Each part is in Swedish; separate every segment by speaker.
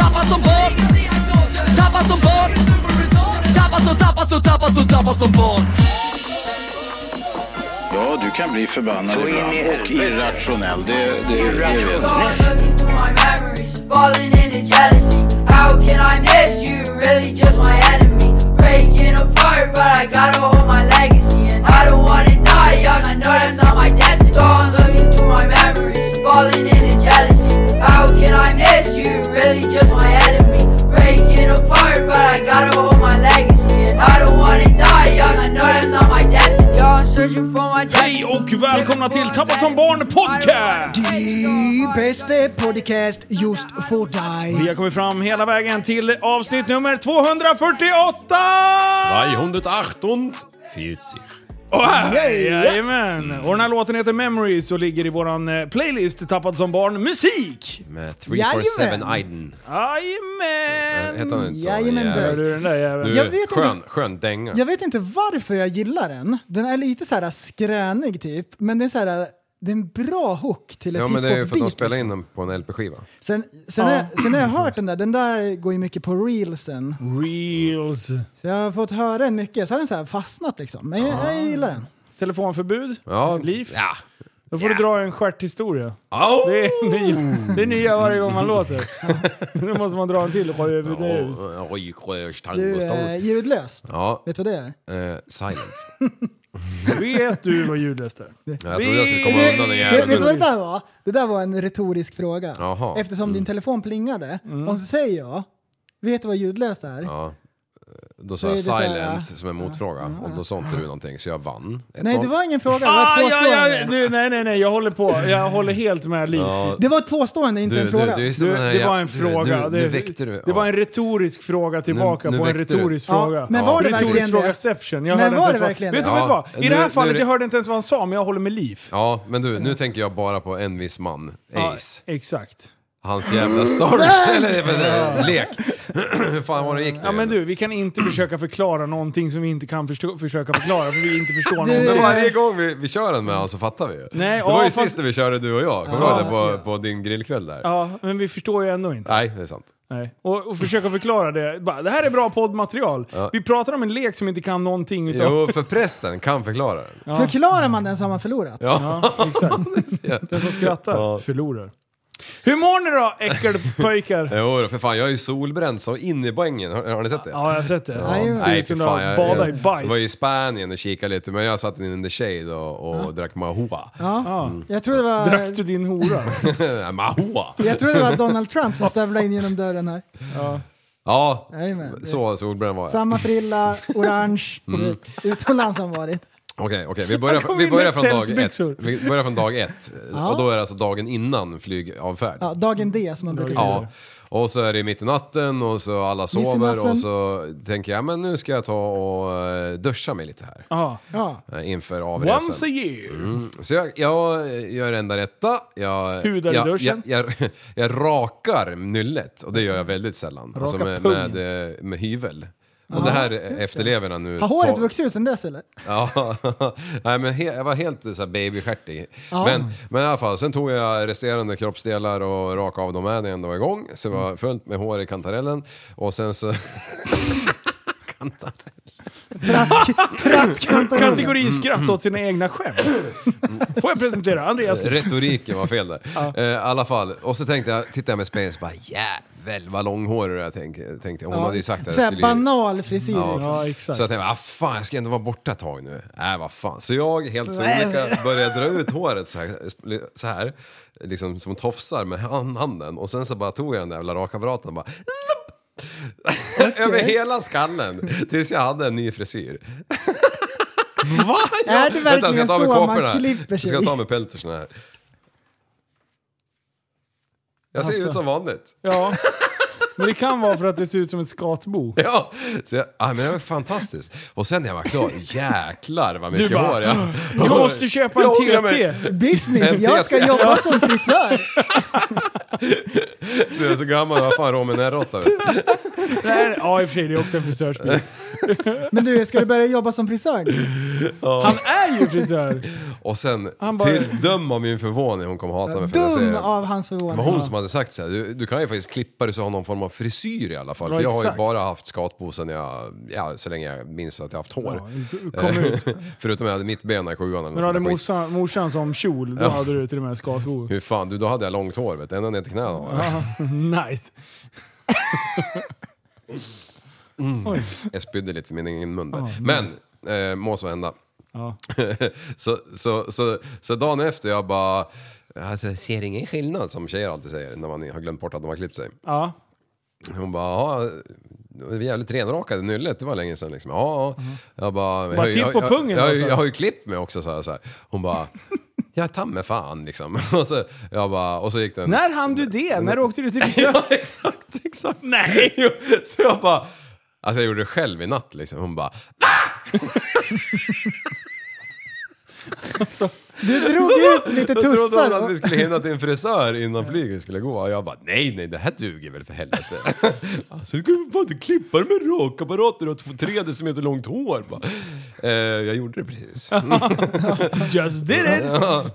Speaker 1: Tappad som barn Tappad som barn Tappad som, tappad som, tappad som, tappad som barn
Speaker 2: Ja, du kan bli förbannad
Speaker 3: Så in i
Speaker 2: ibland och
Speaker 3: helvete.
Speaker 2: irrationell. Det, det, det vet jag.
Speaker 4: My memories falling into jealousy. How can I miss you? Really, just my enemy. Breaking apart, but I gotta hold my legacy. And I don't wanna die young, I know that's not my destiny. So I'm looking through my memories, falling into jealousy. How can I miss you? Really, just my enemy. Breaking apart, but I gotta hold my legacy. And I don't wanna die young, I know that's not my destiny. Y'all searching for my destiny.
Speaker 5: Hej och välkomna till Tappat som barn podcast!
Speaker 6: Det bästa podcast just för dig.
Speaker 5: Vi har kommit fram hela vägen till avsnitt nummer 248!
Speaker 7: 248. 40.
Speaker 5: Och här- Jajamän! Och den här låten heter Memories och ligger i våran eh, playlist Tappad som barn musik!
Speaker 7: Med 347
Speaker 6: Jajamän.
Speaker 7: Aiden.
Speaker 5: Jajamän!
Speaker 7: Hette han inte så?
Speaker 6: Jajamän,
Speaker 5: Hör
Speaker 7: Jävlar.
Speaker 5: du den där jäveln?
Speaker 7: Du,
Speaker 6: Jag vet
Speaker 7: skön,
Speaker 6: inte-
Speaker 7: skön dänga.
Speaker 6: Jag vet inte varför jag gillar den. Den är lite så här skränig typ, men det är så här, det är en bra hook till ett
Speaker 7: Ja men det är ju för att de
Speaker 6: hiphop-beat,
Speaker 7: spelar in Ah.
Speaker 6: liksom.
Speaker 7: den på en LP-skiva.
Speaker 6: Sen, sen, har jag- sen har jag hört den där, den där går ju mycket på reelsen.
Speaker 5: Reels.
Speaker 6: Så jag har fått höra den mycket, så har den så här fastnat liksom. Men jag,
Speaker 7: Ah.
Speaker 6: jag gillar den.
Speaker 5: Telefonförbud?
Speaker 7: Ja.
Speaker 5: Liv?
Speaker 7: Ja.
Speaker 5: Då får du dra en stjärthistoria.
Speaker 7: Au!
Speaker 5: Det är, nya, det är nya varje gång man låter. Då måste man dra en till sjövudus.
Speaker 7: Åh, Oj, sjörs,
Speaker 6: Du, eh,
Speaker 7: tangostol.
Speaker 6: ljudlöst.
Speaker 7: Ja,
Speaker 6: Vet du vad det är?
Speaker 7: eh, silence.
Speaker 5: Vet du vad ljudlöst är?
Speaker 7: Ja, Jag trodde jag skulle komma undan den
Speaker 6: Vet, vet du vad det
Speaker 7: jäveln.
Speaker 6: där var? Det där var en retorisk fråga.
Speaker 7: Jaha. Mm.
Speaker 6: Eftersom din telefon plingade. Och så säger jag, vet du vad ljudlöst är?
Speaker 7: Ja. Då sa jag
Speaker 6: Så är det så här,
Speaker 7: silent
Speaker 6: ja.
Speaker 7: som en motfråga och då sa inte du någonting så jag vann. Ett
Speaker 6: Nej,
Speaker 7: noll.
Speaker 6: det var ingen fråga, det var
Speaker 5: Ah,
Speaker 6: ett
Speaker 5: ja,
Speaker 6: påstående.
Speaker 5: ja, du, nej, nej, nej, jag håller på. Jag håller helt med Liv.
Speaker 6: Det var ett påstående, inte
Speaker 7: Du,
Speaker 6: en
Speaker 7: du,
Speaker 6: fråga.
Speaker 7: du är som
Speaker 5: Du,
Speaker 7: den här
Speaker 5: det
Speaker 7: jä-
Speaker 5: var en
Speaker 7: du,
Speaker 5: fråga.
Speaker 7: Nu, nu
Speaker 5: det,
Speaker 7: väckte du.
Speaker 5: det var
Speaker 7: ja.
Speaker 5: en retorisk fråga tillbaka
Speaker 7: Nu- nu
Speaker 5: på en
Speaker 7: väckte du.
Speaker 5: retorisk
Speaker 6: Ja,
Speaker 5: fråga.
Speaker 6: men var det
Speaker 5: retorisk
Speaker 6: verkligen det?
Speaker 5: frågaception. Jag
Speaker 6: Men
Speaker 5: hörde
Speaker 6: var
Speaker 5: inte
Speaker 6: det
Speaker 5: ens vad,
Speaker 6: verkligen
Speaker 5: vet du,
Speaker 6: det?
Speaker 5: vet du vad?
Speaker 7: Ja,
Speaker 5: I det
Speaker 7: nu-
Speaker 5: här
Speaker 7: nu är
Speaker 5: fallet,
Speaker 7: det-
Speaker 5: jag hörde inte ens vad han sa, men jag håller med Liv.
Speaker 7: Ja, men du, nu tänker jag bara på en viss man,
Speaker 5: Ja,
Speaker 7: Ace.
Speaker 5: exakt.
Speaker 7: Hans jävla story. Eller men, eh, lek. Hur fan var det gick nu?
Speaker 5: Ja, men du, vi kan inte försöka förklara någonting som vi inte kan förstå, försöka förklara, för vi inte förstår någonting.
Speaker 7: Men varje gång vi, vi kör den med honom så fattar vi ju.
Speaker 5: Nej,
Speaker 7: det
Speaker 5: ja,
Speaker 7: var ju
Speaker 5: fast-
Speaker 7: sist när vi körde du och jag. Kommer du ihåg det på, på din grillkväll där?
Speaker 5: Ja, men vi förstår ju ändå inte.
Speaker 7: Nej, det är sant.
Speaker 5: Nej. Och, och försöka förklara det. Bara, det här är bra poddmaterial. Vi pratar om en lek som inte kan någonting utav...
Speaker 7: Jo, för prästen kan förklara den.
Speaker 6: Förklarar man den så har man förlorat.
Speaker 5: Ja, exakt. Den som skrattar förlorar. Hur mår ni då, äckelpojkar?
Speaker 7: Jo, då, för fan jag är ju solbränd så in i poängen. Har, har ni sett det?
Speaker 5: Ja, jag har sett det.
Speaker 6: Ja.
Speaker 5: Ser ut
Speaker 7: för
Speaker 5: som du har badat i
Speaker 7: jag var i
Speaker 5: bajs.
Speaker 7: Spanien och kikade lite men jag satt in under shade och, och drack mahua. Mm.
Speaker 6: Jag tror det var...
Speaker 5: Drack du din hora?
Speaker 7: mahua!
Speaker 6: Jag tror det var Donald Trump som stövlade in genom dörren här.
Speaker 7: Ja,
Speaker 6: Jajamän. Det-
Speaker 7: så solbränd var jag.
Speaker 6: Samma frilla, orange,
Speaker 7: Mm.
Speaker 6: utomlands han varit.
Speaker 7: Okej, okej, vi börjar,
Speaker 5: kom
Speaker 7: vi
Speaker 5: in med
Speaker 7: börjar från dag ett.
Speaker 5: tältbyxor.
Speaker 7: Vi börjar från dag ett. Och då är det alltså dagen innan flygavfärd.
Speaker 6: Ja, dagen D som man brukar säga.
Speaker 7: Ja. Och så är det mitt i natten och så alla
Speaker 6: i
Speaker 7: sover
Speaker 6: nassen.
Speaker 7: och så tänker jag men nu ska jag ta och eh, duscha mig lite här
Speaker 5: Ja.
Speaker 6: Ja.
Speaker 7: eh, inför
Speaker 5: Once a
Speaker 7: avresan.
Speaker 5: year.
Speaker 7: Mm. Så jag, jag eh, gör det enda rätta. Jag,
Speaker 5: Hudar i
Speaker 7: jag, jag,
Speaker 5: duschen.
Speaker 7: jag, jag rakar nyllet och det gör jag väldigt sällan. Alltså med,
Speaker 5: pungen.
Speaker 7: med, eh, med hyvel. Och det här efterlever han nu.
Speaker 6: Har håret
Speaker 7: Ta-
Speaker 6: vuxit ut sen dess eller?
Speaker 7: Ja, Nej, men he- jag var helt så här babystjärtig. Men, men i alla fall, sen tog jag resterande kroppsdelar och rakade av dem här när jag ändå var igång. Så det
Speaker 6: Mm.
Speaker 7: var fullt med hår i kantarellen och sen så... Kantarell.
Speaker 6: Tratt- Trattkantarellen.
Speaker 7: Mm.
Speaker 5: Kategorin skratt åt sina egna skämt. Får jag presentera Andreas?
Speaker 7: Retoriken var fel där. Eh, I alla fall, och så tänkte jag, tittade jag med spegeln och bara jävel vad långhårig du är tänkte, tänkte jag. Hon hade ju sagt att
Speaker 6: Så
Speaker 7: jag
Speaker 6: här
Speaker 7: skulle ju...
Speaker 6: banal frisyr.
Speaker 5: Ja, exakt.
Speaker 7: Så jag tänkte, ah, fan jag ska ändå vara borta ett tag nu. Nej, vad fan. Så jag, helt sonika, började dra ut håret så här, så här liksom som tofsar med hand- handen. Och sen så bara tog jag den där jävla rakapparaten och bara zopp! Över hela skallen. Tills jag hade en ny frisyr.
Speaker 6: Är det
Speaker 7: Vänta, jag
Speaker 6: verkligen
Speaker 7: ska ta med
Speaker 6: så
Speaker 7: kåporna.
Speaker 6: man
Speaker 7: här.
Speaker 6: klipper
Speaker 7: Jag
Speaker 6: sig?
Speaker 7: ska ta med peltersen här. Jag ser
Speaker 6: Alltså.
Speaker 7: ut som vanligt.
Speaker 5: Ja. Men det kan vara för att det ser ut som ett skatbo.
Speaker 7: Ja, så jag, ah, men det var fantastiskt. Och sen när jag var klar, jäklar vad mycket
Speaker 5: Du bara,
Speaker 7: hår jag...
Speaker 5: Jag måste köpa en
Speaker 7: Jag ångrar mig.
Speaker 5: TT!
Speaker 6: Business!
Speaker 7: En
Speaker 6: Jag ska
Speaker 7: TT.
Speaker 6: jobba som frisör!
Speaker 7: Du är så gammal, vad fan Romen är råtta.
Speaker 5: Typ. Nej, Ja, i och för sig, det är också en frisörsbil.
Speaker 6: Men du, ska du börja jobba som frisör nu?
Speaker 5: Han är ju frisör!
Speaker 7: Och sen,
Speaker 5: Han bara-
Speaker 7: till döm av min förvåning, hon kommer hata mig för att jag säger
Speaker 6: Dum
Speaker 7: det.
Speaker 6: av hans
Speaker 7: Det
Speaker 6: förvåning.
Speaker 7: var hon som hade sagt så här, du, du kan ju faktiskt klippa dig så har någon form av frisyr i alla fall.
Speaker 5: Ja,
Speaker 7: för jag har ju
Speaker 5: exakt.
Speaker 7: bara haft skatbo sen jag, ja, så länge jag minns att jag haft hår.
Speaker 5: Kom ut.
Speaker 7: Förutom jag hade mitt ben i sjuan eller
Speaker 5: Men
Speaker 7: något
Speaker 5: du
Speaker 7: sånt
Speaker 5: hade
Speaker 7: där skit.
Speaker 5: morsan, morsan som kjol, då hade du till och med skatbo.
Speaker 7: Hur fan, du, då hade jag långt hår vet du, ända ner till knäna. var det.
Speaker 5: Nice.
Speaker 7: Mm.
Speaker 5: Oj.
Speaker 7: Jag spydde lite i min egen mun där. Men, eh, må så hända.
Speaker 5: Ja.
Speaker 7: så, så, så, så dagen efter jag bara, alltså, jag ser ingen skillnad som tjejer alltid säger när man har glömt bort att de har klippt sig.
Speaker 5: Ja.
Speaker 7: Hon bara, ja, det var jävligt renrakade nyllet, det var länge sedan liksom. Ja, ja. Jag bara, jag, har ju-
Speaker 5: Mhm. titt på
Speaker 7: jag,
Speaker 5: pungen,
Speaker 7: jag, jag,
Speaker 5: alltså.
Speaker 7: jag har ju klippt mig också så här, så här. Hon bara, ja ta mig fan liksom. Och så, jag bara, och så gick den.
Speaker 5: När hann du det? När åkte du till frisören?
Speaker 7: Mm. Ja, exakt, exakt.
Speaker 5: Nej!
Speaker 7: Jo, Så jag bara, alltså jag gjorde det själv i natt liksom. Hon bara,
Speaker 6: Du drog ut lite
Speaker 7: jag trodde hon
Speaker 6: tussar.
Speaker 7: att
Speaker 6: och-
Speaker 7: vi skulle hinna till en frisör innan flyget skulle gå. Och jag bara, nej nej det här duger väl för helvete. alltså du kan ju fan inte klippa dig med rakapparater och få tre decimeter långt hår. Bara, eh, jag gjorde det precis.
Speaker 5: Just did it!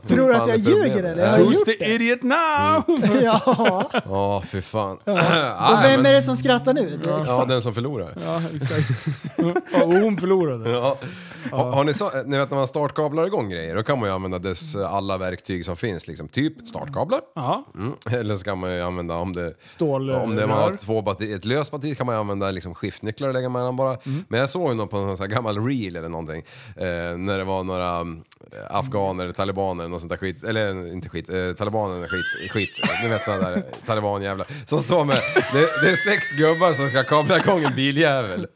Speaker 6: Tror du att
Speaker 7: Fan,
Speaker 6: jag
Speaker 7: det problemet.
Speaker 6: ljuger eller? Jag har
Speaker 5: Who's
Speaker 6: gjort
Speaker 5: the
Speaker 6: det.
Speaker 5: idiot now?
Speaker 6: Ja.
Speaker 7: Ja, fy fan.
Speaker 6: Och
Speaker 7: Nej,
Speaker 6: vem
Speaker 7: men-
Speaker 6: är det som skrattar nu?
Speaker 7: Ja, den som förlorar.
Speaker 5: Ja, exakt. Ja, Och hon förlorade.
Speaker 7: Ja. Har, har ni, så, ni vet när man startkablar igång grejer, då kan man ju använda dess alla verktyg som finns. Liksom, typ startkablar.
Speaker 5: Ja.
Speaker 7: Mm. Eller så kan man ju använda om det...
Speaker 5: Stål- eh,
Speaker 7: Om det, man har
Speaker 5: rör.
Speaker 7: två batteri, ett löst batteri kan man ju använda liksom skiftnycklar och lägga mellan bara.
Speaker 5: Mm.
Speaker 7: Men jag såg ju någon på någon sån här gammal reel eller någonting. Eh, när det var några mm, afghaner eller talibaner eller något sånt där skit. Eller inte skit, eh, talibaner eller skit. skit ni vet sådana där talibanjävlar. Som står med, det, det är sex gubbar som ska kabla igång en biljävel.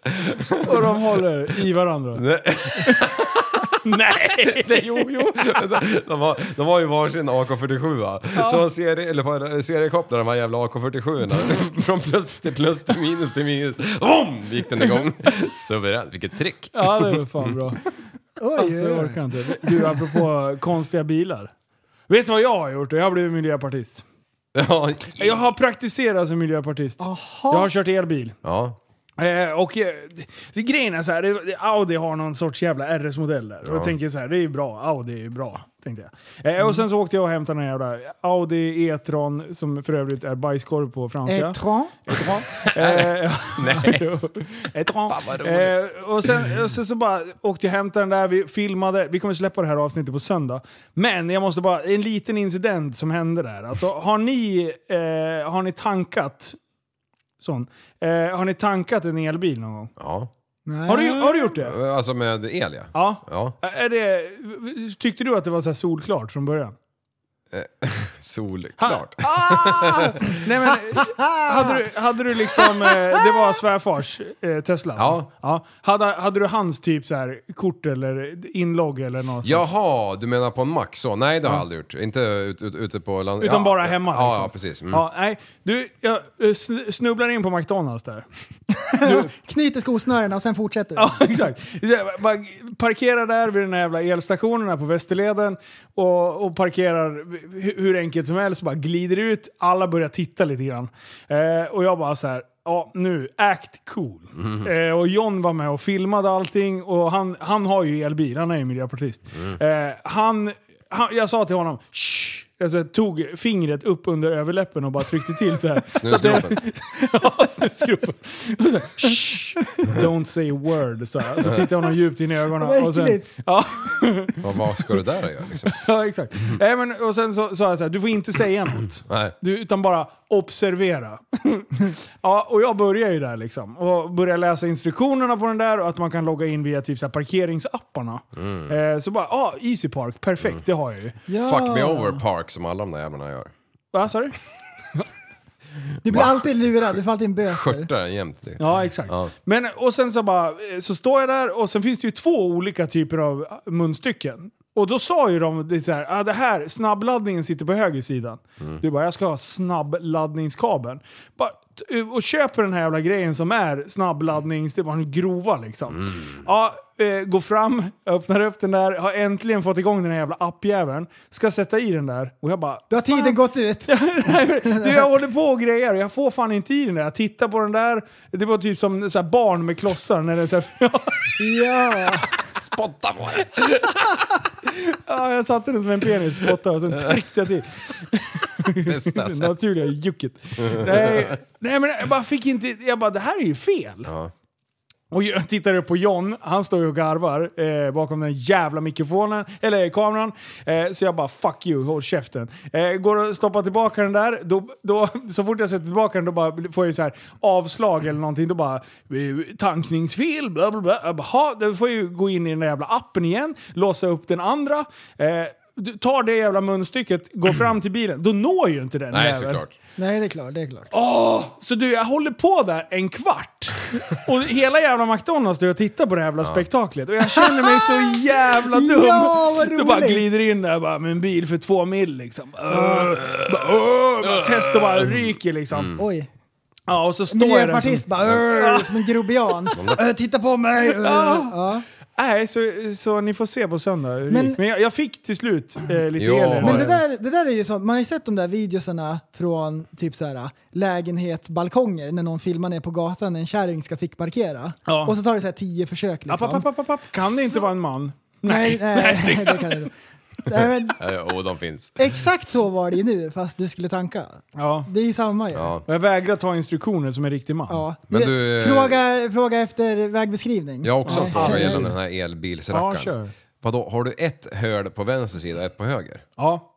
Speaker 5: Och de håller i varandra.
Speaker 7: Nej.
Speaker 5: Nej!
Speaker 7: Nej, jo, jo. De- De har, de har ju varsin AK47 va? Så de serie, eller på- seriekopplar de här jävla AK47 -orna. Från plus till plus till minus till minus. Vom! Gick den igång. Suveränt, vilket trick.
Speaker 5: Ja, det var fan bra.
Speaker 6: Oj,
Speaker 5: Mm. Alltså, jag
Speaker 6: oj,
Speaker 5: orkar inte. Du, apropå konstiga bilar. Vet du vad jag har gjort? Jag har blivit miljöpartist.
Speaker 7: Ja.
Speaker 5: Jag har praktiserat som miljöpartist. Jag har kört elbil.
Speaker 7: ja.
Speaker 5: Eh, och eh, så grejen är så här, det- det- Audi har någon sorts jävla RS-modell där. Och jag tänker så här, det är ju bra. Audi är ju bra. Tänkte jag. Eh, och sen så åkte jag och hämtade den här jävla Audi E-tron, som för övrligt är bajskorv på franska.
Speaker 6: oj. Etran?
Speaker 5: Etran. Eh, jo. Etran.
Speaker 7: vad roligt.
Speaker 5: Eh, och sen, och sen så bara åkte jag och hämtade den där, vi filmade. Vi kommer släppa det här avsnittet på söndag. Men jag måste bara, en liten incident som hände där. Alltså, har ni, eh, har ni tankat? Sån. Eh, har ni tankat en elbil någon gång?
Speaker 7: ja.
Speaker 5: Har du, har du gjort det?
Speaker 7: Alltså med el ja.
Speaker 5: Ja.
Speaker 7: Ja,
Speaker 5: Är det, tyckte du att det var så här solklart från början?
Speaker 7: solklart.
Speaker 5: Ah! Nej, men, hade, du, hade du liksom, eh, det var svärfars eh, Tesla? va?
Speaker 7: Ja.
Speaker 5: ja. Hade, hade du hans typ så här, kort eller inlogg eller något sånt?
Speaker 7: Jaha, du menar på en Mac så? Nej, det har jag aldrig gjort. Inte ut, ut, ute på land...
Speaker 5: Utan
Speaker 7: ja.
Speaker 5: bara hemma
Speaker 7: Ja,
Speaker 5: liksom.
Speaker 7: ja precis. Mm.
Speaker 5: Ja, nej, du, jag eh, sn- snubblar in på McDonalds där.
Speaker 6: Knyter skosnörena och sen fortsätter du.
Speaker 5: Ja, exakt. Så jag bara Parkerar där vid den här jävla elstationen här på Västerleden och, och parkerar hu- hur enkelt som helst. Bara glider ut, alla börjar titta lite grann. Eh, och jag bara så här, ja nu, act cool. Eh, och John var med och filmade allting och han, han har ju elbil, han är ju miljöpartist. Eh, han, han, jag sa till honom, Shh! Alltså, tog fingret upp under överläppen och bara tryckte till så här. Så att det-
Speaker 7: Snusgropen.
Speaker 5: Ja, snusgropen. Och så här, "Shh, Don't say a word, så, här. så tittade honom djupt in i ögonen.
Speaker 6: Vad
Speaker 5: Och sen,
Speaker 6: äckligt.
Speaker 5: ja,
Speaker 7: Vad, vad ska du där och göra liksom?
Speaker 5: ja, exakt. Nej, men, och sen så sa jag så här, du får inte säga något.
Speaker 7: Nej.
Speaker 5: Du, utan bara observera. ja, och jag börjar ju där liksom. Och börjar läsa instruktionerna på den där och att man kan logga in via typ så här, parkeringsapparna. Eh, så bara, ah, Easy Park, perfekt, det har jag ju.
Speaker 6: Ja.
Speaker 7: Fuck me over park som alla de där jävlarna gör.
Speaker 5: Vad sa du?
Speaker 6: Du blir alltid lurad, du får alltid en böter.
Speaker 7: Skörtar den jämt. det.
Speaker 5: Ja, exakt.
Speaker 7: Ja.
Speaker 5: Men, eh, och sen så, bara, så står jag där och sen finns det ju två olika typer av eh, munstycken. Och då sa ju de det så här, ah, det här, snabbladdningen sitter på höger sidan. Du bara, jag ska ha snabbladdningskabeln. Bara, t- eh, och köper den här jävla grejen som är snabbladdnings, det var en grova liksom. Ja, eh, går fram, öppnar upp den där, har äntligen fått igång den här jävla appjäveln. Ska sätta i den där och jag bara...
Speaker 6: Då har tiden
Speaker 5: "Fan."
Speaker 6: gått ut.
Speaker 5: Nej, men du, jag håller på och grejer och jag får fan inte i den där. Jag tittar på den där, det var typ som så här barn med klossar. När det är så här,
Speaker 6: Ja.
Speaker 7: Spotta på det!
Speaker 5: ja, jag satte den som en penis, spottade och sen tryckte jag till.
Speaker 7: Bästa
Speaker 5: Det
Speaker 7: sätt.
Speaker 5: naturliga jucket. nej, nej, men jag bara fick inte... Jag bara, det här är ju fel.
Speaker 7: Ja.
Speaker 5: Och jag tittar upp på John, han står ju och garvar eh, bakom den jävla mikrofonen, eller kameran. Eh, så jag bara “fuck you, håll käften”. Eh, går och stoppar tillbaka den där, då, då, så fort jag sätter tillbaka den då bara får jag så här avslag eller någonting. Då bara eh, “tankningsfel”, bla bla bla. Jag bara, "Ha, då får jag ju gå in i den där jävla appen igen, låsa upp den andra. Eh, du tar det jävla munstycket, går fram till bilen, då når ju inte den
Speaker 7: Nej,
Speaker 5: jäveln.
Speaker 7: såklart.
Speaker 6: Nej, det är klart. Det är klart.
Speaker 5: Så du, jag håller på där en kvart. Och hela jävla McDonalds står och tittar på det här jävla spektaklet. Och jag känner mig så jävla dum.
Speaker 6: Ja, vad
Speaker 5: du bara
Speaker 6: roligt.
Speaker 5: glider in där bara, med en bil för två mil liksom. Uh, bara, uh, bara testar bara ryker liksom.
Speaker 6: Oj.
Speaker 5: Ja, och så står jag där som,
Speaker 6: Mm. Miljöpartist bara "Urr", som en grobian. "Äh, Titta på mig! Urr. Ja.
Speaker 5: Nej, så, så ni får se på söndag hur det
Speaker 6: Men-
Speaker 5: gick. Men jag, jag fick till slut eh, lite
Speaker 7: Ja,
Speaker 5: el i
Speaker 7: men
Speaker 6: Men
Speaker 5: den.
Speaker 6: det där, det där är ju sånt, man har ju sett de där videosarna från typ så här, lägenhetsbalkonger när någon filmar ner på gatan när en kärring ska fickparkera.
Speaker 5: Ja.
Speaker 6: Och så tar det så här tio försök
Speaker 5: App,
Speaker 6: liksom.
Speaker 5: app, app, app, app. Kan det inte vara en man?
Speaker 6: Nej, nej, nej, det kan jag inte. Nej, men,
Speaker 7: Eh, Och de finns.
Speaker 6: exakt så var det ju nu fast du skulle tanka.
Speaker 5: Ja.
Speaker 6: Det är ju samma ju.
Speaker 7: Ja.
Speaker 5: Och jag vägrar ta instruktioner som en riktig man.
Speaker 6: Ja.
Speaker 7: Men du, eh,
Speaker 6: fråga, fråga efter vägbeskrivning.
Speaker 7: Jag har också en
Speaker 6: Nej.
Speaker 7: fråga
Speaker 5: Nej.
Speaker 7: gällande den här
Speaker 5: Ja, kör.
Speaker 7: elbilsrackaren. Vadå, har du ett hål på vänster sida och ett på höger?
Speaker 5: Ja.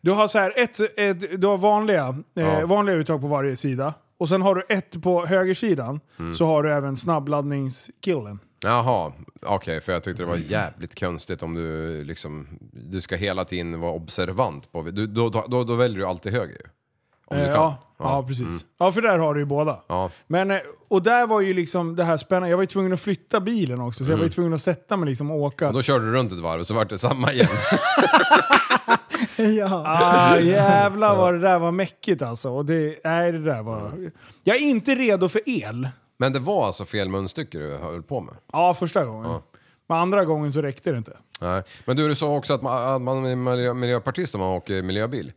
Speaker 5: Du har så här ett, ett du har vanliga, eh,
Speaker 7: Ja.
Speaker 5: vanliga uttag på varje sida. Och sen har du ett på högersidan,
Speaker 7: Mm.
Speaker 5: så har du även snabbladdningskillen.
Speaker 7: Jaha, okej, för jag tyckte det var jävligt konstigt om du liksom, du ska hela tiden vara observant på, du, då, då, då, då väljer du alltid höger ju. Om
Speaker 5: Eh,
Speaker 7: du
Speaker 5: ja,
Speaker 7: kan. Mm.
Speaker 5: ja. precis. Ja, för där har du ju båda.
Speaker 7: Ja.
Speaker 5: Men, eh, och där var ju liksom det här spännande. Jag var ju tvungen att flytta bilen också, så jag var ju tvungen att sätta mig liksom och åka.
Speaker 7: Och Mm. då körde du runt ett varv och så vart det samma igen.
Speaker 6: Ja.
Speaker 5: Ah, jävlar vad det där var mäckigt alltså. Och det, nej, det där var... Jag är inte redo för el.
Speaker 7: Men det var alltså fel munstycke du höll på med?
Speaker 5: Ja, första gången. Men andra gången så räckte det inte.
Speaker 7: Nej. Men du, du sa också att man, att man är miljö, miljöpartist om man åker miljöbil.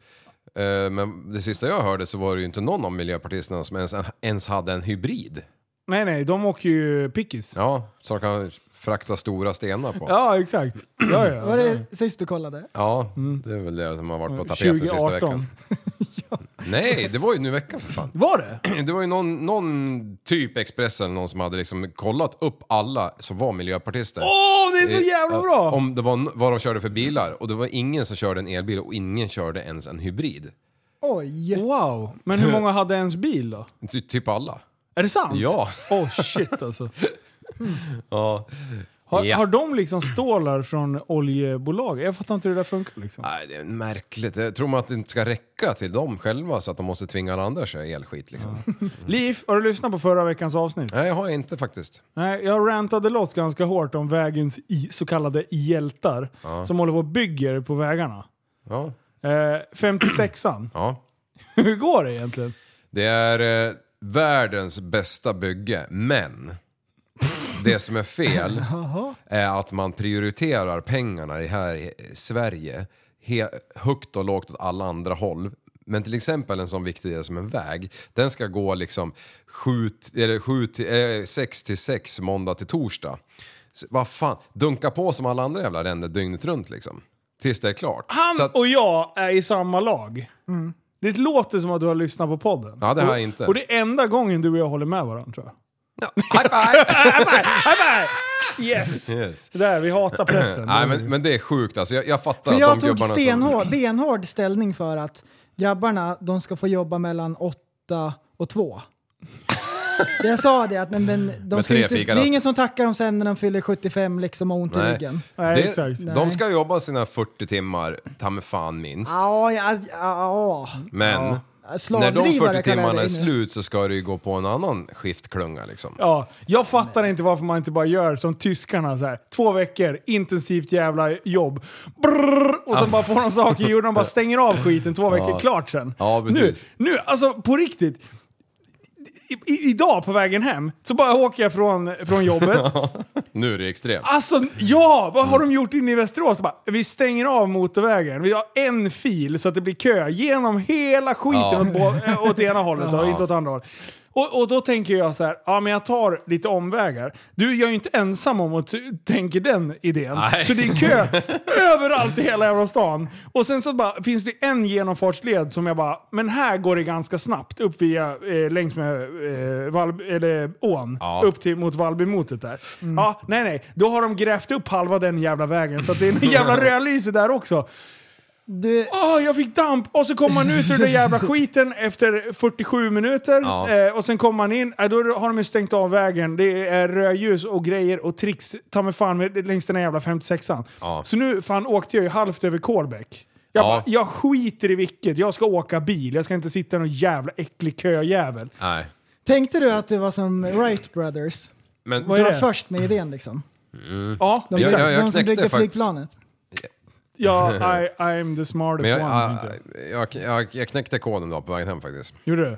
Speaker 7: Eh, Men det sista jag hörde så var det ju inte någon av miljöpartisterna som ens, ens hade en hybrid.
Speaker 5: Nej, nej, de åker ju pickis. Ja,
Speaker 7: Ja, så de kan frakta stora stenar på.
Speaker 5: exakt. Ja, ja.
Speaker 6: Var det sist du kollade?
Speaker 7: Ja,
Speaker 5: Mm.
Speaker 7: det är väl det som har varit på tapeten sista
Speaker 5: 2018.
Speaker 7: veckan. Nej, det var ju nu i veckan för fan.
Speaker 5: Var det?
Speaker 7: Det var ju någon, någon typ Expressen, någon som hade liksom kollat upp alla som var miljöpartister.
Speaker 5: Åh, det är så jävla
Speaker 7: Eh,
Speaker 5: bra!
Speaker 7: Om det var n- vad de körde för bilar. Och det var ingen som körde en elbil och ingen körde ens en hybrid.
Speaker 6: Oj!
Speaker 5: Wow. Men hur många hade ens bil då?
Speaker 7: Ty, typ alla.
Speaker 5: Är det sant?
Speaker 7: Ja.
Speaker 5: Åh oh, shit alltså.
Speaker 7: Ja.
Speaker 5: Har,
Speaker 7: Ja.
Speaker 5: har de liksom stålar från oljebolag? Jag fattar inte hur det där funkar liksom.
Speaker 7: Nej, det är märkligt. Jag tror man att det inte ska räcka till dem själva så att de måste tvinga alla andra att köra elskit liksom.
Speaker 5: Liv, har du lyssnat på förra veckans avsnitt?
Speaker 7: Nej, jag har jag inte faktiskt.
Speaker 5: Nej, jag rantade loss ganska hårt om vägens i, så kallade hjältar som håller på och bygger på vägarna.
Speaker 7: Ja.
Speaker 5: Eh, 56an.
Speaker 7: ja.
Speaker 5: hur går det egentligen?
Speaker 7: Det är eh, världens bästa bygge, men det som är fel är att man prioriterar pengarna i här i Sverige he- högt och lågt åt alla andra håll. Men till exempel en sån viktig del som en väg, den ska gå liksom 6 eh, till 6 måndag till torsdag. Så, vad fan, dunka på som alla andra jävla ränder dygnet runt liksom. Tills det är klart.
Speaker 5: Han
Speaker 7: Så att-
Speaker 5: och jag är i samma lag. Det låter som att du har lyssnat på podden.
Speaker 7: Ja, det har
Speaker 5: och,
Speaker 7: jag inte.
Speaker 5: Och det är enda gången du och jag håller med varandra tror jag.
Speaker 7: Ja, high five!
Speaker 5: Yes!
Speaker 7: Yes.
Speaker 5: Det där, vi hatar prästen.
Speaker 7: Nej men, men det är sjukt alltså, jag, jag
Speaker 6: För
Speaker 7: fattar att
Speaker 6: jag
Speaker 7: de
Speaker 6: tog
Speaker 7: gubbarna som-
Speaker 6: stenhård, benhård ställning för att grabbarna, de ska få jobba mellan åtta och två. Jag sa det att men, men, de
Speaker 7: Med
Speaker 6: ska
Speaker 7: tre
Speaker 6: inte, det
Speaker 7: fikar
Speaker 6: är
Speaker 7: alltså.
Speaker 6: ingen som tackar dem sen när de fyller 75 liksom och har ont i ryggen.
Speaker 5: Nej,
Speaker 7: det,
Speaker 5: exakt.
Speaker 7: De ska jobba sina 40 timmar, ta mig fan minst.
Speaker 6: Ja, ja, ja, ja.
Speaker 7: Men När de
Speaker 6: Slavdrivare
Speaker 7: 40
Speaker 6: kallar jag
Speaker 7: timmarna
Speaker 6: det
Speaker 7: är
Speaker 6: nu.
Speaker 7: slut så ska det ju gå på en annan skiftklunga liksom.
Speaker 5: Ja, jag fattar inte varför man inte bara gör som tyskarna så här. Två veckor, intensivt jävla jobb. Brrr, och sen bara får de saker i jorden och bara stänger av skiten två veckor, klart sen.
Speaker 7: Ja, precis.
Speaker 5: Nu, nu, alltså på riktigt. I, i, idag på vägen hem så bara åker jag från, från jobbet.
Speaker 7: Nu är det extremt.
Speaker 5: Alltså ja, vad
Speaker 7: Mm.
Speaker 5: har de gjort inne i Västerås? Bara, vi stänger av motorvägen. Vi har en fil så att det blir kö genom hela skiten
Speaker 7: Ja.
Speaker 5: åt, bå- eh, åt ena hållet och inte åt andra hållet. Och, och då tänker jag så här, ja men jag tar lite omvägar. Du, jag är ju inte ensam om att t- tänka den idén.
Speaker 7: Nej.
Speaker 5: Så det är kö
Speaker 7: Mm.
Speaker 5: överallt i hela jävla stan. Och sen så bara, finns det en genomfartsled som jag bara, men här går det ganska snabbt upp via, eh, längs med eh, Valb, eller, ån.
Speaker 7: Ja. Mm.
Speaker 5: Upp till, mot Valbymotet där. Ja, nej nej, då har de grävt upp halva den jävla vägen så att det är en jävla rödlyse där också.
Speaker 6: Du,
Speaker 5: Åh, jag fick damp! Och så kom man ut ur den jävla skiten efter 47 minuter.
Speaker 7: Ja.
Speaker 5: Eh, och sen kom man in, eh, då har de ju stängt av vägen. Det är rödljus och grejer och tricks ta mig fan med, längs den här jävla 56an.
Speaker 7: Ja.
Speaker 5: Så nu fan åkte jag ju halvt över Kolbäck. Jag,
Speaker 7: Ja.
Speaker 5: bara, jag skiter i vilket, jag ska åka bil. Jag ska inte sitta i någon jävla äcklig köjävel.
Speaker 7: Nej.
Speaker 6: tänkte du att du var som Wright Brothers?
Speaker 7: Men
Speaker 5: Vad
Speaker 6: Du
Speaker 5: är
Speaker 6: var
Speaker 5: det?
Speaker 6: först med idén liksom.
Speaker 5: Ja,
Speaker 6: De,
Speaker 7: Jag-
Speaker 5: exakt.
Speaker 7: jag- jag
Speaker 6: de som
Speaker 7: knäckte
Speaker 6: byggde
Speaker 7: faktiskt-
Speaker 6: flygplanet.
Speaker 5: Ja, I, I'm the smartest
Speaker 7: Men jag, ah,
Speaker 5: one.
Speaker 7: jag,
Speaker 5: tänkte jag.
Speaker 7: jag, jag, jag knäckte koden då på vägen hem faktiskt.
Speaker 5: Gjorde du?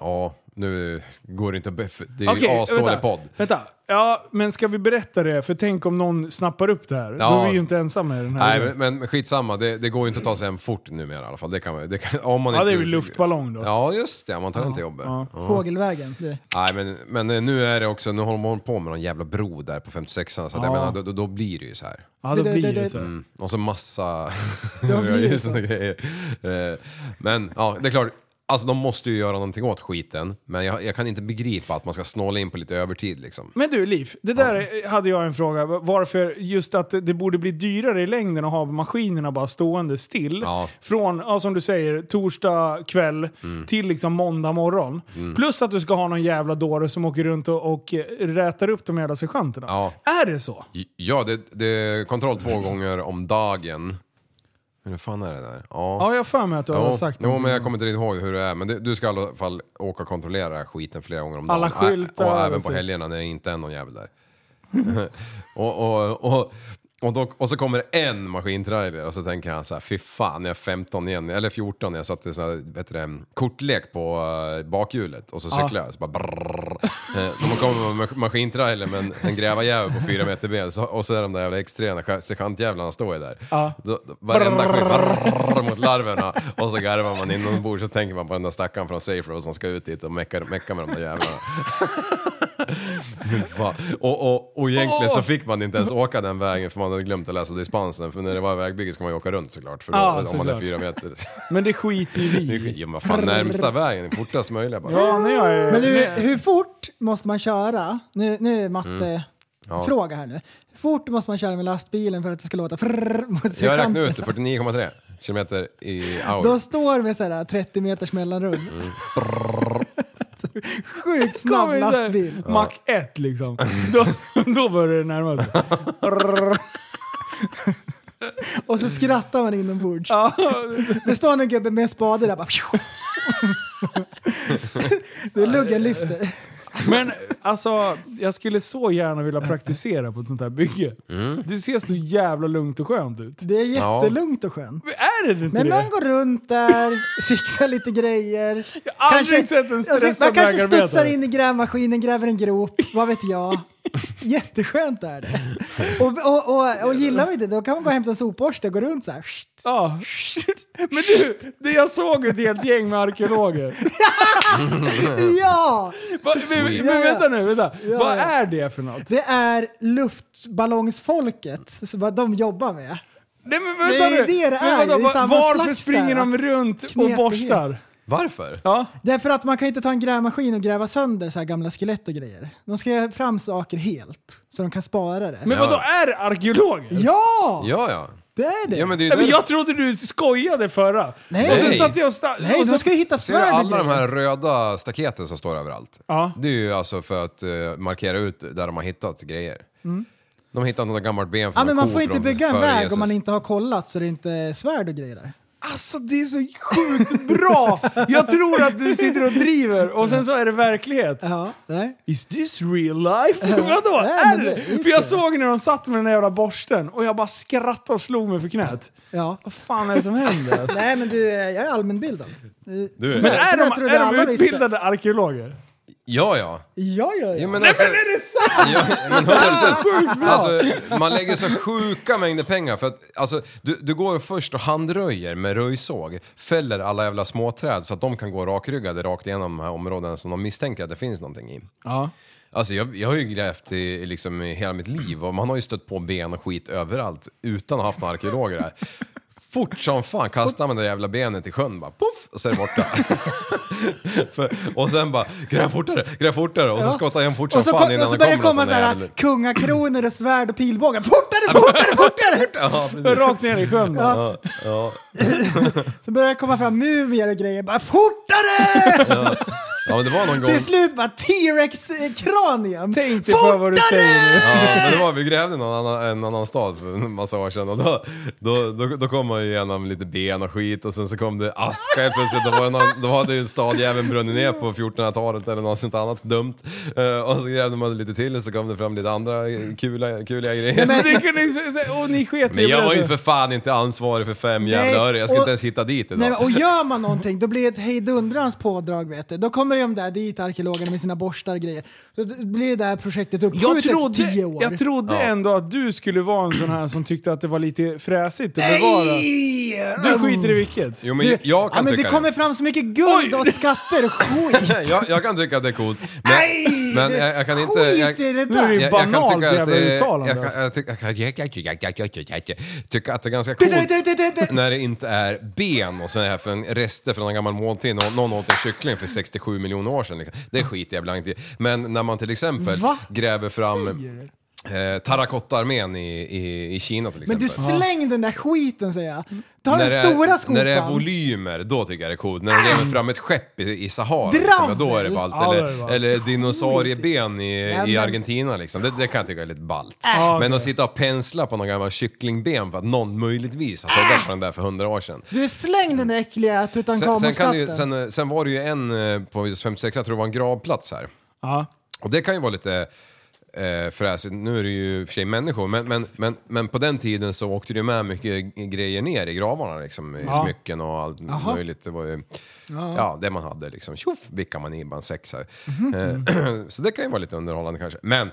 Speaker 7: Ja, nu går det inte att beff- Det är ju asdålig
Speaker 5: vänta,
Speaker 7: podd.
Speaker 5: vänta. Ja, men ska vi berätta det? För tänk om någon snappar upp det här. Då
Speaker 7: Ja.
Speaker 5: är vi ju inte ensamma i den här.
Speaker 7: Nej
Speaker 5: idén.
Speaker 7: men, men skitsamma, det, det går ju inte att ta sig hem fort numera i alla fall. Det kan, man- det kan, om man
Speaker 5: ja, det är
Speaker 7: inte,
Speaker 5: ju luftballong då.
Speaker 7: Ja just det, man tar inte jobbet.
Speaker 6: Fågelvägen. Du.
Speaker 7: Nej men, men eh, nu är det också, nu håller man på med någon jävla bro där på 56an så att jag
Speaker 5: Ja.
Speaker 7: menar, då, då- då blir det ju så här. Mm.
Speaker 5: Ja, då
Speaker 6: Det- det-
Speaker 5: blir
Speaker 6: det-
Speaker 5: det så. här.
Speaker 7: Och så massa
Speaker 6: blir det
Speaker 7: ju
Speaker 6: så.
Speaker 7: såna grejer. Eh, Men ja, det är klart. Alltså de måste ju göra någonting åt skiten. Men jag, jag kan inte begripa att man ska snåla in på lite övertid liksom.
Speaker 5: Men du Liv, det där hade jag en fråga. Varför just att det borde bli dyrare i längden att ha maskinerna bara stående still.
Speaker 7: Ja. Mm.
Speaker 5: Från, ja, som du säger, torsdag kväll till liksom måndag morgon. Plus att du ska ha någon jävla dåre som åker runt och, och eh, rätar upp de jävla sergeanterna.
Speaker 7: Ja.
Speaker 5: Är det så?
Speaker 7: Ja, det, det är kontroll två gånger om dagen. Hur fan är det där?
Speaker 5: Ja, jag har för mig att du har sagt
Speaker 7: jo,
Speaker 5: någonting
Speaker 7: men jag
Speaker 5: om-
Speaker 7: kommer inte riktigt ihåg hur det är. Men det, du ska i alla fall åka och kontrollera skiten flera gånger om
Speaker 5: Alla
Speaker 7: dagen. Ä-
Speaker 5: skyltar,
Speaker 7: Och även
Speaker 5: alltså.
Speaker 7: på helgerna när det inte är någon jävel där. och, och, och, och, då, och så kommer det en maskintrailer och så tänker han så här, fy fan jag är 15 igen, eller 14 när jag satte så här, vet du det, kortlek på eh, bakhjulet och så cyklade jag. Så bara brrrr. Eh, När man kommer med en maskintrailer med en, en grävarjävel på 4 meter ben så, och så är de där jävla extrema sergeantjävlarna står ju där.
Speaker 5: Ja.
Speaker 7: Då, då, varenda skit brrrr mot larverna och så garvar man inombords så tänker man på den där stackaren från Safe Road som ska ut dit och mecka, mecka med de där jävlarna. Va? Och, och, och egentligen så fick man inte ens åka den vägen för man hade glömt att läsa dispensen. För när det var vägbygge ska man ju åka runt såklart. För då,
Speaker 5: Ja,
Speaker 7: om man
Speaker 5: såklart.
Speaker 7: är fyra meter.
Speaker 5: Men det skiter ju
Speaker 7: Det
Speaker 5: vi
Speaker 7: är skit. Ja, men vad fan, närmsta vägen är fortast möjliga bara.
Speaker 5: Ja, när jag är...
Speaker 6: Men nu, hur fort måste man köra? Nu, nu är matte...
Speaker 7: Ja.
Speaker 6: Fråga här nu. Hur fort måste man köra med lastbilen för att det ska låta frrrr mot sig
Speaker 7: Jag räknade ut det, 49,3 kilometer i
Speaker 6: De
Speaker 7: hour.
Speaker 6: står med sådär 30 meters mellanrum. Sjukt snabb
Speaker 5: Kommer så här,
Speaker 6: lastbil.
Speaker 5: Mac 1 liksom. Då, då börjar det närma sig.
Speaker 6: Och så skrattar man inombords. Det står någon gubbe med en spade där bara... Det är luggen lyfter.
Speaker 5: Men alltså, jag skulle så gärna vilja praktisera på ett sånt här bygge. Det ser så jävla lugnt och skönt ut.
Speaker 6: Det är jättelugnt och skönt.
Speaker 5: Är det inte
Speaker 6: Men
Speaker 5: det?
Speaker 6: man går runt där, fixar lite grejer.
Speaker 5: Jag har aldrig sett en stressad
Speaker 6: alltså, Man kanske
Speaker 5: vägarbetare.
Speaker 6: studsar in i grävmaskinen, gräver en grop, vad vet jag. Jätteskönt är det. Och, och, och, och gillar man inte det, då kan man gå och hämta en sopborste och gå runt så här.
Speaker 5: Ja. Men du, det jag såg ett helt gäng med arkeologer.
Speaker 6: Ja!
Speaker 5: Va, men, men,
Speaker 6: Ja, ja.
Speaker 5: vänta nu, vänta.
Speaker 6: Ja,
Speaker 5: Vad
Speaker 6: ja.
Speaker 5: är det för något?
Speaker 6: Det är luftballongsfolket, så vad de jobbar med.
Speaker 5: Nej men vänta
Speaker 6: Det
Speaker 5: nu.
Speaker 6: är det det
Speaker 5: Men
Speaker 6: är.
Speaker 5: vadå,
Speaker 6: Det är
Speaker 5: va-
Speaker 6: samma
Speaker 5: varför
Speaker 6: slags
Speaker 5: springer
Speaker 6: här,
Speaker 5: de runt och
Speaker 6: knepighet.
Speaker 5: borstar?
Speaker 7: Varför?
Speaker 5: Ja.
Speaker 6: Därför att man kan inte ta en grävmaskin och gräva sönder så här gamla skelett och grejer. De ska göra fram saker helt, så de kan spara det.
Speaker 5: Men
Speaker 7: Ja.
Speaker 5: vadå, är det arkeologer?
Speaker 6: ja!
Speaker 7: Ja, ja.
Speaker 6: Det är det!
Speaker 7: ja men det är ju
Speaker 5: Nej, men
Speaker 7: där-
Speaker 5: jag trodde du skojade förra.
Speaker 6: Nej.
Speaker 5: Och sen
Speaker 7: Nej.
Speaker 5: satt jag och sta-
Speaker 6: Nej,
Speaker 5: och så-
Speaker 6: de ska ju hitta
Speaker 7: Ser du
Speaker 6: svärd och
Speaker 7: alla de
Speaker 6: grejer.
Speaker 7: här röda staketen som står överallt?
Speaker 5: Ja.
Speaker 7: Det är ju alltså för att eh, markera ut där de har hittat grejer. De har hittat något gammalt ben
Speaker 6: Ja,
Speaker 7: från en
Speaker 6: men man
Speaker 7: ko
Speaker 6: får inte
Speaker 7: från
Speaker 6: bygga en
Speaker 7: före
Speaker 6: väg
Speaker 7: Jesus.
Speaker 6: om man inte har kollat så det är inte är svärd och grejer där.
Speaker 5: Alltså det är så sjukt bra! Jag tror att du sitter och driver och sen så är det verklighet.
Speaker 6: Ja, nej.
Speaker 5: Is this real life? Vadå?
Speaker 6: nej,
Speaker 5: är
Speaker 6: men
Speaker 5: det?
Speaker 6: det- just
Speaker 5: För jag
Speaker 6: det.
Speaker 5: såg när de satt med den där jävla borsten och jag bara skrattade och slog mig för knät.
Speaker 6: Ja.
Speaker 5: Vad fan är det som händer? alltså?
Speaker 6: Nej men du, eh, jag är allmänbildad.
Speaker 7: Du
Speaker 5: Men
Speaker 7: är...
Speaker 5: är de,
Speaker 6: jag trodde
Speaker 5: är
Speaker 6: alla
Speaker 5: de
Speaker 6: visste.
Speaker 5: utbildade arkeologer?
Speaker 7: Ja, ja.
Speaker 6: Ja, ja, ja.
Speaker 7: Jo, men alltså,
Speaker 5: Är det sant?
Speaker 7: ja, men alltså, alltså, man lägger så sjuka mängder pengar för att alltså, du, du går först och handröjer med röjsåg, fäller alla jävla småträd så att de kan gå rakryggade rakt igenom de här områdena som de misstänker att det finns någonting i.
Speaker 5: Ja.
Speaker 7: Alltså jag, jag har ju grävt i, liksom, i hela mitt liv och man har ju stött på ben och skit överallt utan att ha haft några arkeologer här. Fort som fan kastar man det jävla benet i sjön bara poff och så är det borta. För, och sen bara gräv fortare, gräv fortare och så skottar jag igen fort som
Speaker 6: Och så,
Speaker 7: fan
Speaker 6: kom,
Speaker 7: innan
Speaker 6: och så
Speaker 7: det
Speaker 6: börjar det
Speaker 7: kommer
Speaker 6: komma
Speaker 7: någon sån
Speaker 6: så
Speaker 7: där jävla...
Speaker 6: här kungakronor och svärd och pilbågar. Fortare, fortare, fortare!
Speaker 7: Ja, precis.
Speaker 5: Rakt ner i sjön bara.
Speaker 6: Så börjar det komma fram mumier och grejer. Bara fortare!
Speaker 7: ja men det var någon gång.
Speaker 6: Till slut bara T-Rex-kranium.
Speaker 5: Tänk dig på vad du säger nu.
Speaker 7: Ja, men det var, vi grävde i någon annan, en annan stad för en massa år sedan och då, då, då, då kom man ju igenom lite ben och skit och sen så kom det aska helt plötsligt. Då, var det någon, då hade ju stadjäveln brunnit ner på 1400-talet eller något sånt annat dumt. Eh, och så grävde man lite till och så kom det fram lite andra kula, kuliga grejer. Men,
Speaker 5: Men det kunde ju se- se- och ni sket i det.
Speaker 7: jag var ju för fan inte ansvarig för fem jävla öre. Jag skulle
Speaker 6: och-
Speaker 7: inte ens hitta dit idag.
Speaker 6: Nej, men- och gör man någonting då blir det ett hejdundrans pådrag vet du. Då kommer de där dit, arkeologerna med sina borstar och grejer. Då blir det här projektet
Speaker 5: jag
Speaker 6: uppskjutet
Speaker 5: trodde,
Speaker 6: tio år.
Speaker 5: jag trodde ändå att du skulle vara en sån här som tyckte att det var lite fräsigt att bevara.
Speaker 6: Nej!
Speaker 5: Du skiter i vilket.
Speaker 7: Jo men jag, jag
Speaker 6: ja,
Speaker 7: kan
Speaker 6: men det
Speaker 7: tycka
Speaker 6: kommer fram så mycket
Speaker 5: Oj!
Speaker 6: guld och skatter och skit.
Speaker 7: det. Jag, jag kan tycka att det är coolt. Men, men jag, jag kan inte...
Speaker 6: Skit
Speaker 7: Jag,
Speaker 6: i det
Speaker 5: Nu är det ju
Speaker 6: där!
Speaker 7: Jag, jag kan
Speaker 5: Banalt
Speaker 7: tycka att
Speaker 5: jävla
Speaker 7: det-
Speaker 5: uttalande,
Speaker 7: jag
Speaker 5: alltså.
Speaker 7: kan- jag tycker- jag kan- jag- jag- jag- jag- jag- jag- jag- jag tycker att det är ganska
Speaker 6: Det- det-
Speaker 7: coolt
Speaker 6: det- det- det-
Speaker 7: när det inte är ben och sen är det för en rester från en gammal måltid. Någon, någon åt en kyckling för 67 miljoner år sedan. Liksom. Det skiter jag blankt i. Men när man till exempel
Speaker 6: Va?
Speaker 7: gräver fram eh, terrakottaarmén i, i, i Kina till
Speaker 6: Men
Speaker 7: exempel.
Speaker 6: du släng den där skiten säger jag. Ta
Speaker 7: när
Speaker 6: den stora
Speaker 7: är,
Speaker 6: skopan. Ah.
Speaker 7: när det är volymer, då tycker jag det är coolt. När de gräver fram ett skepp i, i Sahara, liksom,
Speaker 6: Dravel!
Speaker 7: då är det ballt.
Speaker 5: Ja,
Speaker 7: eller
Speaker 5: det är ballt.
Speaker 7: eller dinosaurieben i,
Speaker 6: Nej,
Speaker 7: i
Speaker 6: men- Ah.
Speaker 7: Argentina, liksom. det, det kan jag tycka är lite ballt.
Speaker 5: Ja,
Speaker 7: Men att sitta och pensla på någon gammal kycklingben för att någon möjligtvis har
Speaker 6: Ah.
Speaker 7: tagit på den där för hundra år sedan.
Speaker 6: Du släng den där äckliga
Speaker 7: Sen, sen, kan det ju,
Speaker 6: Tutankhamun-skatten.
Speaker 7: sen, eh, sen var det ju en eh, på just 56, jag tror det var en gravplats här.
Speaker 5: Ja.
Speaker 7: Och det kan ju vara lite eh, fräsigt. Nu är det ju i och för sig människor, men, men, men, men på den tiden så åkte det ju med mycket grejer ner i gravarna liksom. I
Speaker 5: Ja.
Speaker 7: smycken och allt möjligt. Det var ju, ja, det man hade liksom. Tjoff, vickade man i bara en sex här. Eh, så det kan ju vara lite underhållande kanske. Men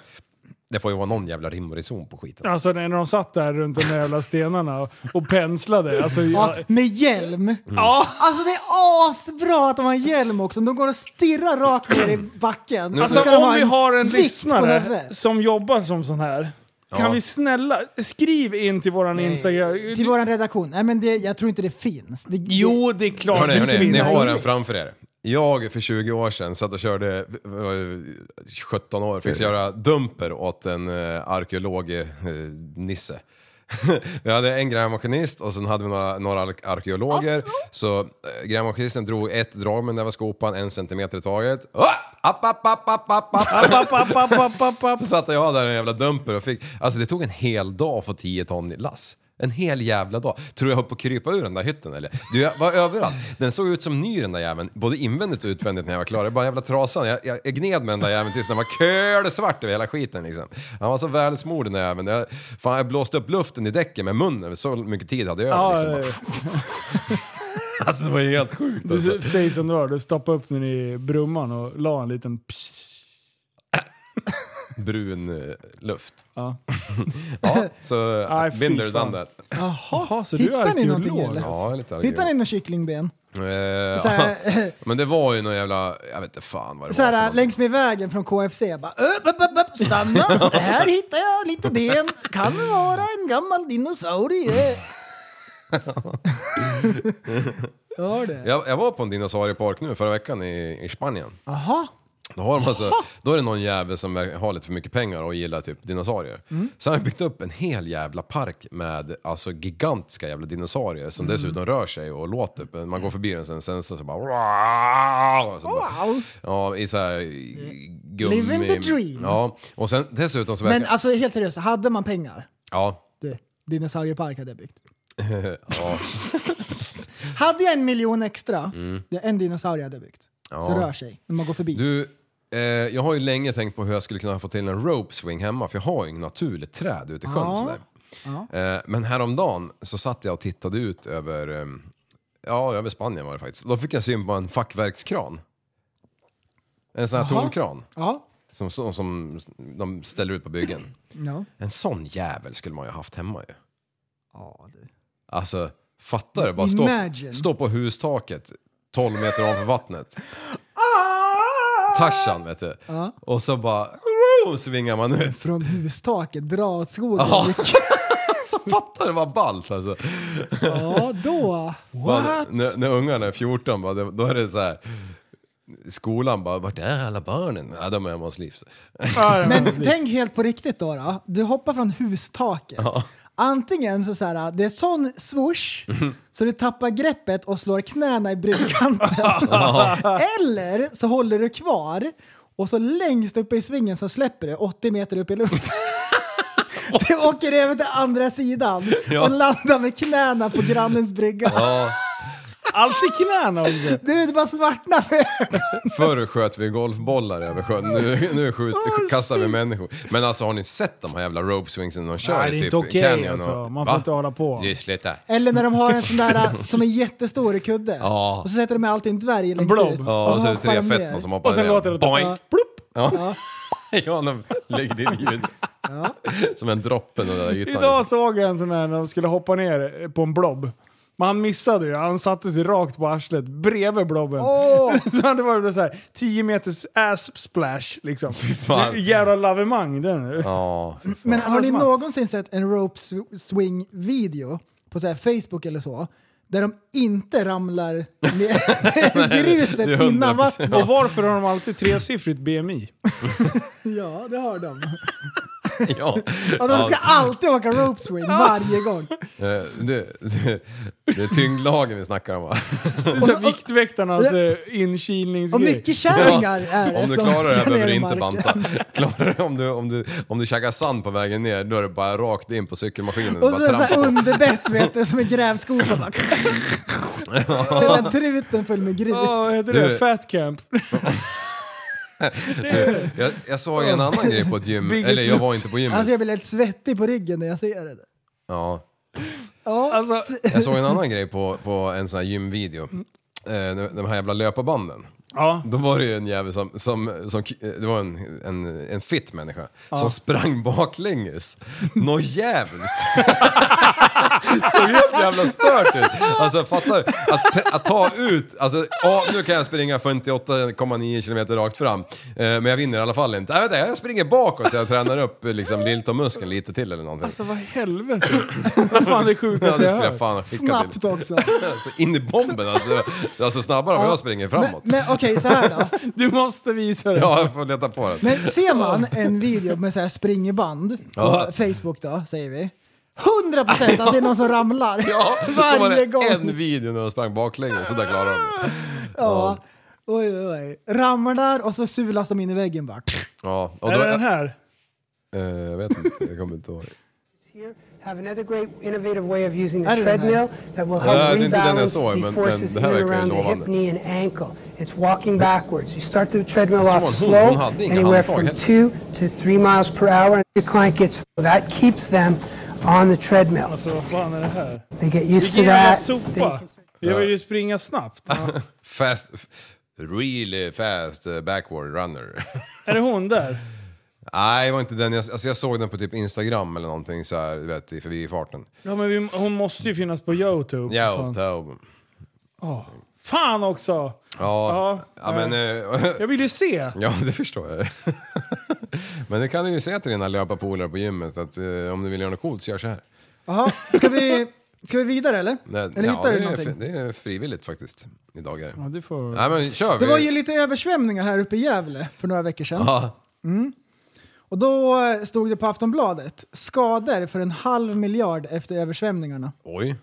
Speaker 7: det får ju vara någon jävla rim och reson på skiten.
Speaker 5: Alltså när de satt där runt de där jävla stenarna och, och penslade. Alltså,
Speaker 6: Ja,
Speaker 5: jag,
Speaker 6: med hjälm.
Speaker 7: Mm.
Speaker 5: ja.
Speaker 6: Alltså det är asbra att de har hjälm också. De går och stirrar rakt ner i backen. Så
Speaker 5: Alltså
Speaker 6: ska de
Speaker 5: om
Speaker 6: ha
Speaker 5: vi har en
Speaker 6: vikt på
Speaker 5: lyssnare
Speaker 6: huvudet.
Speaker 5: som jobbar som sån här.
Speaker 7: Ja.
Speaker 5: Kan vi snälla, skriv in till våran Instagram.
Speaker 6: Till vår redaktion. Nej men det, jag tror inte det finns. Det,
Speaker 5: Jo, det är klart
Speaker 7: Hörrni,
Speaker 5: det
Speaker 7: hörrni,
Speaker 5: finns.
Speaker 7: ni har en framför er. Jag för 20 år sedan satt och körde, eh, 17 år, fick göra dumper åt en eh, arkeolog, eh, Nisse. vi hade en grävmaskinist och sen hade vi några, några ar- arkeologer. Så eh, grävmaskinisten drog ett drag med den där var skopan, en centimeter i taget. Ah! App, app, app, app, app, app.
Speaker 5: App, app, app, app, app, app.
Speaker 7: Så satte jag där en jävla dumper och fick, alltså det tog en hel dag att få 10 ton lass. En hel jävla dag. Tror jag höll på att krypa ur den där hytten eller? Du, jag var överallt. Den såg ut som ny den där jäveln, både invändigt och utvändigt när jag var klar. Det var bara en jävla trasan. Jag, jag, jag gned med den där jäveln tills den var kölsvart över hela skiten liksom. Han var så välsmord den där jäveln. Jag, fan, jag blåste upp luften i däcken med munnen, så mycket tid hade jag över
Speaker 5: Ja,
Speaker 7: liksom.
Speaker 5: eh,
Speaker 7: Alltså det var helt sjukt alltså.
Speaker 5: du säger som det var, du stoppade upp den i brumman och la en liten...
Speaker 7: Brun eh, luft.
Speaker 5: Ja.
Speaker 7: Ja, så
Speaker 5: Aj, fy
Speaker 7: binder
Speaker 5: fan.
Speaker 7: done that.
Speaker 5: Jaha, så du är
Speaker 6: Hittar ni någonting
Speaker 5: arkeolog?
Speaker 6: eller?
Speaker 7: Ja, lite
Speaker 6: Hittar ni något kycklingben?
Speaker 7: Eh,
Speaker 6: Så här,
Speaker 7: ja. Men det var ju någon jävla, jag vet inte fan vad det
Speaker 6: Så
Speaker 7: var.
Speaker 6: här,
Speaker 7: för
Speaker 6: längs med vägen från KFC. Jag Bara, upp, upp, upp, upp, stanna! Här hittar jag lite ben. Kan det vara en gammal dinosaurie. Hör
Speaker 7: någonting.
Speaker 6: det?
Speaker 7: jag, jag var på en dinosauriepark nu förra veckan i, i Spanien.
Speaker 6: Jaha.
Speaker 7: Då, har de alltså, då är det någon jävel som verkar- har lite för mycket pengar och gillar typ dinosaurier.
Speaker 6: Mm.
Speaker 7: Så han har byggt upp en hel jävla park med alltså gigantiska jävla dinosaurier som
Speaker 6: Mm.
Speaker 7: dessutom rör sig och låter. Men Man går förbi den sen, sen så, så bara... Wow! Så bara
Speaker 6: Wow. Eh,
Speaker 7: ja, i så här gummi...
Speaker 6: Living the dream.
Speaker 7: Ja, och sen dessutom så verkar...
Speaker 6: Men alltså helt seriöst, hade man pengar?
Speaker 7: ja.
Speaker 6: Du, dinosauriepark hade jag byggt.
Speaker 7: ja.
Speaker 6: Hade jag en miljon extra, det är en dinosaurie jag hade byggt. Så
Speaker 7: Ja.
Speaker 6: rör sig när man går förbi.
Speaker 7: Du, eh, jag har ju länge tänkt på hur jag skulle kunna få till en rope swing hemma för jag har ju inget naturligt träd ute i sjön.
Speaker 6: Ja.
Speaker 7: sådär. Eh, men häromdagen så satt jag och tittade ut över, eh, ja över Spanien var det faktiskt. Då fick jag syn på en fackverkskran. En sån här
Speaker 6: Jaha.
Speaker 7: tomkran
Speaker 6: Ja.
Speaker 7: som, som, som de ställer ut på byggen.
Speaker 6: No.
Speaker 7: En sån jävel skulle man ju ha haft hemma ju.
Speaker 6: Ja, du.
Speaker 7: Alltså fattar du? Bara stå,
Speaker 6: Imagine.
Speaker 7: stå på hustaket 12 meter ovanför vattnet.
Speaker 6: Ah!
Speaker 7: Tarzan vet du. Och så bara wow, svingar man ut.
Speaker 6: Från hustaket, dra åt skogen.
Speaker 7: Ja.
Speaker 6: Ja,
Speaker 7: Så fattar du vad ballt alltså.
Speaker 6: då.
Speaker 7: Bara,
Speaker 6: What?
Speaker 7: när, när ungarna är 14 bara, det- då är det så här. Skolan bara, vart är alla barnen? Ja, de är hemma hos Livs.
Speaker 6: Men tänk helt på riktigt då. då. Du hoppar från hustaket. Antingen så, så här, det är sån swoosh så du tappar greppet och slår knäna i bryggkanten. Eller så håller du kvar och så längst uppe i svingen så släpper du 80 meter upp i luften. Du åker över till andra sidan och landar med knäna på grannens brygga.
Speaker 5: Alltid knäna också.
Speaker 6: Du, det bara svartnar för ögonen.
Speaker 7: Förr sköt vi golfbollar över sjön, nu, nu skjut, kastar vi människor. Men alltså har ni sett de här jävla rope swingsen de kör
Speaker 5: Nej,
Speaker 7: i
Speaker 5: det är
Speaker 7: typ
Speaker 5: inte okej,
Speaker 7: Canyon?
Speaker 5: alltså. Man
Speaker 7: Va?
Speaker 5: får inte hålla på.
Speaker 7: Det är sluta.
Speaker 6: Eller när de har en sån där äh, som är jättestor i kudde.
Speaker 7: Ja.
Speaker 6: Och så sätter de med alltid en dvärg längst
Speaker 5: blob.
Speaker 6: ut.
Speaker 7: Ja, och så är det
Speaker 6: hoppar
Speaker 7: tre
Speaker 6: de ner.
Speaker 7: fetton som hoppar
Speaker 5: Och sen
Speaker 7: ner.
Speaker 5: låter det...
Speaker 7: Boink!
Speaker 5: Plopp!
Speaker 7: Ja. ja, de lägger till ljud. Som en droppe den där ytan.
Speaker 5: Idag såg jag en sån här när de skulle hoppa ner på en blob. Men han missade ju, han satte sig rakt på arslet bredvid blobben. så det var ju så här 10 meters ass splash liksom.
Speaker 7: fan.
Speaker 5: Det är Jävla lavemang den.
Speaker 7: Ja,
Speaker 6: Men har ni
Speaker 5: Alltså, man-
Speaker 6: någonsin sett en rope sw- swing video på så här Facebook eller så? Där de inte ramlar ner i
Speaker 7: det är
Speaker 6: gruset innan
Speaker 7: 100%.
Speaker 6: vattnet.
Speaker 5: Och varför har de alltid tresiffrigt BMI?
Speaker 6: Ja, det har de.
Speaker 7: ja.
Speaker 6: Och de ska alltid åka rope swing varje gång.
Speaker 7: Eh, Det, det, det är tyngdlagen vi snackar om va?
Speaker 5: Det är så här Viktväktarnas eh, inkilningsgrej.
Speaker 6: Och mycket kärringar är det
Speaker 7: Om du
Speaker 6: som
Speaker 7: klarar det här
Speaker 6: ska
Speaker 7: behöver
Speaker 6: ner
Speaker 7: du
Speaker 6: i
Speaker 7: inte
Speaker 6: marken.
Speaker 7: banta. Klarar du om du, om du, om du käkar sand på vägen ner, då är det bara rakt in på cykelmaskinen.
Speaker 6: Och så
Speaker 7: bara
Speaker 6: är det så
Speaker 7: trampa.
Speaker 6: här underbett vet du, som en grävskopa. bara- Den där truten full med grus.
Speaker 5: Ja, vad heter
Speaker 7: Du-
Speaker 5: det? Fat camp.
Speaker 7: jag, jag såg en annan grej på ett gym,
Speaker 5: Biggest
Speaker 7: eller jag var
Speaker 5: loser.
Speaker 7: inte på gymmet.
Speaker 6: Oh. Alltså jag blir helt svettig på ryggen när jag ser det. där.
Speaker 7: Ja.
Speaker 6: Ja,
Speaker 5: Alltså,
Speaker 7: Jag såg en annan grej på, på en sån här gymvideo. Eh, de- De här jävla löparbanden.
Speaker 5: ja.
Speaker 7: Då var det ju en jävel som, som, som eh, det var en, en, en fit människa som sprang baklänges. Nå jävligt. Såg helt jävla stört ut. Alltså jag fattar att, att ta ut, alltså ja, nu kan jag springa 58,9 kilometer rakt fram. Eh, men jag vinner i alla fall inte. Äh, vänta, jag springer bakåt så jag tränar upp eh, liksom lilltåmuskeln lite till eller någonting.
Speaker 5: Alltså vad i helvete. Vad fan det
Speaker 7: Ja,
Speaker 5: sjukaste
Speaker 7: det
Speaker 5: jag
Speaker 7: skulle jag
Speaker 5: hört.
Speaker 7: fan ha skickat
Speaker 6: snabbt
Speaker 7: till.
Speaker 6: också.
Speaker 7: Alltså, in i bomben alltså. Alltså snabbare om jag springer framåt.
Speaker 6: Men, men okej, så här då.
Speaker 5: Du måste visa det.
Speaker 7: Ja, jag får leta på det.
Speaker 6: Men ser man en video med så här springband på
Speaker 7: Ja.
Speaker 6: Facebook då, säger vi. 100% att det är någon som ramlar
Speaker 7: Ja, så var
Speaker 6: varje
Speaker 7: det
Speaker 6: gång.
Speaker 7: en video när de sprang baklänges, så där klarade de det.
Speaker 6: Ja. Oj, oj, oj. Ramlar och så sulas de in i väggen bara.
Speaker 7: Ja, och
Speaker 5: Är
Speaker 7: då,
Speaker 5: det den här?
Speaker 7: Eh, jag vet inte, jag kommer inte ihåg.
Speaker 8: here have another great innovative way of using
Speaker 6: I
Speaker 8: the
Speaker 6: don't know.
Speaker 8: treadmill that will
Speaker 7: Uh, I
Speaker 8: help
Speaker 7: didn't do that, I
Speaker 8: rebalance
Speaker 7: saw it,
Speaker 8: the
Speaker 7: but-
Speaker 8: forces
Speaker 7: but
Speaker 8: in
Speaker 7: how
Speaker 8: and
Speaker 7: I can
Speaker 8: around the
Speaker 7: go on
Speaker 8: hip,
Speaker 7: it.
Speaker 8: knee, and ankle. It's walking backwards. You start the treadmill off
Speaker 7: on, hold on,
Speaker 8: slow,
Speaker 7: hold on, ding,
Speaker 8: anywhere
Speaker 7: hold on,
Speaker 8: from
Speaker 7: hold on.
Speaker 8: two to three miles per hour, and your client gets that keeps them on the treadmill.
Speaker 5: Alltså vad fan är det här?
Speaker 8: They get used to
Speaker 5: Vilken jävla
Speaker 8: that. They
Speaker 5: sopa.
Speaker 8: can start-
Speaker 5: Jag vill ju springa snabbt.
Speaker 7: Fast, f- really fast eh, backward runner.
Speaker 5: Är det hon där?
Speaker 7: Nej, det var inte den. Jag, alltså jag såg den på typ Instagram eller någonting så här, du vet, i förbifarten.
Speaker 5: Ja, men vi, hon måste ju finnas på Youtube.
Speaker 7: Ja,
Speaker 5: fan.
Speaker 7: Taub.
Speaker 5: fan också!
Speaker 7: Ja,
Speaker 5: Ja,
Speaker 7: ja, men... eh,
Speaker 5: Jag vill ju se.
Speaker 7: ja, det förstår jag. men det kan du ju säga till dina löparpolare på gymmet att eh, om du vill göra något coolt så gör så här.
Speaker 6: Jaha, ska vi, ska vi vidare eller?
Speaker 7: Nej,
Speaker 6: eller
Speaker 7: ja,
Speaker 6: hittar du
Speaker 7: det, är,
Speaker 6: någonting?
Speaker 7: fri- det är frivilligt faktiskt. Idag är det.
Speaker 5: Ja, du får...
Speaker 7: Nej men kör vi.
Speaker 6: Det var ju lite översvämningar här uppe i Gävle för några veckor sedan.
Speaker 7: Ja.
Speaker 6: Och då eh, stod det på Aftonbladet, skador för en halv miljard efter översvämningarna.
Speaker 7: Oj.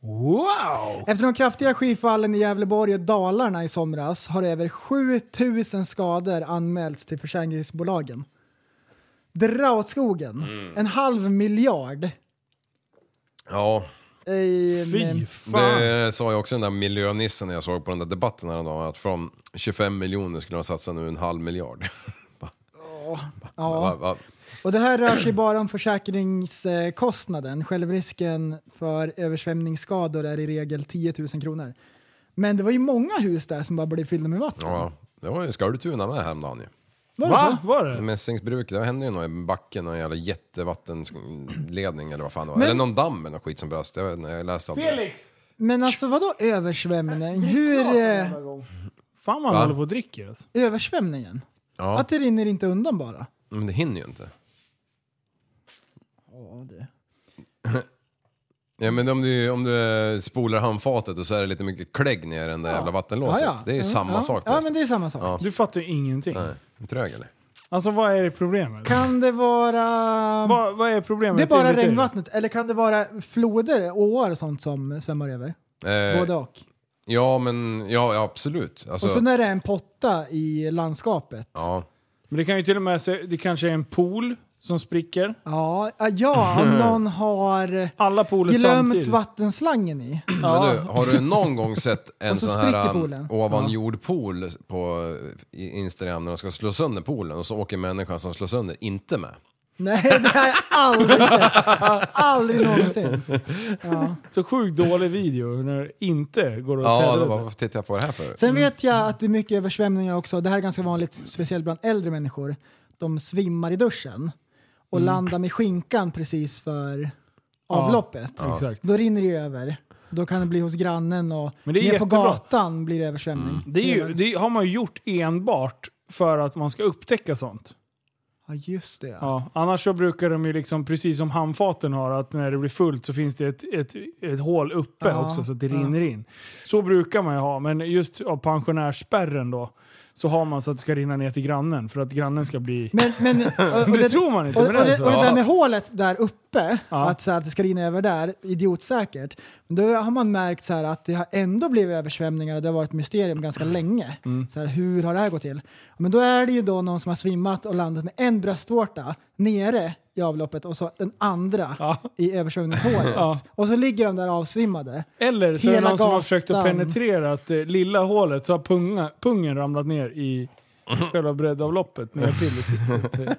Speaker 5: Wow!
Speaker 6: Efter de kraftiga skyfallen i Gävleborg och Dalarna i somras har över 7000 skador anmälts till försäkringsbolagen. Dra åt skogen. En halv miljard.
Speaker 7: Ja.
Speaker 6: i en,
Speaker 5: Fy
Speaker 6: eh,
Speaker 5: fan.
Speaker 7: Det sa jag också den där miljönissen när jag såg på den där debatten häromdagen, att från 25 miljoner skulle de satsa nu en halv miljard. Va? Va,
Speaker 6: ja.
Speaker 7: va?
Speaker 6: Och det här rör sig bara om försäkringskostnaden. Självrisken för översvämningsskador är i regel 10 000 kronor. Men det var ju många hus där som bara blev fyllda med vatten.
Speaker 7: Ja, det var ju Skultuna med häromdagen ju.
Speaker 6: Var det så?
Speaker 5: Va? Var det?
Speaker 7: Mässingsbruk, där hände ju något i backen, någon jävla jättevattenledning eller vad fan det var.
Speaker 6: Men-
Speaker 7: Eller någon damm eller något skit som brast. Jag, vet inte, jag läste allt det. där.
Speaker 5: Felix!
Speaker 6: Men alltså vadå översvämning? Hur... Eh,
Speaker 5: Fan man
Speaker 7: Va?
Speaker 5: håller på och dricker alltså.
Speaker 6: översvämningen?
Speaker 7: Ja,
Speaker 6: Att det rinner inte undan bara?
Speaker 7: men det hinner ju inte.
Speaker 6: Ja, det.
Speaker 7: Ja men om du, om du spolar handfatet och så är det lite mycket klägg ner i den där jävla vattenlåset. Det är ju samma
Speaker 6: ja.
Speaker 7: sak
Speaker 6: Ja,
Speaker 7: nästan.
Speaker 6: men det är samma sak.
Speaker 7: Ja.
Speaker 5: Du fattar ju ingenting.
Speaker 7: Nej, Trög eller?
Speaker 5: Alltså vad är det problemet?
Speaker 6: Kan det vara...
Speaker 5: Vad, vad är problemet?
Speaker 6: det är bara
Speaker 5: Inuti?
Speaker 6: regnvattnet, eller kan det vara floder, åar och sånt som svämmar över?
Speaker 7: Eh,
Speaker 6: Både och.
Speaker 7: Ja men, ja ja, absolut. Alltså,
Speaker 6: Och så när det är en potta i landskapet. Ja,
Speaker 7: ja.
Speaker 5: Men det kan ju till och med se, det kanske är en pool som spricker.
Speaker 6: ja, ah, ja om någon har eh,
Speaker 5: Alla pooler
Speaker 6: glömt
Speaker 5: samtidigt.
Speaker 6: vattenslangen i.
Speaker 7: Men du, har du någon gång sett en
Speaker 6: Och så
Speaker 7: sån
Speaker 6: spricker
Speaker 7: här
Speaker 6: poolen.
Speaker 7: um, ovan jordpool på eh, i Instagram när de ska slå sönder poolen och så åker människan som slår sönder inte med?
Speaker 6: Nej, det har jag aldrig sett. Aldrig någonsin.
Speaker 5: Så sjukt dålig video när det inte går att
Speaker 7: Ja,
Speaker 5: tävla
Speaker 7: då
Speaker 5: ut.
Speaker 7: bara, varför tittar jag på det här för?
Speaker 5: Mm.
Speaker 6: Sen vet jag att det är mycket översvämningar också. Det här är ganska vanligt, speciellt bland äldre människor. De svimmar i duschen
Speaker 5: Mm.
Speaker 6: och landar med skinkan precis för avloppet.
Speaker 5: exakt.
Speaker 6: Då rinner det över. Då kan det bli hos grannen och
Speaker 5: Men det är
Speaker 6: ner på
Speaker 5: jättebra. Mm.
Speaker 6: gatan blir det översvämning.
Speaker 5: Det, är ju, det har man ju gjort enbart för att man ska upptäcka sånt.
Speaker 6: Ja, just det. Ja.
Speaker 5: Ja, annars så brukar de ju liksom, precis som handfaten har, att när det blir fullt så finns det ett, ett, ett hål uppe
Speaker 6: Ja,
Speaker 5: också så att det
Speaker 6: ja.
Speaker 5: rinner in. Så brukar man ju ha, men just av pensionärsspärren då så har man så att det ska rinna ner till grannen för att grannen ska bli...
Speaker 6: Men, men, och, och
Speaker 5: Men det, tror man inte,
Speaker 6: Och, och,
Speaker 5: men det är
Speaker 6: det,
Speaker 5: så.
Speaker 6: och det
Speaker 5: Ja.
Speaker 6: där med hålet där uppe,
Speaker 5: Ja.
Speaker 6: att, så här, att det ska rinna över där, idiotsäkert. Men Då har man märkt så här, att det har ändå blivit översvämningar och det har varit ett mysterium ganska
Speaker 5: Mm.
Speaker 6: länge. Så här, hur har det här gått till? Men då är det ju då någon som har svimmat och landat med en bröstvårta nere i avloppet och så den andra
Speaker 5: Ja.
Speaker 6: i översvämningshålet.
Speaker 5: Ja.
Speaker 6: Och så ligger de där avsvimmade.
Speaker 5: Eller så är det
Speaker 6: Hela
Speaker 5: någon som har försökt att
Speaker 6: gatan.
Speaker 5: penetrera att det lilla hålet så har punga, pungen ramlat ner i själva breddavloppet när jag piller sitter.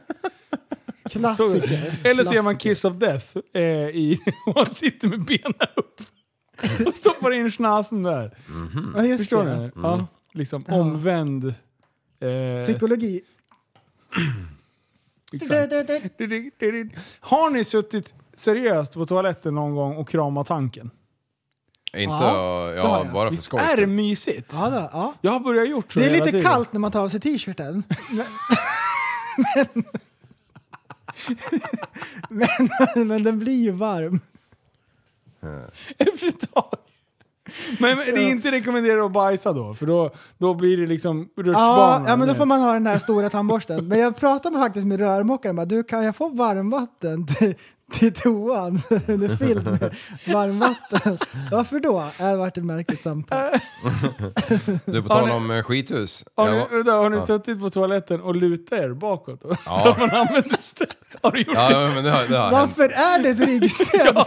Speaker 6: Klassiker.
Speaker 5: Eller så gör man
Speaker 6: Klassiker.
Speaker 5: Kiss of Death eh, i, och sitter med benen upp och stoppar in schnasen där.
Speaker 6: Ja, Mm. just
Speaker 5: Förstår
Speaker 6: det.
Speaker 5: ni? Ja, liksom omvänd... Eh,
Speaker 6: Psykologi.
Speaker 5: exakt. har ni suttit seriöst på toaletten någon gång och kramat tanken?
Speaker 7: Inte,
Speaker 6: Ja,
Speaker 7: ja,
Speaker 6: det har
Speaker 7: ja
Speaker 6: jag.
Speaker 7: bara för
Speaker 5: Visst
Speaker 7: skojs
Speaker 5: är det
Speaker 7: skull.
Speaker 5: mysigt?
Speaker 6: Ja, då, ja.
Speaker 5: Jag har börjat gjort så
Speaker 6: Det är
Speaker 5: hela
Speaker 6: lite
Speaker 5: tiden.
Speaker 6: kallt när man tar av sig t-shirten. Men, men, men, men den blir ju varm.
Speaker 5: Efter ett tag. Men, men det är inte rekommenderat att bajsa då, för då, då blir det liksom
Speaker 6: Ja,
Speaker 5: rutschbana.
Speaker 6: ja, men då får man ha den här stora tandborsten. Men jag pratade med, faktiskt med rörmokaren bara, du kan jag få varmvatten till, till toan? Så Den är fylld med varmvatten. Varför då? Äh, Det har varit ett märkligt samtal.
Speaker 7: Du, på
Speaker 5: Har
Speaker 7: tal
Speaker 5: ni-
Speaker 7: om eh, skithus.
Speaker 5: Har
Speaker 7: Jag
Speaker 5: ni,
Speaker 7: var-
Speaker 5: vänta, har ni suttit på toaletten och lutat er bakåt? Då?
Speaker 7: Ja.
Speaker 5: Så man använder stä- har du gjort
Speaker 7: Ja, ja, men det har, det har hänt.
Speaker 6: Varför är det ett ryggstöd?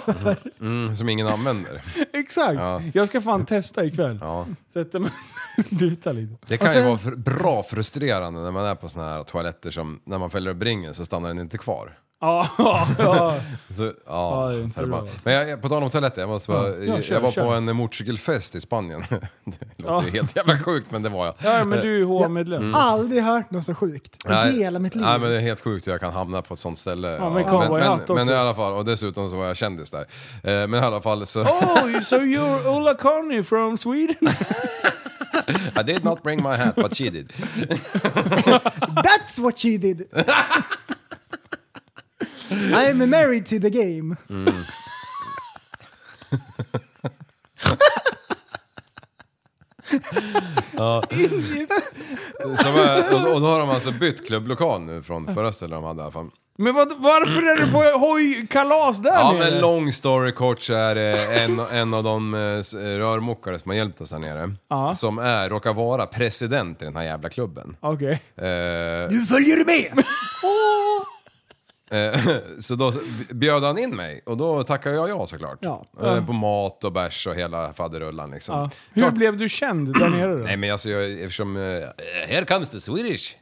Speaker 7: Mm, som ingen använder.
Speaker 5: Exakt!
Speaker 7: Ja.
Speaker 5: Jag ska fan testa ikväll.
Speaker 7: Ja.
Speaker 6: Alltså-
Speaker 5: Sätta mig luta lite.
Speaker 7: Det kan
Speaker 6: sen-
Speaker 7: ju vara fr- bra frustrerande när man är på såna här toaletter som, när man fäller upp ringen så stannar den inte kvar.
Speaker 5: Ja, ja, ja.
Speaker 7: Så, ja,
Speaker 5: det är inte
Speaker 7: för
Speaker 5: bra,
Speaker 7: fan.
Speaker 5: alltså.
Speaker 7: Men jag, jag- på tal om toaletter, jag, måste bara,
Speaker 5: Ja, kör,
Speaker 7: jag var
Speaker 5: kör.
Speaker 7: på en motorcykelfest i Spanien. det låter ju helt jävla sjukt men det var jag. Eh,
Speaker 5: ja men du är H-medlem.
Speaker 7: Mm.
Speaker 6: Aldrig hört något så sjukt i
Speaker 7: Nej,
Speaker 6: hela mitt liv.
Speaker 7: Nej men det är helt sjukt hur jag kan hamna på ett sånt ställe. Ja,
Speaker 5: men
Speaker 7: men, men,
Speaker 5: cowboyhatt också.
Speaker 7: men i alla fall, och dessutom så var jag kändis där. Eh, Men i alla fall så...
Speaker 5: Oh, so you're Ola Conny from Sweden?
Speaker 7: I did not bring my hat but she did.
Speaker 6: That's what she did! I am married to the game.
Speaker 5: Mm.
Speaker 7: Så var, och, och då har de alltså bytt klubblokal nu från förra stället de hade i alla fall.
Speaker 5: Men vad, varför är du på hojkalas där
Speaker 7: Ja
Speaker 5: nere?
Speaker 7: men long story kort så är det en, en av de eh, s- rörmokare som har hjälpt oss där nere.
Speaker 5: Ja.
Speaker 7: Som är, råkar vara president i den här jävla klubben.
Speaker 5: Okej.
Speaker 7: Eh,
Speaker 6: Nu följer du med!
Speaker 7: Eh, Så då bjöd han in mig och då tackade jag ja såklart.
Speaker 6: Ja.
Speaker 7: Eh, På mat och bärs och hela faderullan liksom.
Speaker 5: Ja. Hur
Speaker 7: Klart-
Speaker 5: blev du känd där nere då?
Speaker 7: Nej men alltså jag, eftersom... eh, Here comes the Swedish!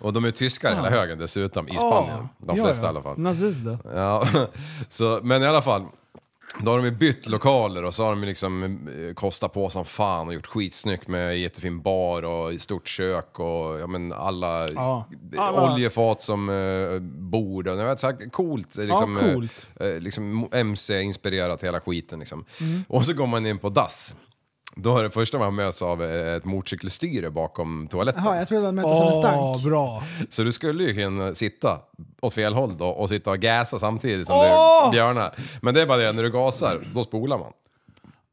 Speaker 7: Och de är tyskar hela högen dessutom i Spanien. De
Speaker 5: Ja,
Speaker 7: flesta
Speaker 5: ja.
Speaker 7: i alla fall.
Speaker 5: Nazist då?
Speaker 7: Ja, så, men i alla fall. Då har de ju bytt lokaler och så har de ju liksom eh, kostat på som fan och gjort skitsnyggt med jättefin bar och stort kök och ja, men alla,
Speaker 5: Ja,
Speaker 7: eh,
Speaker 5: alla-
Speaker 7: oljefat som eh, bord och jag vet, så här, coolt. eh, Liksom, eh,
Speaker 5: coolt.
Speaker 7: eh, liksom MC-inspirerat hela skiten liksom.
Speaker 5: Mm.
Speaker 7: Och så går man in på dass. Då är det första man möts av eh, ett motorcykelstyre bakom toaletten.
Speaker 6: Jaha, jag trodde han mätte som en
Speaker 5: Åh,
Speaker 6: stank.
Speaker 5: bra.
Speaker 7: Så du skulle ju kunna sitta åt fel håll då och sitta och gasa samtidigt som
Speaker 5: Åh!
Speaker 7: du björnar. Men det är bara det, när du gasar, då spolar man.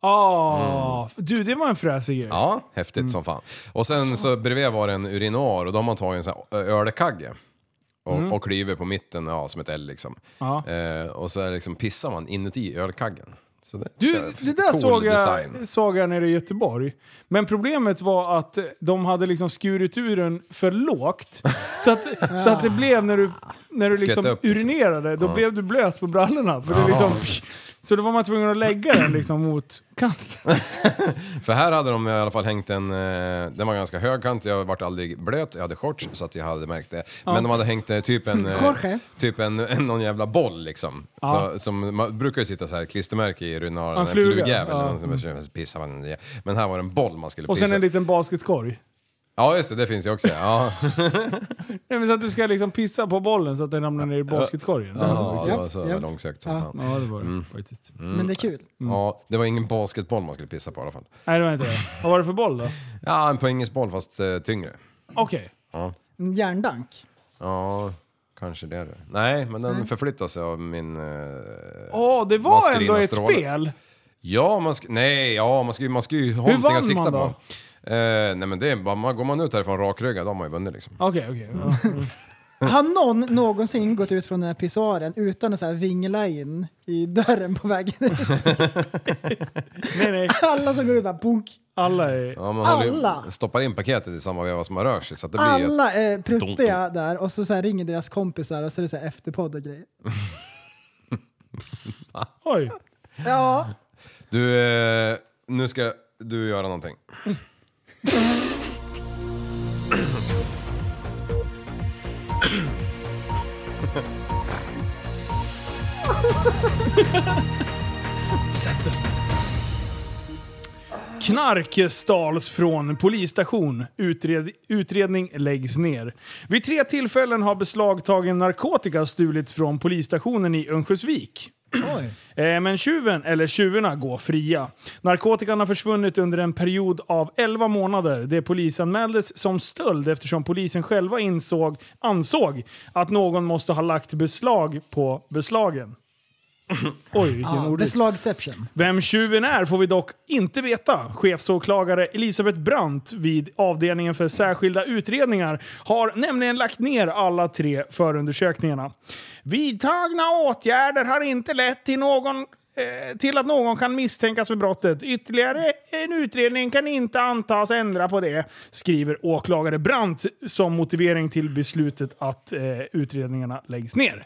Speaker 5: Åh,
Speaker 7: Mm.
Speaker 5: Du, det var en fräsig grej.
Speaker 7: Ja, häftigt
Speaker 5: Mm.
Speaker 7: som fan. Och sen så. bredvid var det en urinar och de har tagit en sån här ö- ölkagge. Och, och klyver på mitten, ja, som ett L liksom.
Speaker 5: Mm. Ja.
Speaker 7: Eh, och så är det liksom pissar man inuti ölkaggen. Så det,
Speaker 5: Du, det där
Speaker 7: cool
Speaker 5: såg,
Speaker 7: design.
Speaker 5: jag, såg jag nere i Göteborg. Men problemet var att de hade liksom skurit ur den för lågt. Så att, så att det blev när du, när du
Speaker 7: Skvätte
Speaker 5: liksom
Speaker 7: upp, liksom.
Speaker 5: urinerade, då blev du blöt på brallorna. För det liksom, så då var man tvungen att lägga den liksom mot kanten.
Speaker 7: För här hade de i alla fall hängt en, eh, den var ganska högkant, jag vart aldrig blöt, jag hade shorts så att jag hade märkt det. Men de hade hängt eh, typ en, eh,
Speaker 6: Jorge.
Speaker 7: typ en, en någon jävla boll liksom. Så, som, man brukar ju sitta så här klistermärke i urinalen,
Speaker 5: En
Speaker 7: en
Speaker 5: fluga.
Speaker 7: flugjävel,
Speaker 5: Ja. Mm.
Speaker 7: någon som så pissar man i. Men här var det en boll man skulle
Speaker 5: Och
Speaker 7: pissa
Speaker 5: sen en liten basketkorg.
Speaker 7: Ja just det, det finns ju också. Ja,
Speaker 5: Nej, men så att du ska liksom pissa på bollen så att den ramlar ner i basketkorgen.
Speaker 7: ja Mm. det var så
Speaker 6: Ja.
Speaker 7: långsökt som fan.
Speaker 5: Ja, Mm. det var det faktiskt.
Speaker 6: Men det är kul.
Speaker 7: Ja, det var ingen basketboll man skulle pissa på i alla fall.
Speaker 5: Nej, det var inte det. Vad var det för boll då?
Speaker 7: Ja, en poängesboll fast eh, tyngre.
Speaker 5: Okej.
Speaker 6: En järndank.
Speaker 7: Ja, kanske det är det. Nej, men den förflyttas av min... eh,
Speaker 5: Åh, det
Speaker 7: Man
Speaker 5: var
Speaker 7: skulle
Speaker 5: ändå
Speaker 7: in och
Speaker 5: ett
Speaker 7: stråla.
Speaker 5: spel.
Speaker 7: Ja, man ska, nej, ja, man ska, ju- man ska ju ha någonting
Speaker 5: vann
Speaker 7: att sikta
Speaker 5: man då?
Speaker 7: på. Eh, nej men det är bara, man, går man ut härifrån rakryggad, då har man ju vunnit liksom.
Speaker 5: Okej, okej. Mm.
Speaker 6: Har någon någonsin gått ut från den här pissoaren utan att så här vingla in i dörren på vägen ut?
Speaker 5: Nej, nej.
Speaker 6: Alla som går ut bara bunk.
Speaker 5: Alla är...
Speaker 7: Ja, man
Speaker 6: Alla!
Speaker 7: håller Ju, stoppar in paketet i samma veva som man rör sig så att det blir ju
Speaker 6: Alla är pruttiga där och så, så här ringer deras kompisar och så är det så här efterpodd och grejer.
Speaker 5: Oj.
Speaker 6: Ja,
Speaker 7: ett, Du, eh, nu ska du göra någonting.
Speaker 5: Knark stals från polisstation. Utred, utredning läggs ner. Vid tre tillfällen har beslagtagen narkotika stulits från polisstationen i Örnsköldsvik. Eh, Men tjuven, eller tjuvarna, går fria. Narkotikan har försvunnit under en period av 11 månader. Det polisanmäldes som stöld eftersom polisen själva insåg, ansåg att någon måste ha lagt beslag på beslagen. Oj, vilken
Speaker 6: ja
Speaker 5: ordvits.
Speaker 6: beslagception.
Speaker 5: Vem tjuven är får vi dock inte veta. Chefsåklagare Elisabeth Brandt vid avdelningen för särskilda utredningar har nämligen lagt ner alla tre förundersökningarna. Vidtagna åtgärder har inte lett till någon eh, till att någon kan misstänkas för brottet. Ytterligare en utredning kan inte antas ändra på det, skriver åklagare Brandt som motivering till beslutet att eh, utredningarna läggs ner.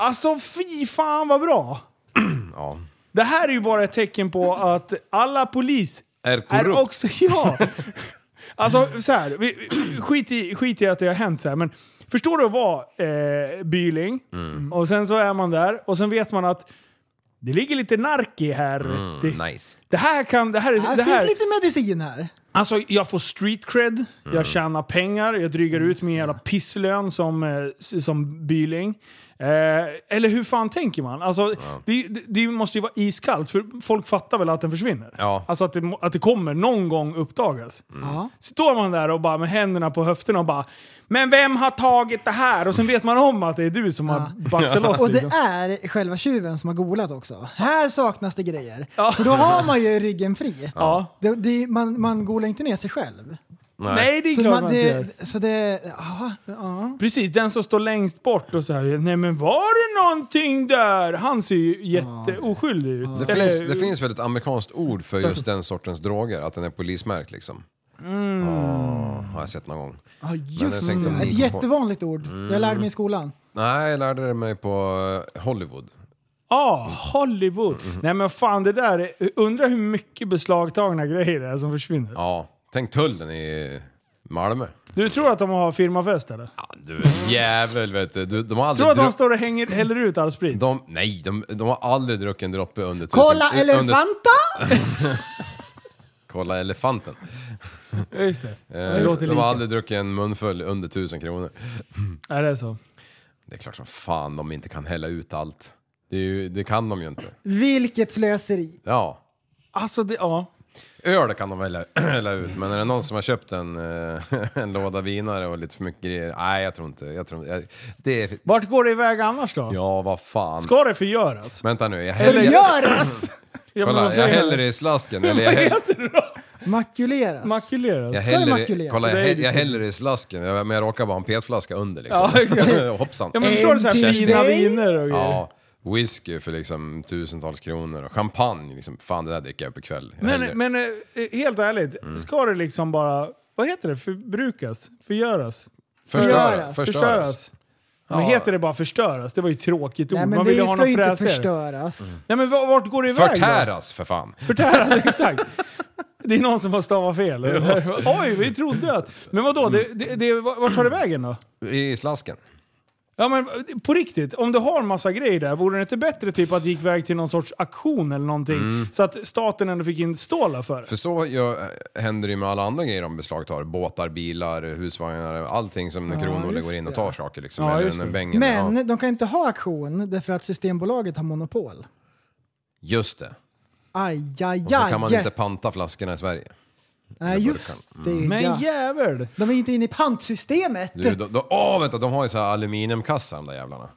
Speaker 5: Alltså fy fan vad bra!
Speaker 7: Ja.
Speaker 5: Det här är ju bara ett tecken på att alla polis
Speaker 7: Är
Speaker 5: är
Speaker 7: korrupt.
Speaker 5: också... Ja! Alltså så här, vi, vi- skit, i, skit i att det har hänt så här, men förstår du att vara eh, byling
Speaker 7: Mm.
Speaker 5: och sen så är man där och sen vet man att det ligger lite nark i här. det,
Speaker 7: Mm, nice.
Speaker 5: det här kan... Det här, är-
Speaker 6: Här
Speaker 5: det här,
Speaker 6: finns lite medicin här.
Speaker 5: Alltså jag får street cred, jag tjänar pengar, jag drygar ut min jävla pisslön som, eh, s- som byling. Eh, eller hur fan tänker man? Alltså, det, det, det måste ju vara iskallt, för folk fattar väl att den försvinner?
Speaker 7: Ja.
Speaker 5: Alltså att det, må- att det kommer någon gång uppdagas.
Speaker 6: Ja.
Speaker 5: Står man där och bara med händerna på höfterna och bara “Men vem har tagit det här?” och sen vet man om att det är du som har baxat loss
Speaker 6: Och det
Speaker 5: liksom.
Speaker 6: är själva tjuven som har golat också. Här saknas det grejer. För då har man ju ryggen fri.
Speaker 5: Ja.
Speaker 6: Det, det, man, man golar inte ner sig själv.
Speaker 5: Nej, det är
Speaker 6: Så,
Speaker 5: klart
Speaker 6: man,
Speaker 5: man inte gör.
Speaker 6: det, så det... Ja, ja.
Speaker 5: Precis, den som står längst bort och säger nej men var det någonting där? Han ser ju jätteoskyldig ut.
Speaker 7: Det,
Speaker 5: Eller-
Speaker 7: finns, det finns väl ett amerikanskt ord för just den sortens droger, att den är polismärkt liksom. Mm. har jag sett någon gång.
Speaker 6: Ja, just
Speaker 7: tänkte
Speaker 6: det. Ett
Speaker 7: ni kom på.
Speaker 6: jättevanligt ord. Jag lärde mig i skolan.
Speaker 7: Nej, jag lärde det mig på eh, Hollywood.
Speaker 5: Ah, Hollywood.
Speaker 7: Mm.
Speaker 5: Nej men fan det där, är- undrar hur mycket beslagtagna grejer det är som försvinner.
Speaker 7: Ja, tänk tullen i Malmö.
Speaker 5: Du tror att de har firmafest eller?
Speaker 7: Ja, du jävel vet du. du. De har aldrig
Speaker 5: Tror att de
Speaker 7: druck-
Speaker 5: står och hänger, häller ut all sprit?
Speaker 7: de, nej, de, de har aldrig druckit en droppe under tusen...
Speaker 6: Kolla
Speaker 7: eh, Under,
Speaker 6: elefanta!
Speaker 7: kolla elefanten.
Speaker 5: Ja, Just det.
Speaker 7: Eh,
Speaker 5: Det låter
Speaker 7: de har
Speaker 5: lite.
Speaker 7: aldrig druckit en munfull under tusen kronor.
Speaker 5: Är det så?
Speaker 7: Det är klart som fan de inte kan hälla ut allt. Det, är ju, det kan de ju inte.
Speaker 6: Vilket slöseri.
Speaker 7: Ja.
Speaker 5: Alltså det, ja.
Speaker 7: Öl kan de väl hälla- hälla ut, men är det någon som har köpt en, eh, en låda vinare och lite för mycket grejer? Nej, jag tror inte. Jag tror, jag, det är,
Speaker 5: Vart går det iväg annars då?
Speaker 7: ja, vad fan.
Speaker 5: Ska det förgöras?
Speaker 7: Vänta nu, jag
Speaker 6: Eller
Speaker 7: häller,
Speaker 6: göras!
Speaker 5: Ja, men de
Speaker 7: kolla, jag
Speaker 5: säger-
Speaker 7: häller det i slasken. Eller jag häller,
Speaker 6: Makuleras.
Speaker 5: Makuleras.
Speaker 7: jag
Speaker 6: Ska det
Speaker 7: häller, i-
Speaker 6: makulera?
Speaker 7: kolla, jag,
Speaker 5: Det är
Speaker 7: häller,
Speaker 5: ju
Speaker 7: jag
Speaker 5: liksom-
Speaker 7: häller det i slasken, jag, men jag råkar bara ha en petflaska under liksom.
Speaker 5: Ja, exakt.
Speaker 7: Hoppsan.
Speaker 5: Ja men förstår du såhär
Speaker 6: Kerstin.
Speaker 5: fina viner och grejer?
Speaker 7: Ja, whisky för liksom tusentals kronor och champagne. Liksom, fan, det där dricker jag upp ikväll. Jag häller-
Speaker 5: Men, men eh, helt ärligt,
Speaker 7: Mm.
Speaker 5: ska det liksom bara, vad heter det, förbrukas? Förgöras?
Speaker 7: förstöra,
Speaker 6: Förstöras.
Speaker 7: förstöras.
Speaker 5: Men heter det bara förstöras? Det var ju ett tråkigt ord.
Speaker 6: Nej men
Speaker 5: Man ville
Speaker 6: det
Speaker 5: ha
Speaker 6: ska
Speaker 5: något
Speaker 6: ju inte
Speaker 5: fräsigare.
Speaker 6: förstöras.
Speaker 7: Mm,
Speaker 5: Nej men v- vart går det iväg då?
Speaker 7: Förtäras för fan.
Speaker 5: Förtäras, exakt. Det är någon som har stavat fel. Oj, vi trodde att... Men vadå,
Speaker 6: Mm.
Speaker 5: det, det, det, vart tar det vägen då?
Speaker 7: I slasken.
Speaker 5: Ja men på riktigt, om du har massa grejer där, vore det inte bättre typ att det gick iväg till någon sorts aktion eller någonting?
Speaker 6: Mm.
Speaker 5: Så att staten ändå fick in stålar för det?
Speaker 7: För så gör, händer det ju med alla andra grejer de beslagtar. Båtar, bilar, husvagnar, allting som när kronor
Speaker 6: just
Speaker 7: går in och
Speaker 6: det.
Speaker 7: tar saker liksom.
Speaker 5: Ja, just
Speaker 7: eller
Speaker 5: det.
Speaker 7: en bängen.
Speaker 6: Men
Speaker 7: Ja,
Speaker 6: de kan inte ha auktion därför att Systembolaget har monopol.
Speaker 7: just det.
Speaker 6: Aj, aj,
Speaker 7: Då
Speaker 6: aj.
Speaker 7: kan man inte panta flaskorna i Sverige.
Speaker 6: Nej, just det.
Speaker 7: Mm.
Speaker 5: Men
Speaker 6: ja.
Speaker 5: jävel!
Speaker 6: De är inte inne i pantsystemet.
Speaker 7: Du, då, då, åh, vänta, de har ju så här aluminiumkassar de där jävlarna.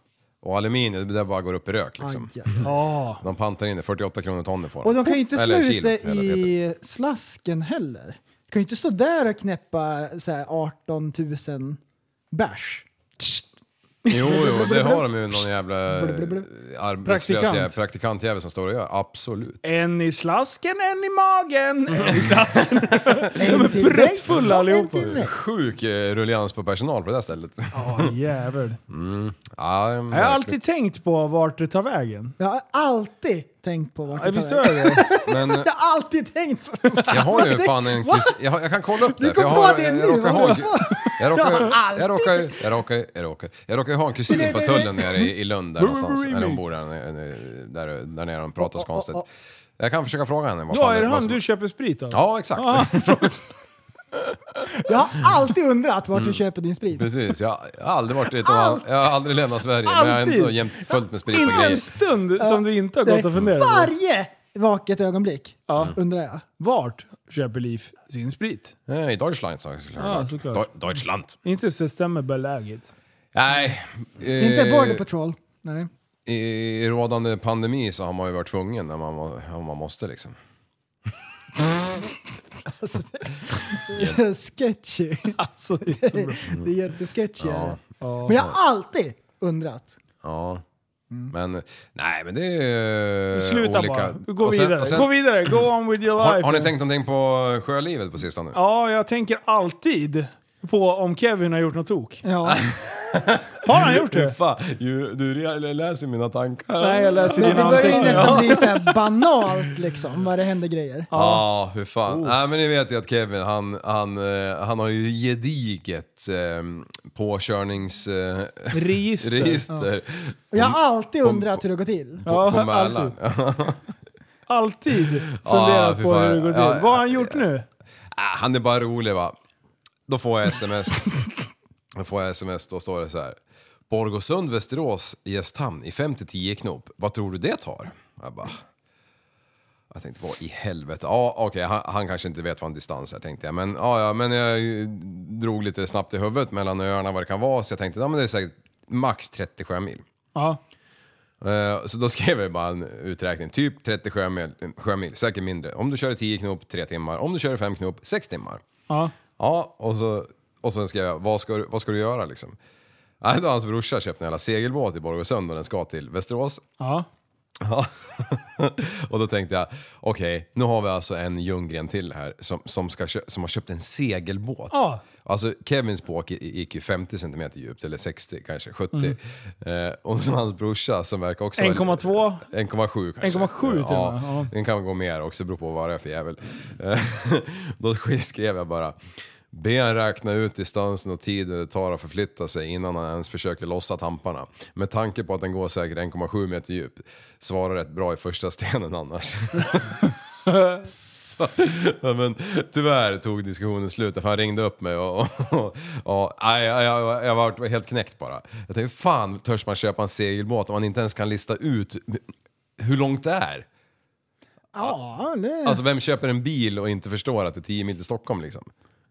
Speaker 7: Och aluminium, det där bara går upp i rök liksom.
Speaker 6: Aj, aj.
Speaker 7: De pantar in det, 48 kronor ton får
Speaker 6: Och de kan ju inte
Speaker 7: Eller
Speaker 6: slå ut
Speaker 7: kilo,
Speaker 6: det
Speaker 7: eller vad heter
Speaker 6: i slasken heller. De kan ju inte stå där och knäppa så här 18 000 bärs.
Speaker 7: Jo, jo, det har de ju någon jävla arbetslös
Speaker 5: Praktikant.
Speaker 7: jävel- praktikantjävel som står och gör. Absolut.
Speaker 5: En i slasken, en i magen.
Speaker 6: Mm.
Speaker 5: En i slasken.
Speaker 6: De är
Speaker 5: pruttfulla allihopa.
Speaker 7: Sjuk eh, rullians på personal på det där stället.
Speaker 5: Ja, jävel.
Speaker 7: Ja,
Speaker 5: Jag har
Speaker 7: verkligen.
Speaker 5: alltid tänkt på vart det tar vägen.
Speaker 6: Jag har alltid tänkt på vart
Speaker 5: Ja,
Speaker 6: det
Speaker 5: visst
Speaker 6: tar
Speaker 5: gör
Speaker 6: vägen.
Speaker 5: jag det?
Speaker 7: Men eh,
Speaker 6: Jag har alltid tänkt på
Speaker 7: jag har ju fan en kusin, jag, har- jag kan kolla upp det.
Speaker 6: Du kom
Speaker 7: för jag
Speaker 6: på
Speaker 7: har,
Speaker 6: det
Speaker 7: jag,
Speaker 6: nu,
Speaker 7: jag råkar ha
Speaker 6: vad
Speaker 7: en-
Speaker 6: du
Speaker 7: jag råkar,
Speaker 6: Du har
Speaker 7: jag råkar, ju- jag råkar, ju- jag råkar, jag råkar ju ha en kusin på tullen nere i, i Lund där någonstans. Eller hon bor där, eh, där, där nere, de
Speaker 5: Oh,
Speaker 7: pratar så konstigt. Jag kan försöka fråga henne vad
Speaker 5: Ja,
Speaker 7: fan
Speaker 5: är det
Speaker 7: vad
Speaker 5: han
Speaker 7: som-
Speaker 5: du Ah. köper sprit av?
Speaker 7: Ja, exakt.
Speaker 6: Jag har alltid undrat vart du köper din sprit.
Speaker 7: Mm. Precis, jag har aldrig varit utomlands, jag har aldrig lämnat Sverige men jag har
Speaker 5: Alltid.
Speaker 7: ändå jämt fullt med sprit och
Speaker 5: Inte en
Speaker 7: grejer.
Speaker 5: stund som du inte har
Speaker 6: Nej,
Speaker 5: gått och funderat på.
Speaker 6: Varje vaket ögonblick undrar jag.
Speaker 5: Vart köper Liv sin sprit?
Speaker 7: Nej, I Deutschland sa jag såklart.
Speaker 5: Ja, såklart.
Speaker 7: Deu- Deutschland.
Speaker 5: Inte så stämmer bara läget.
Speaker 7: Nej. eh,
Speaker 6: Inte Border Patrol. Nej.
Speaker 7: I rådande pandemi så har man ju varit tvungen när man, må- om man måste liksom.
Speaker 6: Sketchy.
Speaker 5: Alltså, det är så bra.
Speaker 6: Det är jättesketchy. är det. Men jag har alltid undrat.
Speaker 7: Ja. Men nej, men det är eh,
Speaker 5: Mm. Sluta
Speaker 7: olika.
Speaker 5: bara. Gå
Speaker 7: Och sen-
Speaker 5: vidare.
Speaker 7: och sen-
Speaker 5: Gå vidare. Go on with your life.
Speaker 7: Har, har ni tänkt någonting på sjölivet på sistone?
Speaker 5: Ja, jag tänker alltid på om Kevin har gjort något tok.
Speaker 6: Ja.
Speaker 5: Har han gjort det?
Speaker 7: Fan, ju- du re- läser mina tankar.
Speaker 5: Nej, jag läser
Speaker 6: Men det
Speaker 5: dina
Speaker 6: börjar ju
Speaker 5: anteckningar.
Speaker 6: nästan bli så här banalt liksom, vad det händer grejer.
Speaker 7: Ja, hur fan.
Speaker 5: Oh.
Speaker 7: Nej, men ni vet ju att Kevin, han, han, eh, han har ju gediget eh, påkörnings... Eh,
Speaker 5: Register.
Speaker 7: register.
Speaker 6: Och jag
Speaker 7: Mm.
Speaker 6: har alltid undrat hur det går till.
Speaker 7: På,
Speaker 5: Ja,
Speaker 7: på Mälaren.
Speaker 5: alltid. Alltid
Speaker 7: Ja,
Speaker 5: funderat
Speaker 7: fy
Speaker 5: på
Speaker 7: fan.
Speaker 5: hur det går till.
Speaker 7: Ja,
Speaker 5: Vad har han gjort nu?
Speaker 7: Ah, han är bara rolig va. Då får jag sms. Då får jag sms, då står det så här. Borgosund, Västerås, Gästhamn i 5-10 knop. Vad tror du det tar? Jag bara... Jag tänkte, vad i helvete? Ja, okej, han, han kanske inte vet vad en distans är tänkte jag. Men, ja, ja, men jag eh, drog lite snabbt i huvudet mellan öarna vad det kan vara. Så jag tänkte, ja men det är säkert max 30 sjömil.
Speaker 5: Ja.
Speaker 7: Eh, Så då skrev jag bara en uträkning, typ 30 sjömil, sjömil, säkert mindre. Om du kör i 10 knop, 3 timmar. Om du kör i 5 knop, 6 timmar.
Speaker 5: Ja.
Speaker 7: Ja, och, så, och sen skrev jag, vad ska du, vad ska du göra liksom? Nej, då har hans brorsa köpt en jävla segelbåt i Borgåsund och den ska till Västerås.
Speaker 5: ja.
Speaker 7: Ja. och då tänkte jag, okej, nu har vi alltså en Ljunggren till här som, som, ska, kö- som har köpt en segelbåt.
Speaker 5: Ja.
Speaker 7: Alltså Kevins båt i- gick ju 50 cm djupt, eller 60 kanske, 70. Eh, och så hans brorsa som verkar också...
Speaker 5: 1,2.
Speaker 7: 1,7 kanske.
Speaker 5: 1,7 till och
Speaker 7: ja,
Speaker 5: med, ja.
Speaker 7: Den kan gå mer också, beror på vad det är för jävel. Eh, då skrev jag bara, be han räkna ut distansen och tiden det tar att förflytta sig innan han ens försöker lossa tamparna. Med tanke på att den går säkert 1,7 meter djup, svarar rätt bra i första stenen annars. Så, ja, men, tyvärr tog diskussionen slut, för han ringde upp mig och, och, och, ja, jag, jag, jag var helt knäckt bara. Jag tänkte, fan törs man köpa en segelbåt om man inte ens kan lista ut hur långt det är?
Speaker 6: Ja, det...
Speaker 7: Alltså vem köper en bil och inte förstår att det är 10 mil till Stockholm liksom?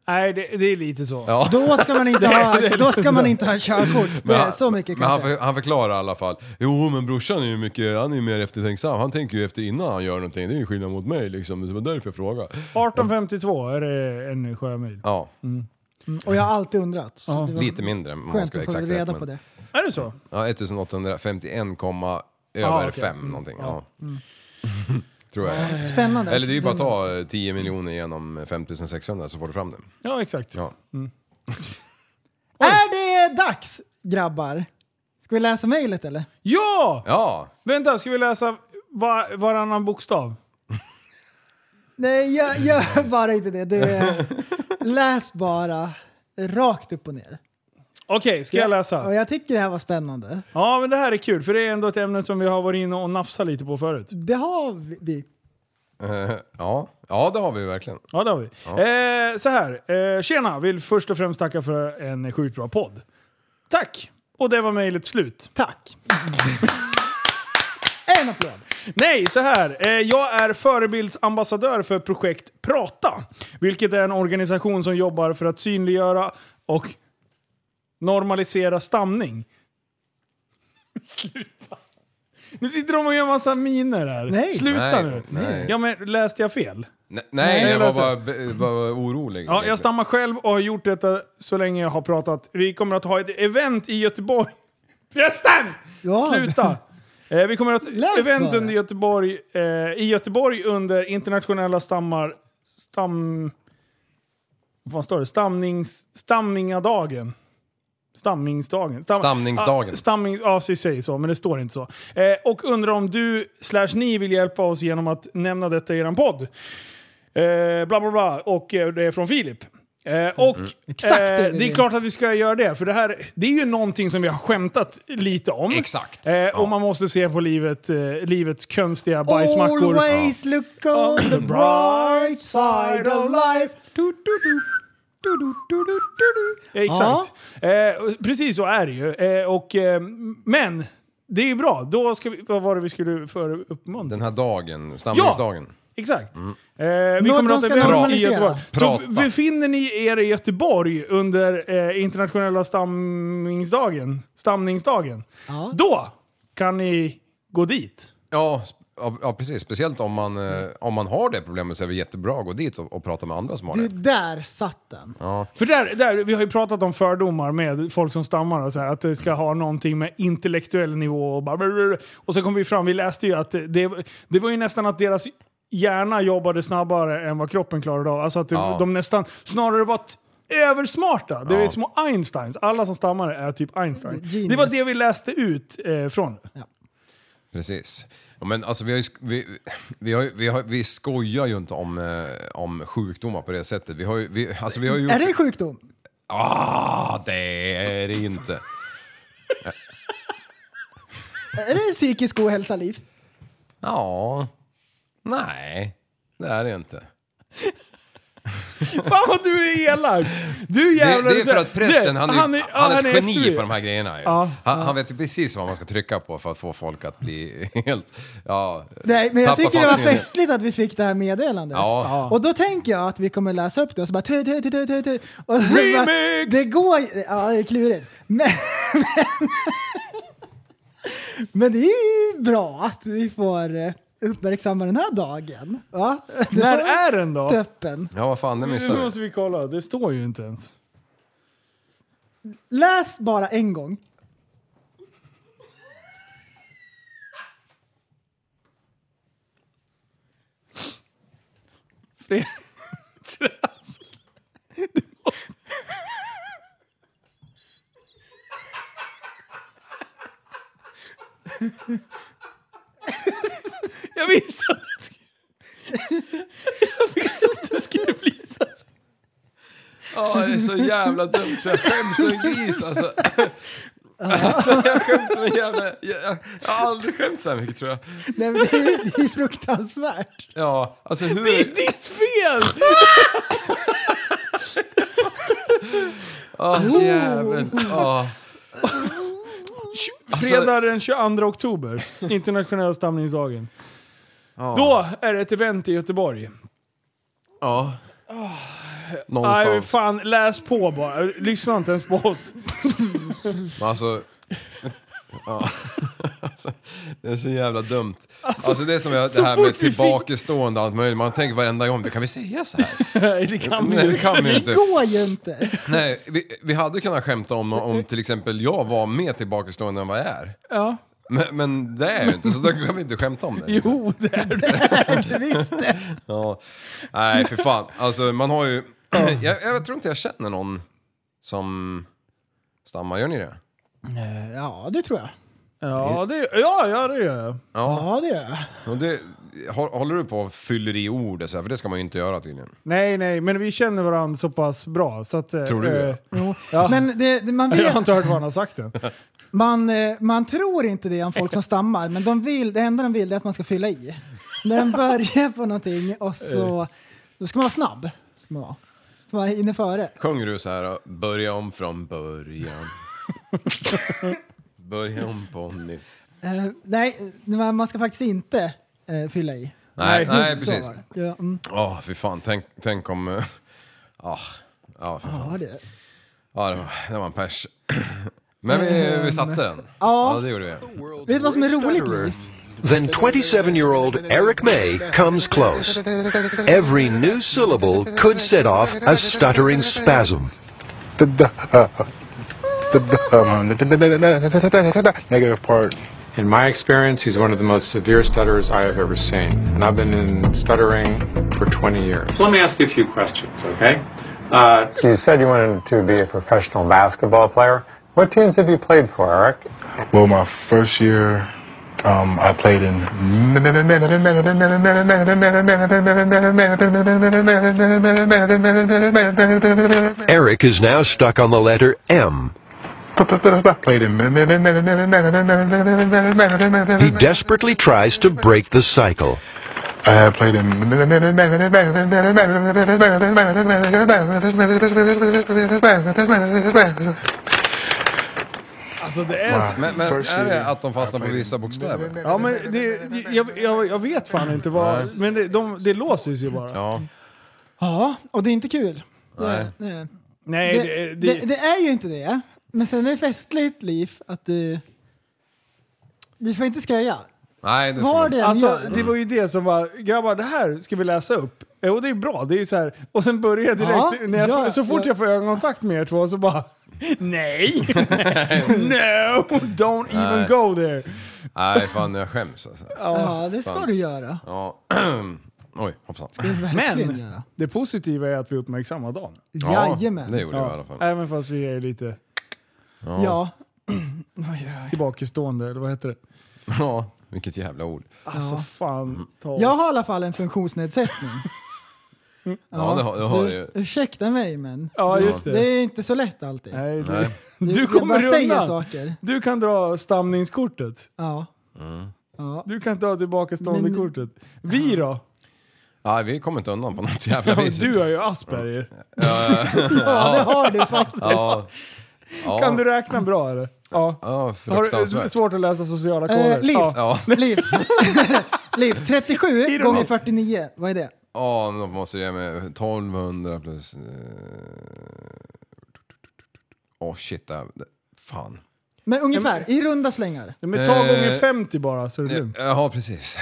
Speaker 5: Nej, det, det är lite så.
Speaker 7: Ja.
Speaker 6: Då ska man inte ha, då ska man inte ha körkort. Det är så mycket
Speaker 7: men
Speaker 6: kan jag
Speaker 7: han,
Speaker 6: säga.
Speaker 7: för, han förklarar i alla fall. Jo men brorsan är ju mycket, han är ju mer eftertänksam. Han tänker ju efter innan han gör någonting. Det är ju skillnad mot mig liksom. Det var därför jag frågade.
Speaker 5: 1852 är det en sjömil.
Speaker 7: Ja,
Speaker 6: Och jag har alltid undrat. Så det var
Speaker 7: lite mindre om man
Speaker 6: Mm. skönt
Speaker 7: ska vara
Speaker 6: att få
Speaker 7: exakt
Speaker 6: reda
Speaker 7: rätt.
Speaker 6: på
Speaker 7: Men,
Speaker 6: det.
Speaker 5: Är det så?
Speaker 7: ja, 1851, komma
Speaker 5: Ah,
Speaker 7: över
Speaker 5: okej.
Speaker 6: Mm.
Speaker 7: 5 någonting. Ja. Tror jag.
Speaker 6: Spännande.
Speaker 7: Eller det är ju bara att ta eh, 10 miljoner genom 5600 så får du fram det.
Speaker 5: Ja, exakt.
Speaker 7: Ja.
Speaker 6: Är det dags grabbar? Ska vi läsa mejlet eller?
Speaker 5: Ja!
Speaker 7: Ja!
Speaker 5: Vänta, ska vi läsa var, varannan bokstav?
Speaker 6: Nej, jag gör bara inte det. det är, läs bara rakt upp och ner.
Speaker 5: Okej, ska jag
Speaker 6: Och
Speaker 5: läsa?
Speaker 6: jag tycker det här var spännande.
Speaker 5: Ja, men det här är kul för det är ändå ett ämne som vi har varit inne och nafsat lite på förut.
Speaker 6: Det har vi.
Speaker 7: Eh, Ja, ja det har vi ju verkligen.
Speaker 5: Ja, det har vi. Eh, så här. Eh, tjena! Vill först och främst tacka för en sjukt bra podd. Tack! Och det var mejlet slut.
Speaker 6: Tack. En applåd.
Speaker 5: Nej, så här. Eh, Jag är förebildsambassadör för projekt Prata, vilket är en organisation som jobbar för att synliggöra och normalisera stamning. Sluta. Nu sitter de och gör massa miner här.
Speaker 6: Nej.
Speaker 5: Sluta
Speaker 7: Nej,
Speaker 5: nu.
Speaker 7: nej.
Speaker 5: Ja, men läste jag fel?
Speaker 7: Nej, nej,
Speaker 5: Nej,
Speaker 7: jag var
Speaker 5: lös det.
Speaker 7: bara, be- bara orolig.
Speaker 5: Ja, jag stammar själv och har gjort detta så länge jag har pratat. Vi kommer att ha ett event i Göteborg. Prästen!
Speaker 6: Ja.
Speaker 5: Sluta! Eh, vi kommer att ha ett
Speaker 6: Läs
Speaker 5: event
Speaker 6: bara.
Speaker 5: under Göteborg, eh, i Göteborg under internationella stammar... Stam... Vad fan står det? Stamnings... Stammingadagen. Stammingsdagen. Stam-
Speaker 7: Stamningsdagen.
Speaker 5: Ah, stamming, ja, så säger så, men det står inte så. Eh, och undrar om du slash ni vill hjälpa oss genom att nämna detta i er podd. Eh, bla bla bla. Och eh, det är från Filip. Eh, och
Speaker 6: Mm-hmm. Exakt det
Speaker 5: eh,
Speaker 6: vill
Speaker 5: det är
Speaker 6: vi.
Speaker 5: klart att vi ska göra det, för det här det är ju någonting som vi har skämtat lite om.
Speaker 7: Exakt.
Speaker 5: Eh,
Speaker 7: Ja.
Speaker 5: Och man måste se på livet, eh, livets konstiga bajsmackor.
Speaker 6: Always look on the bright side of life. Du, du, du. Du, du, du, du, du, du.
Speaker 5: Eh, Exakt. Eh, och precis så är det ju. Eh, och, eh, men det är ju bra. Då ska vi, vad var det vi skulle för uppmuntra?
Speaker 7: Den här dagen, stamningsdagen.
Speaker 5: Exakt. Eh, vi
Speaker 6: Nå-
Speaker 5: kommer
Speaker 6: de
Speaker 5: att ha
Speaker 6: ska
Speaker 5: ett event i
Speaker 6: normalisera.
Speaker 5: Göteborg. Så
Speaker 7: Prata.
Speaker 5: befinner ni er i Göteborg under eh, internationella stamningsdagen, stamningsdagen
Speaker 6: Ja.
Speaker 5: då kan ni gå dit.
Speaker 7: Ja, sp- ja, ja, precis. Speciellt om man, eh, om man har det problemet så är det jättebra att gå dit och, och prata med andra som har
Speaker 6: Du,
Speaker 7: det.
Speaker 6: där satt den.
Speaker 5: För där, där, vi har ju pratat om fördomar med folk som stammar och så här, att det ska ha någonting med intellektuell nivå och bara, Och så kom vi fram, vi läste ju att det, det var ju nästan att deras hjärna jobbade snabbare än vad kroppen klarade av. Alltså att det,
Speaker 7: Ja.
Speaker 5: de nästan snarare var t- översmarta. Det är
Speaker 7: Ja.
Speaker 5: små Einsteins. Alla som stammar är typ Einstein.
Speaker 6: Genius.
Speaker 5: Det var det vi läste ut eh, från.
Speaker 7: Precis. Ja, men alltså vi, har ju, sk- vi, vi, har, ju- vi, har, vi skojar ju inte om, eh, om sjukdomar på det sättet. Vi har ju, vi, alltså vi har ju gjort...
Speaker 6: Är det en sjukdom?
Speaker 7: Ah, det är det inte.
Speaker 6: Är det psykisk ohälsa, Liv?
Speaker 7: Ja, nej, det är det inte.
Speaker 5: Fan vad du är elak! Du
Speaker 7: Det,
Speaker 5: jävlar!
Speaker 7: det är för att prästen, han är, han är, ett geni
Speaker 5: efterbliven.
Speaker 7: på de här grejerna ju.
Speaker 5: Ja,
Speaker 7: han, han vet ju precis vad man ska trycka på för att få folk att bli helt... Ja,
Speaker 6: Nej, men jag
Speaker 7: tappa
Speaker 6: tycker det var
Speaker 7: fattningen.
Speaker 6: festligt att vi fick det här meddelandet.
Speaker 7: Ja.
Speaker 6: Och då tänker jag att vi kommer läsa upp det och så bara tu, tu, tu, tu, tu, tu. Och så
Speaker 5: Remix!
Speaker 6: Bara, det går ju- Ja, det är klurigt. Men, men, men det är ju bra att vi får eh, uppmärksamma den här dagen. Va? Det
Speaker 5: När
Speaker 6: var
Speaker 5: är den då?
Speaker 6: Töppen.
Speaker 7: Ja, vad fan, det missade
Speaker 5: Nu
Speaker 7: vi.
Speaker 5: måste vi kolla, det står ju inte ens.
Speaker 6: Läs bara en gång.
Speaker 5: fler. Alltså, du måste- Jag visste att det skulle... Jag visste att det skulle bli så. här.
Speaker 7: Ja, det är så jävla dumt så jag skäms som en gris alltså. alltså jag skäms som en jävla... Jag, jag, jag har aldrig skämt så här mycket tror jag.
Speaker 6: Nej, men det, är, ju- det är fruktansvärt.
Speaker 7: Ja, alltså hur...
Speaker 5: Det är ditt fel!
Speaker 7: Åh, jävel. Ja. Alltså-
Speaker 5: Fredag den 22 oktober, internationella stamningsdagen. Då är det ett event i Göteborg.
Speaker 7: Ja.
Speaker 5: Nej,
Speaker 7: Någonstans.
Speaker 5: fan, läs på bara. Lyssna inte ens på oss.
Speaker 7: Men Alltså... Ja. Alltså, det är så jävla dumt. Alltså, det är som jag, det
Speaker 5: så
Speaker 7: här
Speaker 5: fort
Speaker 7: med
Speaker 5: vi fick-
Speaker 7: tillbakastående och allt möjligt. Man tänker varenda gång, kan vi säga så här?
Speaker 5: Nej, det kan vi
Speaker 7: Nej,
Speaker 5: ju
Speaker 7: det
Speaker 5: inte.
Speaker 7: kan vi ju
Speaker 6: Det
Speaker 7: inte.
Speaker 6: går ju inte.
Speaker 7: Nej, vi, vi hade kunnat skämta om, om till exempel jag var mer tillbakastående än vad jag är.
Speaker 5: Ja.
Speaker 7: Men, men det är jag ju inte, så då kan vi inte skämta om det. liksom.
Speaker 5: Jo, det är det.
Speaker 6: Visst.
Speaker 7: Ja. Nej, för fan. Alltså, man har ju... jag, jag tror inte jag känner någon som stammar. Gör ni det?
Speaker 6: Ja, det tror jag.
Speaker 5: Ja, det, ja, ja, det gör jag.
Speaker 6: Ja, det gör jag.
Speaker 7: Och det hå- håller du på och fyller i ord? och Så här, för det ska man ju inte göra tydligen.
Speaker 5: Nej, nej, men vi känner varandra så pass bra. Så att, eh,
Speaker 7: Tror du
Speaker 5: eh,
Speaker 7: det?
Speaker 6: Jo.
Speaker 5: Ja.
Speaker 6: Men det, det, man,
Speaker 5: Jag har
Speaker 6: vet,
Speaker 5: inte hört vad han har sagt än.
Speaker 6: man, eh, man tror inte det om folk som stammar, men de vill, det enda de vill är att man ska fylla i. När den börjar på någonting och så då ska man vara snabb. Ska man vara, ska man vara inne före.
Speaker 7: Sjunger du så här, börja om från början. börja om på nytt.
Speaker 6: Eh, nej, man man ska faktiskt inte eh, fylla i.
Speaker 7: Nej,
Speaker 6: Just
Speaker 7: nej
Speaker 6: så
Speaker 7: precis.
Speaker 6: var det. Ja, mm.
Speaker 7: Åh, fy fan. Tänk, tänk om... eh, ah, ja, fy fan.
Speaker 6: ja, det.
Speaker 7: Ja, det var, det var en pers. Men vi, vi satte den.
Speaker 6: Ja.
Speaker 7: ja, det gjorde vi.
Speaker 6: Vet du vad som är roligt, Liv?
Speaker 9: Then 27 year old Eric May comes close. Every new syllable could set off a stuttering spasm.
Speaker 10: the the negative part.
Speaker 11: In my experience, he's one of the most severe stutterers I have ever seen. And I've been in stuttering for 20 years. Let me ask you a few questions, okay? Uh, you said you wanted to be a professional basketball player. What teams have you played for, Eric?
Speaker 10: Well, my first year, um, I played in.
Speaker 9: Eric is now stuck on the letter M.
Speaker 10: Played in.
Speaker 9: He desperately tries to break the cycle.
Speaker 10: I have played in.
Speaker 5: Alltså, det är så.
Speaker 7: Men, men är det att de fastnar på vissa bokstäver?
Speaker 5: Ja, men det, jag, jag, jag vet fan inte vad... Men det, de, det låses ju bara.
Speaker 7: Ja.
Speaker 6: Ja, och det är inte kul.
Speaker 7: Nej.
Speaker 6: Det,
Speaker 5: Nej, det,
Speaker 6: Eh, det,
Speaker 5: det,
Speaker 6: det, det är ju inte det. Men sen är det festligt, Liv, att du... Du får inte skoja.
Speaker 7: Nej, det ska
Speaker 6: Var
Speaker 7: man...
Speaker 6: det
Speaker 5: Alltså,
Speaker 6: gör.
Speaker 5: det var ju det som var, grabbar det här ska vi läsa upp. Eh, Och det är bra, det är ju så här. Och sen börjar jag direkt,
Speaker 6: Ja,
Speaker 5: när jag,
Speaker 6: ja,
Speaker 5: så fort
Speaker 6: ja.
Speaker 5: jag får ögonkontakt med er två så bara Nej! no! Don't even
Speaker 7: Nej.
Speaker 5: go there!
Speaker 7: Nej, fan jag skäms alltså.
Speaker 6: Ja, det ska
Speaker 7: fan.
Speaker 6: du göra.
Speaker 7: Ja. Oj, hoppsan.
Speaker 6: Verkligen
Speaker 5: Men
Speaker 6: göra.
Speaker 5: det positiva är att vi uppmärksammar dagen.
Speaker 7: Ja,
Speaker 6: Jajamän.
Speaker 7: det gjorde jag i alla
Speaker 5: Ja,
Speaker 7: fall.
Speaker 5: även fast vi är lite
Speaker 6: Ja. Oj, oj.
Speaker 5: tillbakastående, eller vad heter det?
Speaker 7: Ja, vilket jävla ord.
Speaker 5: Alltså
Speaker 7: Mm.
Speaker 5: fan ta oss.
Speaker 6: Jag har i alla fall en funktionsnedsättning.
Speaker 7: Ja, det har, det har det
Speaker 6: du,
Speaker 7: ju.
Speaker 6: ursäkta mig, men
Speaker 5: Ja just
Speaker 6: det
Speaker 5: det.
Speaker 6: är inte så lätt alltid.
Speaker 5: Nej, du,
Speaker 7: Nej.
Speaker 5: du
Speaker 6: jag bara
Speaker 5: kommer
Speaker 6: säger
Speaker 5: undan.
Speaker 6: saker.
Speaker 5: Du kan dra stamningskortet.
Speaker 6: Ja.
Speaker 5: Du kan dra tillbakastående
Speaker 6: Men-
Speaker 5: kortet. Vi då?
Speaker 7: Nej, vi kommer inte undan på något jävla
Speaker 5: Ja,
Speaker 7: vis.
Speaker 5: Du har ju Asperger.
Speaker 6: ja, det har du faktiskt.
Speaker 7: Ja. Ja.
Speaker 5: Kan du räkna bra eller? Ja.
Speaker 7: Ja,
Speaker 5: Har du eh,
Speaker 7: fruktansvärt.
Speaker 5: svårt att läsa sociala koder?
Speaker 6: Eh, liv.
Speaker 5: Ja.
Speaker 7: Ja,
Speaker 6: liv. liv. 37
Speaker 5: Ironi.
Speaker 6: gånger 49, vad är det?
Speaker 7: ja men då måste jag ge mig 1200 plus... eh, Åh shit, det här... det- Fan.
Speaker 6: Men ungefär, i runda slängar.
Speaker 5: Men ta gånger
Speaker 7: Eh,
Speaker 5: 50 bara så är det lugnt.
Speaker 7: Ja, precis.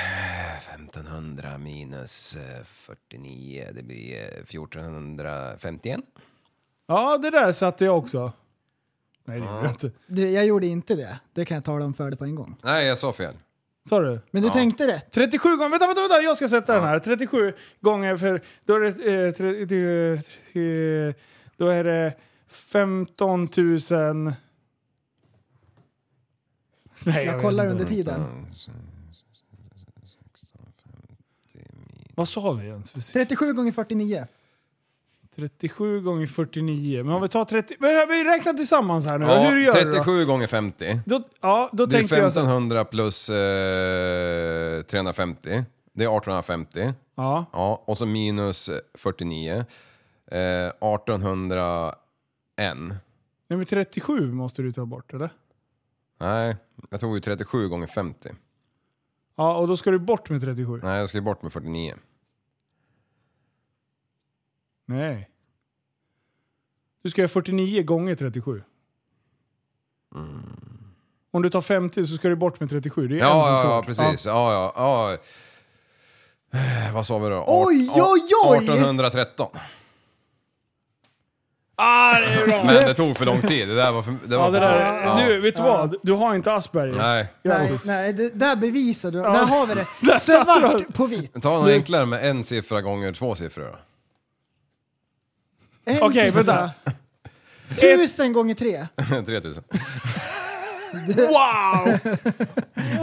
Speaker 7: 1500 minus eh, 49, det blir eh, 1451.
Speaker 5: Ja, det där satte jag också. Nej, det gjorde jag inte.
Speaker 6: Du, jag gjorde inte det. Det kan jag tala om för dig på en gång.
Speaker 7: Nej, jag sa fel.
Speaker 5: Sa du?
Speaker 6: Men du tänkte rätt.
Speaker 5: 37 gånger, vänta, vänta, vänta, jag ska sätta den här. 37 gånger för då är det, eh, tre- det, eh, då är det 15 000... Nej,
Speaker 6: Jag
Speaker 5: vet
Speaker 6: kollar
Speaker 5: inte.
Speaker 6: under
Speaker 5: Mm.
Speaker 7: Mm.
Speaker 6: tiden.
Speaker 5: Vad sa vi ens? för siffra?
Speaker 6: 37 gånger 49.
Speaker 5: 37 gånger 49. Men om vi tar 30... Men har vi räknat tillsammans här nu?
Speaker 7: Ja,
Speaker 5: Hur gör du
Speaker 7: 37 gånger 50.
Speaker 5: då? då? Ja, då
Speaker 7: det är
Speaker 5: tänker jag så.
Speaker 7: 1500 plus eh, 350. Det är 1850.
Speaker 5: Ja.
Speaker 7: Ja, och så minus 49. Eh, 1801.
Speaker 5: Nej, men 37 måste du ta bort, eller?
Speaker 7: Nej, jag tog ju 37 gånger 50.
Speaker 5: Ja, och då ska du bort med 37?
Speaker 7: Nej, jag ska ju bort med 49.
Speaker 5: Nej. Du ska göra 49 gånger 37. Om du tar 50 så ska du bort med 37. Det är en som
Speaker 7: Mm. Ja,
Speaker 5: ska
Speaker 7: ja, ja
Speaker 5: bort.
Speaker 7: precis. Ja, ja, ja. Eh, Vad sa vi då?
Speaker 6: Oj, oj, oj!
Speaker 7: 1813.
Speaker 5: Ah, det är bra!
Speaker 7: Men det tog för lång tid. Det där var för... Det var
Speaker 5: Ja, det
Speaker 7: för
Speaker 5: där,
Speaker 7: svårt.
Speaker 5: Nu, vet du vad? Du har inte Asperger.
Speaker 7: Nej.
Speaker 6: Nej,
Speaker 5: Grattis.
Speaker 6: nej, det där bevisar du. Där har vi
Speaker 5: Där
Speaker 6: det.
Speaker 5: satte du
Speaker 6: Svart på vitt.
Speaker 7: Ta något enklare med en siffra gånger två siffror då.
Speaker 6: En
Speaker 5: Okej,
Speaker 6: siffra.
Speaker 5: vänta.
Speaker 6: Tusen gånger tre.
Speaker 7: 3000.
Speaker 5: Wow!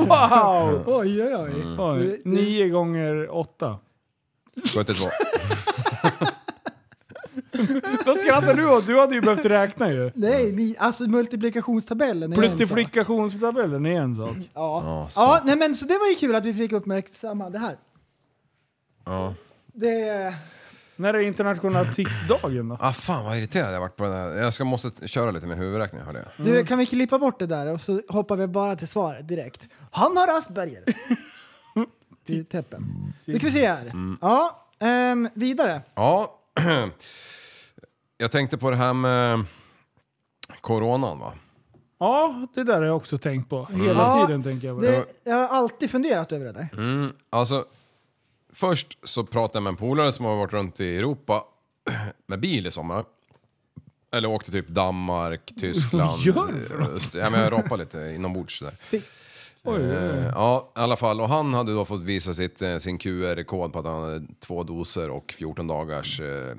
Speaker 5: Wow! Mm.
Speaker 6: Oj, oj, oj.
Speaker 5: Oj, 9 gånger 8.
Speaker 7: 72.
Speaker 5: Vad skrattar du åt? Du hade ju behövt räkna ju.
Speaker 6: Nej, ni, alltså multiplikationstabellen är en sak.
Speaker 5: Pluttiflikationstabellen är en sak.
Speaker 6: Ja. ja, nej men så det var ju kul att vi fick uppmärksamma det här. Det...
Speaker 5: När är internationella tics-dagen då?
Speaker 7: Ah fan vad irriterad jag varit på den här. Jag ska, måste köra lite med huvudräkning hörde jag.
Speaker 6: Du, kan vi klippa bort det där och så hoppar vi bara till svaret direkt. Han har Asperger. I teppen. Nu ska vi se här. Ja, ehm, vidare.
Speaker 7: Ja, jag tänkte på det här med eh, coronan va.
Speaker 5: Ja, det där har jag också tänkt på. Hela
Speaker 6: Mm. Ja,
Speaker 5: tiden tänker jag på det.
Speaker 6: Det, jag har alltid funderat över det där.
Speaker 7: Alltså, först så pratade jag med en polare som har varit runt i Europa med bil i sommar. Eller åkte typ Danmark, Tyskland.
Speaker 5: Gör du för
Speaker 7: Öst- ja, men jag rapade lite inombords där.
Speaker 5: Oj, oj, oj.
Speaker 7: Eh, Ja, i alla fall. Och han hade då fått visa sitt, eh, sin QR-kod på att han hade två doser och 14 dagars eh, eh,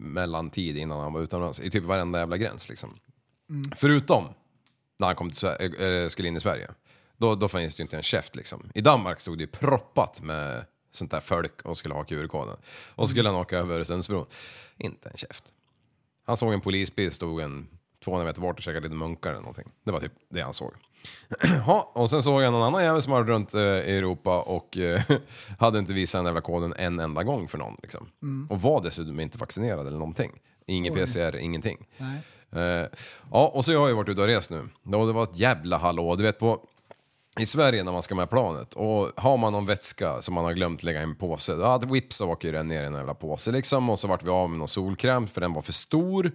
Speaker 7: mellantid innan han var utomlands. I typ varenda jävla gräns liksom.
Speaker 5: Mm.
Speaker 7: Förutom när han kom till Sverige, eh, skulle in i Sverige. Då, då fanns det ju inte en käft liksom. I Danmark stod det ju proppat med sånt där folk och skulle ha QR-koden. Och så skulle han åka över Öresundsbron. Inte en käft. Han såg en polisbil, stod en 200 meter bort och käkade lite munkar eller någonting. Det var typ det han såg. Ja, och sen såg jag någon annan jävel som hade runt eh, i Europa och eh, hade inte visat den jävla koden en enda gång för någon. Liksom. Och var dessutom inte vaccinerad eller någonting. Ingen PCR, ingenting. Eh, ja, och så har jag ju varit ute och rest nu. Då det var ett jävla hallå. Du vet på i Sverige när man ska med planet och har man någon vätska som man har glömt lägga i en påse, ja, då vips så åker ju den ner i en jävla påse liksom och så vart vi av med någon solkräm för den var för stor.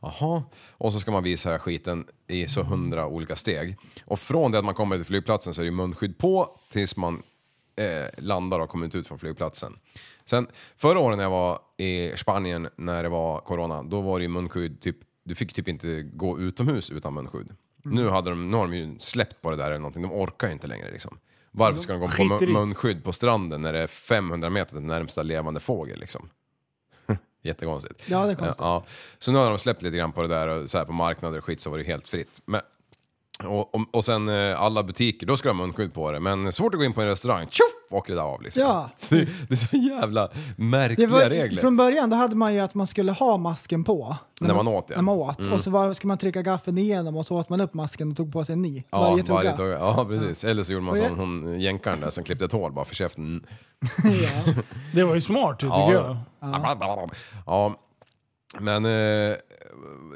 Speaker 7: Aha. Och så ska man visa den här skiten i så hundra olika steg. Och från det att man kommer till flygplatsen så är det ju munskydd på tills man eh, landar och har kommit ut från flygplatsen. Sen förra året när jag var i Spanien när det var corona, då var det ju munskydd, typ, du fick typ inte gå utomhus utan munskydd.
Speaker 6: Mm.
Speaker 7: Nu, hade de, nu har de ju släppt på det där eller någonting, de orkar ju inte längre liksom.
Speaker 6: Mm.
Speaker 7: Varför ska de gå på
Speaker 5: skiter i det.
Speaker 7: mun- munskydd på stranden när det är 500 meter till närmsta levande fågel liksom? Jättekonstigt.
Speaker 6: Ja, det är konstigt.
Speaker 7: Ja, så nu har de släppt lite grann på det där och så här på marknader och skit så var det helt fritt. Men, och, och, och sen eh, alla butiker, då ska de ha munskydd på det. Men så fort du går in på en restaurang, tjoff, åker det där av liksom.
Speaker 6: Ja.
Speaker 7: Så det, det är så jävla
Speaker 6: Det
Speaker 7: märkliga
Speaker 6: var,
Speaker 7: regler.
Speaker 6: från början då hade man ju att man skulle ha masken på.
Speaker 7: När man åt, ja.
Speaker 6: När man åt. Och så var, skulle man trycka gaffeln igenom och så åt man upp masken och tog på sig en ny.
Speaker 7: Ja,
Speaker 6: varje tugga.
Speaker 7: tugga. Ja, precis. Eller så gjorde man
Speaker 6: Och jag-
Speaker 7: som hon jänkaren där som klippte ett hål bara för käften.
Speaker 5: Det var ju smart tycker jag.
Speaker 7: Ja. ja. Men... Eh,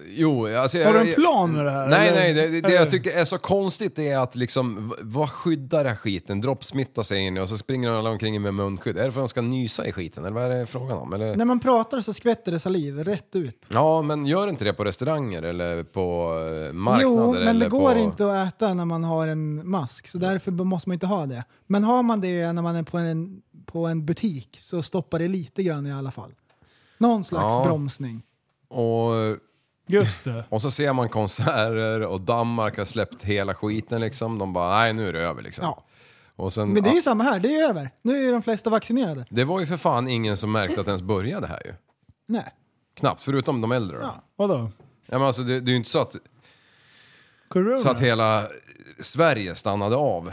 Speaker 7: jo, alltså...
Speaker 5: Har du en plan med det här?
Speaker 7: Nej,
Speaker 5: eller?
Speaker 7: nej. Det, det, det
Speaker 5: Eller?
Speaker 7: jag tycker är så konstigt är att liksom, v- vad skyddar den här skiten? Droppsmitta sig in i och så springer alla omkring med munskydd. Är det för att de ska nysa i skiten eller vad är det frågan om? Eller?
Speaker 6: När man pratar så skvätter det saliv rätt ut.
Speaker 7: Ja, men gör inte det på restauranger eller på eh, marknader?
Speaker 6: Jo, men
Speaker 7: eller
Speaker 6: det går
Speaker 7: på...
Speaker 6: inte att äta när man har en mask, så därför b- måste man inte ha det. Men har man det när man är på en, på en butik så stoppar det lite grann i alla fall. Någon slags
Speaker 7: Ja.
Speaker 6: bromsning.
Speaker 7: Och
Speaker 5: Just det.
Speaker 7: Och så ser man konserter och Danmark har släppt hela skiten liksom. De bara, nej nu är det över liksom.
Speaker 6: Ja.
Speaker 7: Och sen,
Speaker 6: Men det är ju
Speaker 7: ja,
Speaker 6: samma här, det är ju över. Nu är ju de flesta vaccinerade.
Speaker 7: det var ju för fan ingen som märkte att det ens började här ju.
Speaker 6: Nej.
Speaker 7: Knappt, förutom de äldre då. Ja.
Speaker 5: Vadå?
Speaker 7: men alltså det, det är ju inte så att,
Speaker 5: Corona?
Speaker 7: så att hela Sverige stannade av.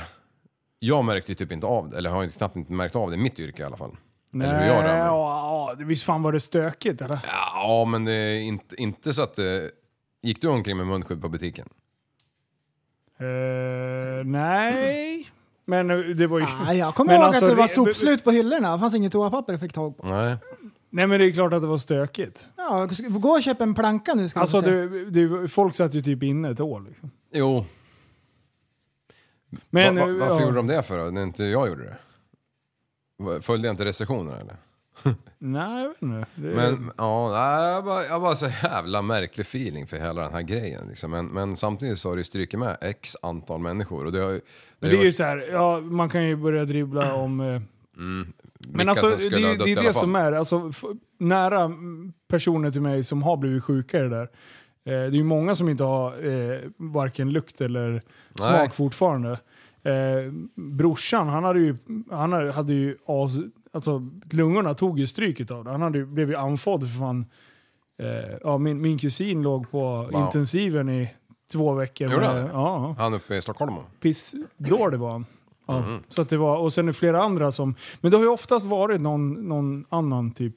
Speaker 7: Jag märkte ju typ inte av det, eller har ju knappt inte märkt av det i mitt yrke i alla fall. Eller hur
Speaker 5: Nej,
Speaker 7: jag rör mig.
Speaker 5: ja, ja, visst fan var det stökigt eller?
Speaker 7: Ja, men det är inte, inte så att... eh, Gick du omkring med munskydd på butiken?
Speaker 5: Eh, nej. Men eh, det var ju...
Speaker 6: Nej, jag kommer
Speaker 5: Men
Speaker 6: ihåg
Speaker 5: alltså,
Speaker 6: att det var
Speaker 5: re-
Speaker 6: sopslut på hyllorna. Det fanns inget toapapper jag fick tag på.
Speaker 7: Nej.
Speaker 5: Nej men det är klart att det var stökigt.
Speaker 6: Ja, gå och köp en planka nu ska
Speaker 5: Alltså
Speaker 6: jag säga.
Speaker 5: det, det, folk satt ju typ inne ett år liksom.
Speaker 7: Jo.
Speaker 5: Men,
Speaker 7: va, va, varför
Speaker 5: ja.
Speaker 7: gjorde de det för då? När inte jag gjorde det? Va- Följde jag inte restriktionerna eller?
Speaker 5: Nej, jag vet inte. Det,
Speaker 7: Men ja, nej, jag bara, jag bara så jävla märklig feeling för hela den här grejen. Liksom. Men, men samtidigt så har det ju strykit med x antal människor. Och det har, ju-
Speaker 5: men
Speaker 7: har
Speaker 5: det är ju
Speaker 7: varit Mm.
Speaker 5: så här, ja, man kan ju börja dribbla om... eh, Men
Speaker 7: vilka
Speaker 5: alltså,
Speaker 7: som
Speaker 5: det,
Speaker 7: skulle
Speaker 5: är
Speaker 7: ha
Speaker 5: ju-
Speaker 7: dött
Speaker 5: det
Speaker 7: i
Speaker 5: är
Speaker 7: alla
Speaker 5: det
Speaker 7: fall.
Speaker 5: som är, alltså, f- nära mm, personer till mig som har blivit sjuka i det där. Eh, det är ju många som inte har eh, varken lukt eller smak
Speaker 7: Nej.
Speaker 5: fortfarande. Eh, brorsan, han hade ju, han hade- hade ju as, alltså, lungorna tog ju stryk av det. Han hade, ju- blev ju andfådd för fan. Eh, ja, min, min kusin låg på
Speaker 7: Wow.
Speaker 5: intensiven i två veckor.
Speaker 7: Gjorde han
Speaker 5: med-
Speaker 7: det?
Speaker 5: ja,
Speaker 7: Han uppe i Stockholm?
Speaker 5: pissdålig var han. Ja, så att det var, och sen är det flera andra som... Men det har ju oftast varit någon, någon annan typ.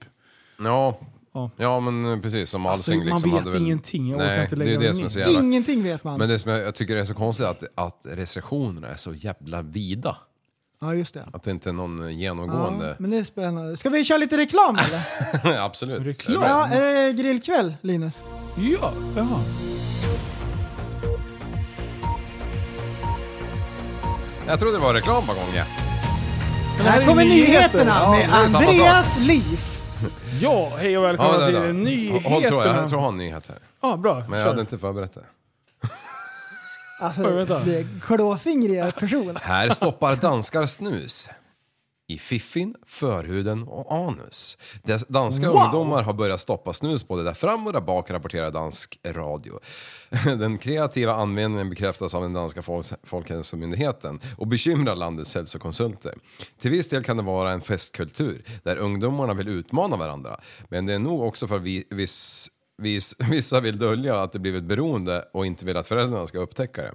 Speaker 7: Ja.
Speaker 5: Ja. Alltså,
Speaker 7: ja, men eh, precis som Alsing.
Speaker 5: man
Speaker 7: liksom,
Speaker 5: vet
Speaker 7: hade väl...
Speaker 5: ingenting. Jag orkar
Speaker 7: Nej,
Speaker 5: inte
Speaker 7: det är
Speaker 5: lägga
Speaker 7: det
Speaker 5: mig
Speaker 7: som är
Speaker 5: i.
Speaker 7: så jävla...
Speaker 6: Ingenting vet man.
Speaker 7: Men det som jag, jag tycker är så konstigt är att, att restriktionerna är så jävla vida.
Speaker 6: Ja, just det.
Speaker 7: Att det inte är någon
Speaker 6: Ja,
Speaker 7: genomgående...
Speaker 6: men det är spännande. Ska vi köra lite reklam eller?
Speaker 7: Absolut.
Speaker 5: Reklam.
Speaker 7: Är du med?
Speaker 6: ja, är det grillkväll Linus?
Speaker 5: Ja, ja.
Speaker 7: Jag trodde det var reklam bakom ja.
Speaker 6: Men här kommer nyheterna med
Speaker 7: det är samma
Speaker 6: Andreas Liv.
Speaker 5: ja hej och välkomna
Speaker 7: Ja, det, det.
Speaker 5: till nyheterna.
Speaker 7: Håll, tror jag, jag tror jag har en nyhet här.
Speaker 5: Ja, bra.
Speaker 7: Men jag
Speaker 5: Kör.
Speaker 7: hade inte förberett det.
Speaker 6: Alltså,
Speaker 5: Oj, vänta.
Speaker 6: det är klåfingriga personer.
Speaker 7: Här stoppar danskar snus. I fiffin, förhuden och anus. Des- Danska ungdomar har börjat stoppa snus både där fram och där bak, rapporterar dansk radio. Den kreativa användningen bekräftas av den danska folks- folkhälsomyndigheten och bekymrar landets hälsokonsulter. Till viss del kan det vara en festkultur där ungdomarna vill utmana varandra. Men det är nog också för vi- viss, viss, vissa vill dölja att det blivit beroende och inte vill att föräldrarna ska upptäcka det.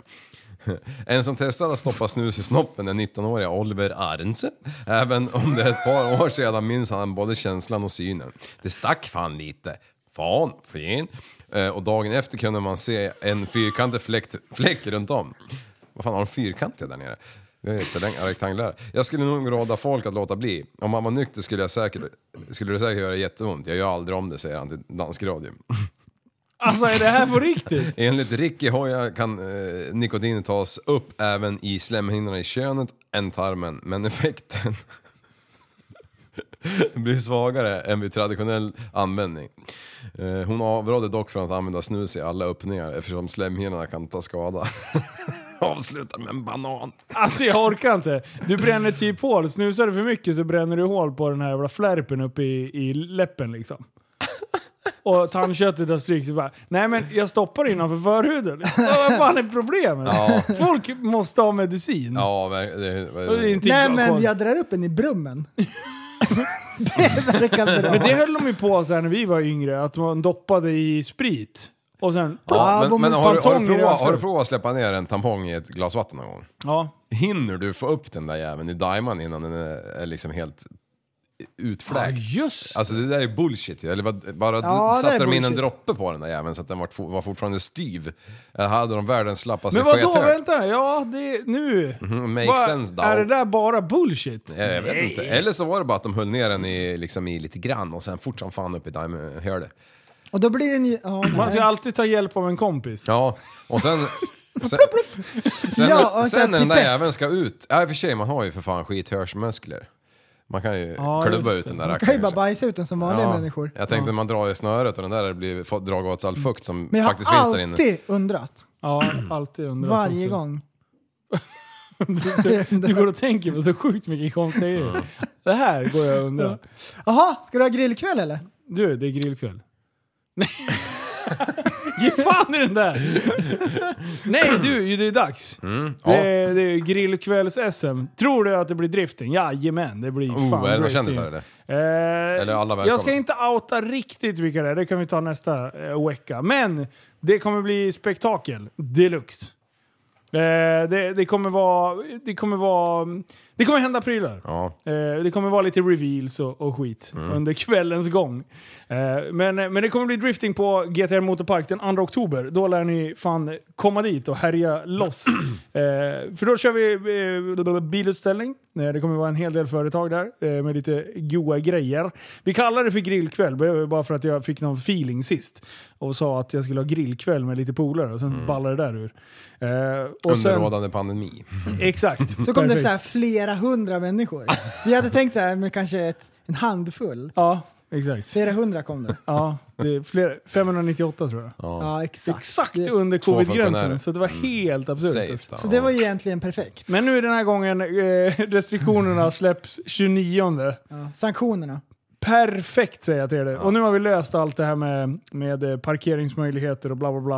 Speaker 7: En som testade att stoppa snus i snoppen är 19-åriga Oliver Arntzen. Även om det är ett par år sedan minns han både känslan och synen. Det stack fan lite. Fan, fin. Eh, Och dagen efter kunde man se en fyrkantig fläck, fläck runt om. Vad fan har de fyrkantiga där nere? Jag är inte längre rektanglar. Jag skulle nog råda folk att låta bli. Om man var nykter skulle, jag säkert, skulle det säkert göra jätteont. Jag gör aldrig om det, säger han till dansk radio.
Speaker 5: Alltså är det här på riktigt?
Speaker 7: Enligt Ricky Hoja kan eh, nikotin tas upp även i slemhinnorna i könet än tarmen, men effekten blir svagare än vid traditionell användning. Eh, hon avråder dock från att använda snus i alla öppningar eftersom slemhinnorna kan ta skada. Avsluta med en banan.
Speaker 5: Alltså jag orkar inte. Du bränner typ hål. Snusar du för mycket så bränner du hål på den här jävla flärpen uppe i, i läppen liksom. Och tandköttet har stryk. Så bara, Nej men jag stoppar innanför förhuden. Vad fan är problemet? Folk måste ha medicin.
Speaker 7: Ja, ver- det,
Speaker 5: Och det är
Speaker 7: ver-
Speaker 5: inte
Speaker 6: Nej
Speaker 5: bra
Speaker 6: men
Speaker 5: konst.
Speaker 6: jag drar upp en i brummen. det verkar bra.
Speaker 5: Men det höll de ju på så här när vi var yngre, att man doppade i sprit. Och sen...
Speaker 7: ja, men,
Speaker 5: Boom,
Speaker 7: men har, du, har, du
Speaker 5: fantong i
Speaker 7: provat, har du
Speaker 5: rövhålet.
Speaker 7: provat att släppa ner en tampong i ett glas vatten någon gång?
Speaker 5: Ja.
Speaker 7: Hinner du få upp den där jäveln i daiman innan den är är liksom helt
Speaker 5: Ja,
Speaker 7: utfläkt?
Speaker 5: just
Speaker 7: Alltså det där är bullshit ju. Eller vad- bara
Speaker 6: Ja, det
Speaker 7: satte
Speaker 6: är
Speaker 7: de in en
Speaker 6: bullshit.
Speaker 7: droppe på den där jäveln så att den var, fo- var fortfarande styv. Eller hade de världens slappaste
Speaker 5: Men vadå,
Speaker 7: skethög?
Speaker 5: vänta! Ja, det... Nu...
Speaker 7: Mhm, Makes
Speaker 5: Vad-
Speaker 7: sense då.
Speaker 5: Är det där bara bullshit?
Speaker 7: Jag, jag vet inte. Eller så var det bara att de höll ner den i, liksom, i lite grann och sen fort som fan upp i daimhörde.
Speaker 6: Och då blir det en ju... ja, nej.
Speaker 5: Man ska alltid ta hjälp av en kompis.
Speaker 7: Ja, och sen... Sen, sen,
Speaker 6: Ja, och så här
Speaker 7: sen när den där
Speaker 6: pipett.
Speaker 7: jäveln ska ut... Ja, i och för sig, man har ju för fan skithörsmuskler. Man kan ju
Speaker 5: Ja,
Speaker 7: klubba
Speaker 5: just
Speaker 7: ut den
Speaker 5: det.
Speaker 7: där
Speaker 6: Man kan ju
Speaker 7: rackaren. liksom.
Speaker 6: bara bajsa ut den som vanliga
Speaker 7: Ja,
Speaker 6: människor.
Speaker 7: Jag tänkte man drar i snöret och den där blir, får dra åt sig all fukt som
Speaker 6: Men jag har
Speaker 7: faktiskt finns där inne.
Speaker 6: alltid undrat.
Speaker 5: Ja, alltid undrat
Speaker 6: Varje
Speaker 5: också.
Speaker 6: gång.
Speaker 5: Så, du går och tänker på så sjukt mycket konstiga grejer. Det här går jag och undrar.
Speaker 6: Jaha, ska du ha grillkväll eller?
Speaker 5: Du, det är grillkväll. Ge fan i den där! Nej du, det är dags.
Speaker 7: Mm,
Speaker 5: Det
Speaker 7: ja.
Speaker 5: är, det är grillkvälls-SM. Tror du att det blir drifting? Jajamän, det blir
Speaker 7: Oh,
Speaker 5: fan
Speaker 7: är det några
Speaker 5: drifting.
Speaker 7: kändisar eller?
Speaker 5: Eh,
Speaker 7: Eller alla välkomna?
Speaker 5: jag ska inte outa riktigt vilka det är, det kan vi ta nästa eh, vecka. Men det kommer bli spektakel deluxe. Eh, det, det, kommer vara, det, kommer vara, det kommer hända prylar.
Speaker 7: Ja.
Speaker 5: Eh, det kommer vara lite reveals och, och skit
Speaker 7: Mm.
Speaker 5: under kvällens gång. Eh, men, men det kommer bli drifting på GTR Motorpark den 2 oktober. Då lär ni fan komma dit och härja loss. eh, för då kör vi eh, bilutställning. Eh, det kommer vara en hel del företag där eh, med lite goa grejer. Vi kallar det för grillkväll b- bara för att jag fick någon feeling sist och sa att jag skulle ha grillkväll med lite polare och sen ballade det där ur. Eh, och
Speaker 7: Mm. Under
Speaker 5: sen,
Speaker 7: rådande pandemi.
Speaker 5: exakt.
Speaker 6: Så kom det
Speaker 5: Perfekt.
Speaker 6: så här flera hundra människor. Vi hade tänkt så här med kanske ett, en handfull.
Speaker 5: Ja, exakt.
Speaker 6: Flera hundra kom det.
Speaker 5: Ja, det är fler, 598 tror jag.
Speaker 6: Ja, exakt.
Speaker 5: Exakt
Speaker 6: Det-
Speaker 5: under
Speaker 7: Två
Speaker 5: covid-gränsen,
Speaker 7: funktionärer.
Speaker 5: så det var
Speaker 7: Mm.
Speaker 5: helt absurt.
Speaker 7: Safe,
Speaker 5: alltså.
Speaker 6: Så det var ju egentligen perfekt.
Speaker 5: Men nu den här gången, eh, restriktionerna släpps 29.
Speaker 6: Mm. Ja. Sanktionerna.
Speaker 5: Perfekt säger jag till er. Och nu har vi löst allt det här med, med eh, parkeringsmöjligheter och bla bla bla.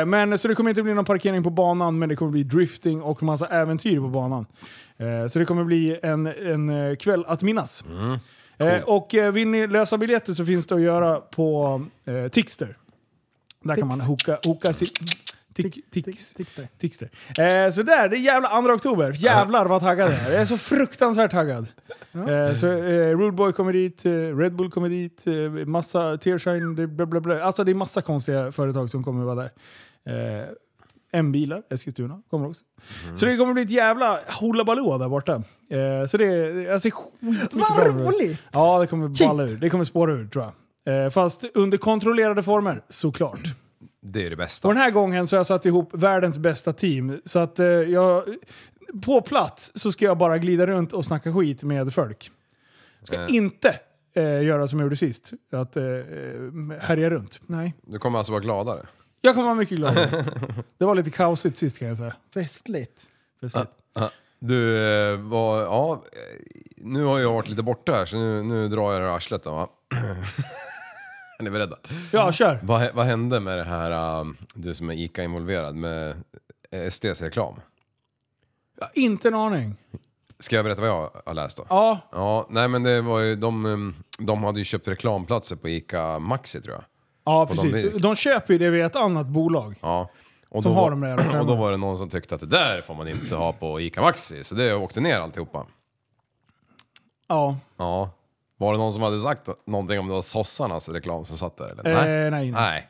Speaker 5: Eh, men, så det kommer inte bli någon parkering på banan, men det kommer bli drifting och massa äventyr på banan. Eh, så det kommer bli en, en eh, kväll att minnas.
Speaker 6: Mm.
Speaker 5: Eh, och eh, vill ni lösa biljetter så finns det att göra på eh, Tixter. Där kan man
Speaker 6: Tix.
Speaker 5: hooka, hooka sin... Tick, tick,
Speaker 6: Tixter.
Speaker 5: Tixter. Eh, så där, det är jävla 2 oktober. Jävlar vad taggad jag är. Jag är så fruktansvärt taggad. Eh, så eh, Rudeboy kommer dit, eh, Red Bull kommer dit, eh, massa Tearshine, det, bla, bla, bla. Alltså det är massa konstiga företag som kommer vara där. Eh, M-bilar, Eskilstuna, kommer också. Så det kommer bli ett jävla hullabaloo där borta. Eh, så det, jag ser skitmycket
Speaker 6: Vad
Speaker 5: fram emot det.
Speaker 6: roligt!
Speaker 5: Ja, det kommer balla ur. Det kommer spåra ur tror jag. Eh, fast under kontrollerade former, såklart.
Speaker 7: Det är det bästa.
Speaker 5: Och den här gången så har jag satt ihop världens bästa team. Så att eh, jag... På plats så ska jag bara glida runt och snacka skit med folk. Ska
Speaker 7: Eh.
Speaker 5: inte eh, göra som jag gjorde sist. Att eh, härja runt.
Speaker 6: Nej,
Speaker 7: Du kommer alltså vara gladare.
Speaker 5: Jag kommer vara mycket gladare. det var lite kaosigt sist kan jag säga.
Speaker 6: festligt.
Speaker 5: Precis.
Speaker 7: Ja. Du, eh, var, ja, eh, nu har jag varit lite borta här så nu, nu drar jag det här arslet då, va? Är ni beredda?
Speaker 5: Ja, kör!
Speaker 7: Vad, vad hände med det här, um, du som är ICA-involverad, med SDs reklam?
Speaker 5: Jag har inte en aning.
Speaker 7: Ska jag berätta vad jag har läst då?
Speaker 5: Ja,
Speaker 7: Ja, nej men det var ju, de, um, de hade ju köpt reklamplatser på ICA Maxi tror jag.
Speaker 5: ja
Speaker 7: Och de
Speaker 5: precis.
Speaker 7: vet.
Speaker 5: De köper ju det via ett annat bolag.
Speaker 7: Ja. Och
Speaker 5: Som
Speaker 7: då
Speaker 5: har
Speaker 7: var-
Speaker 5: de där reklamerna.
Speaker 7: Och då var det någon som tyckte att det där får man inte ha på ICA Maxi, så det åkte ner alltihopa.
Speaker 5: Ja.
Speaker 7: Ja. Var det någon som hade sagt någonting om det var sossarnas reklam som satt där eller?
Speaker 5: Eh, nej, nej.
Speaker 7: Nej.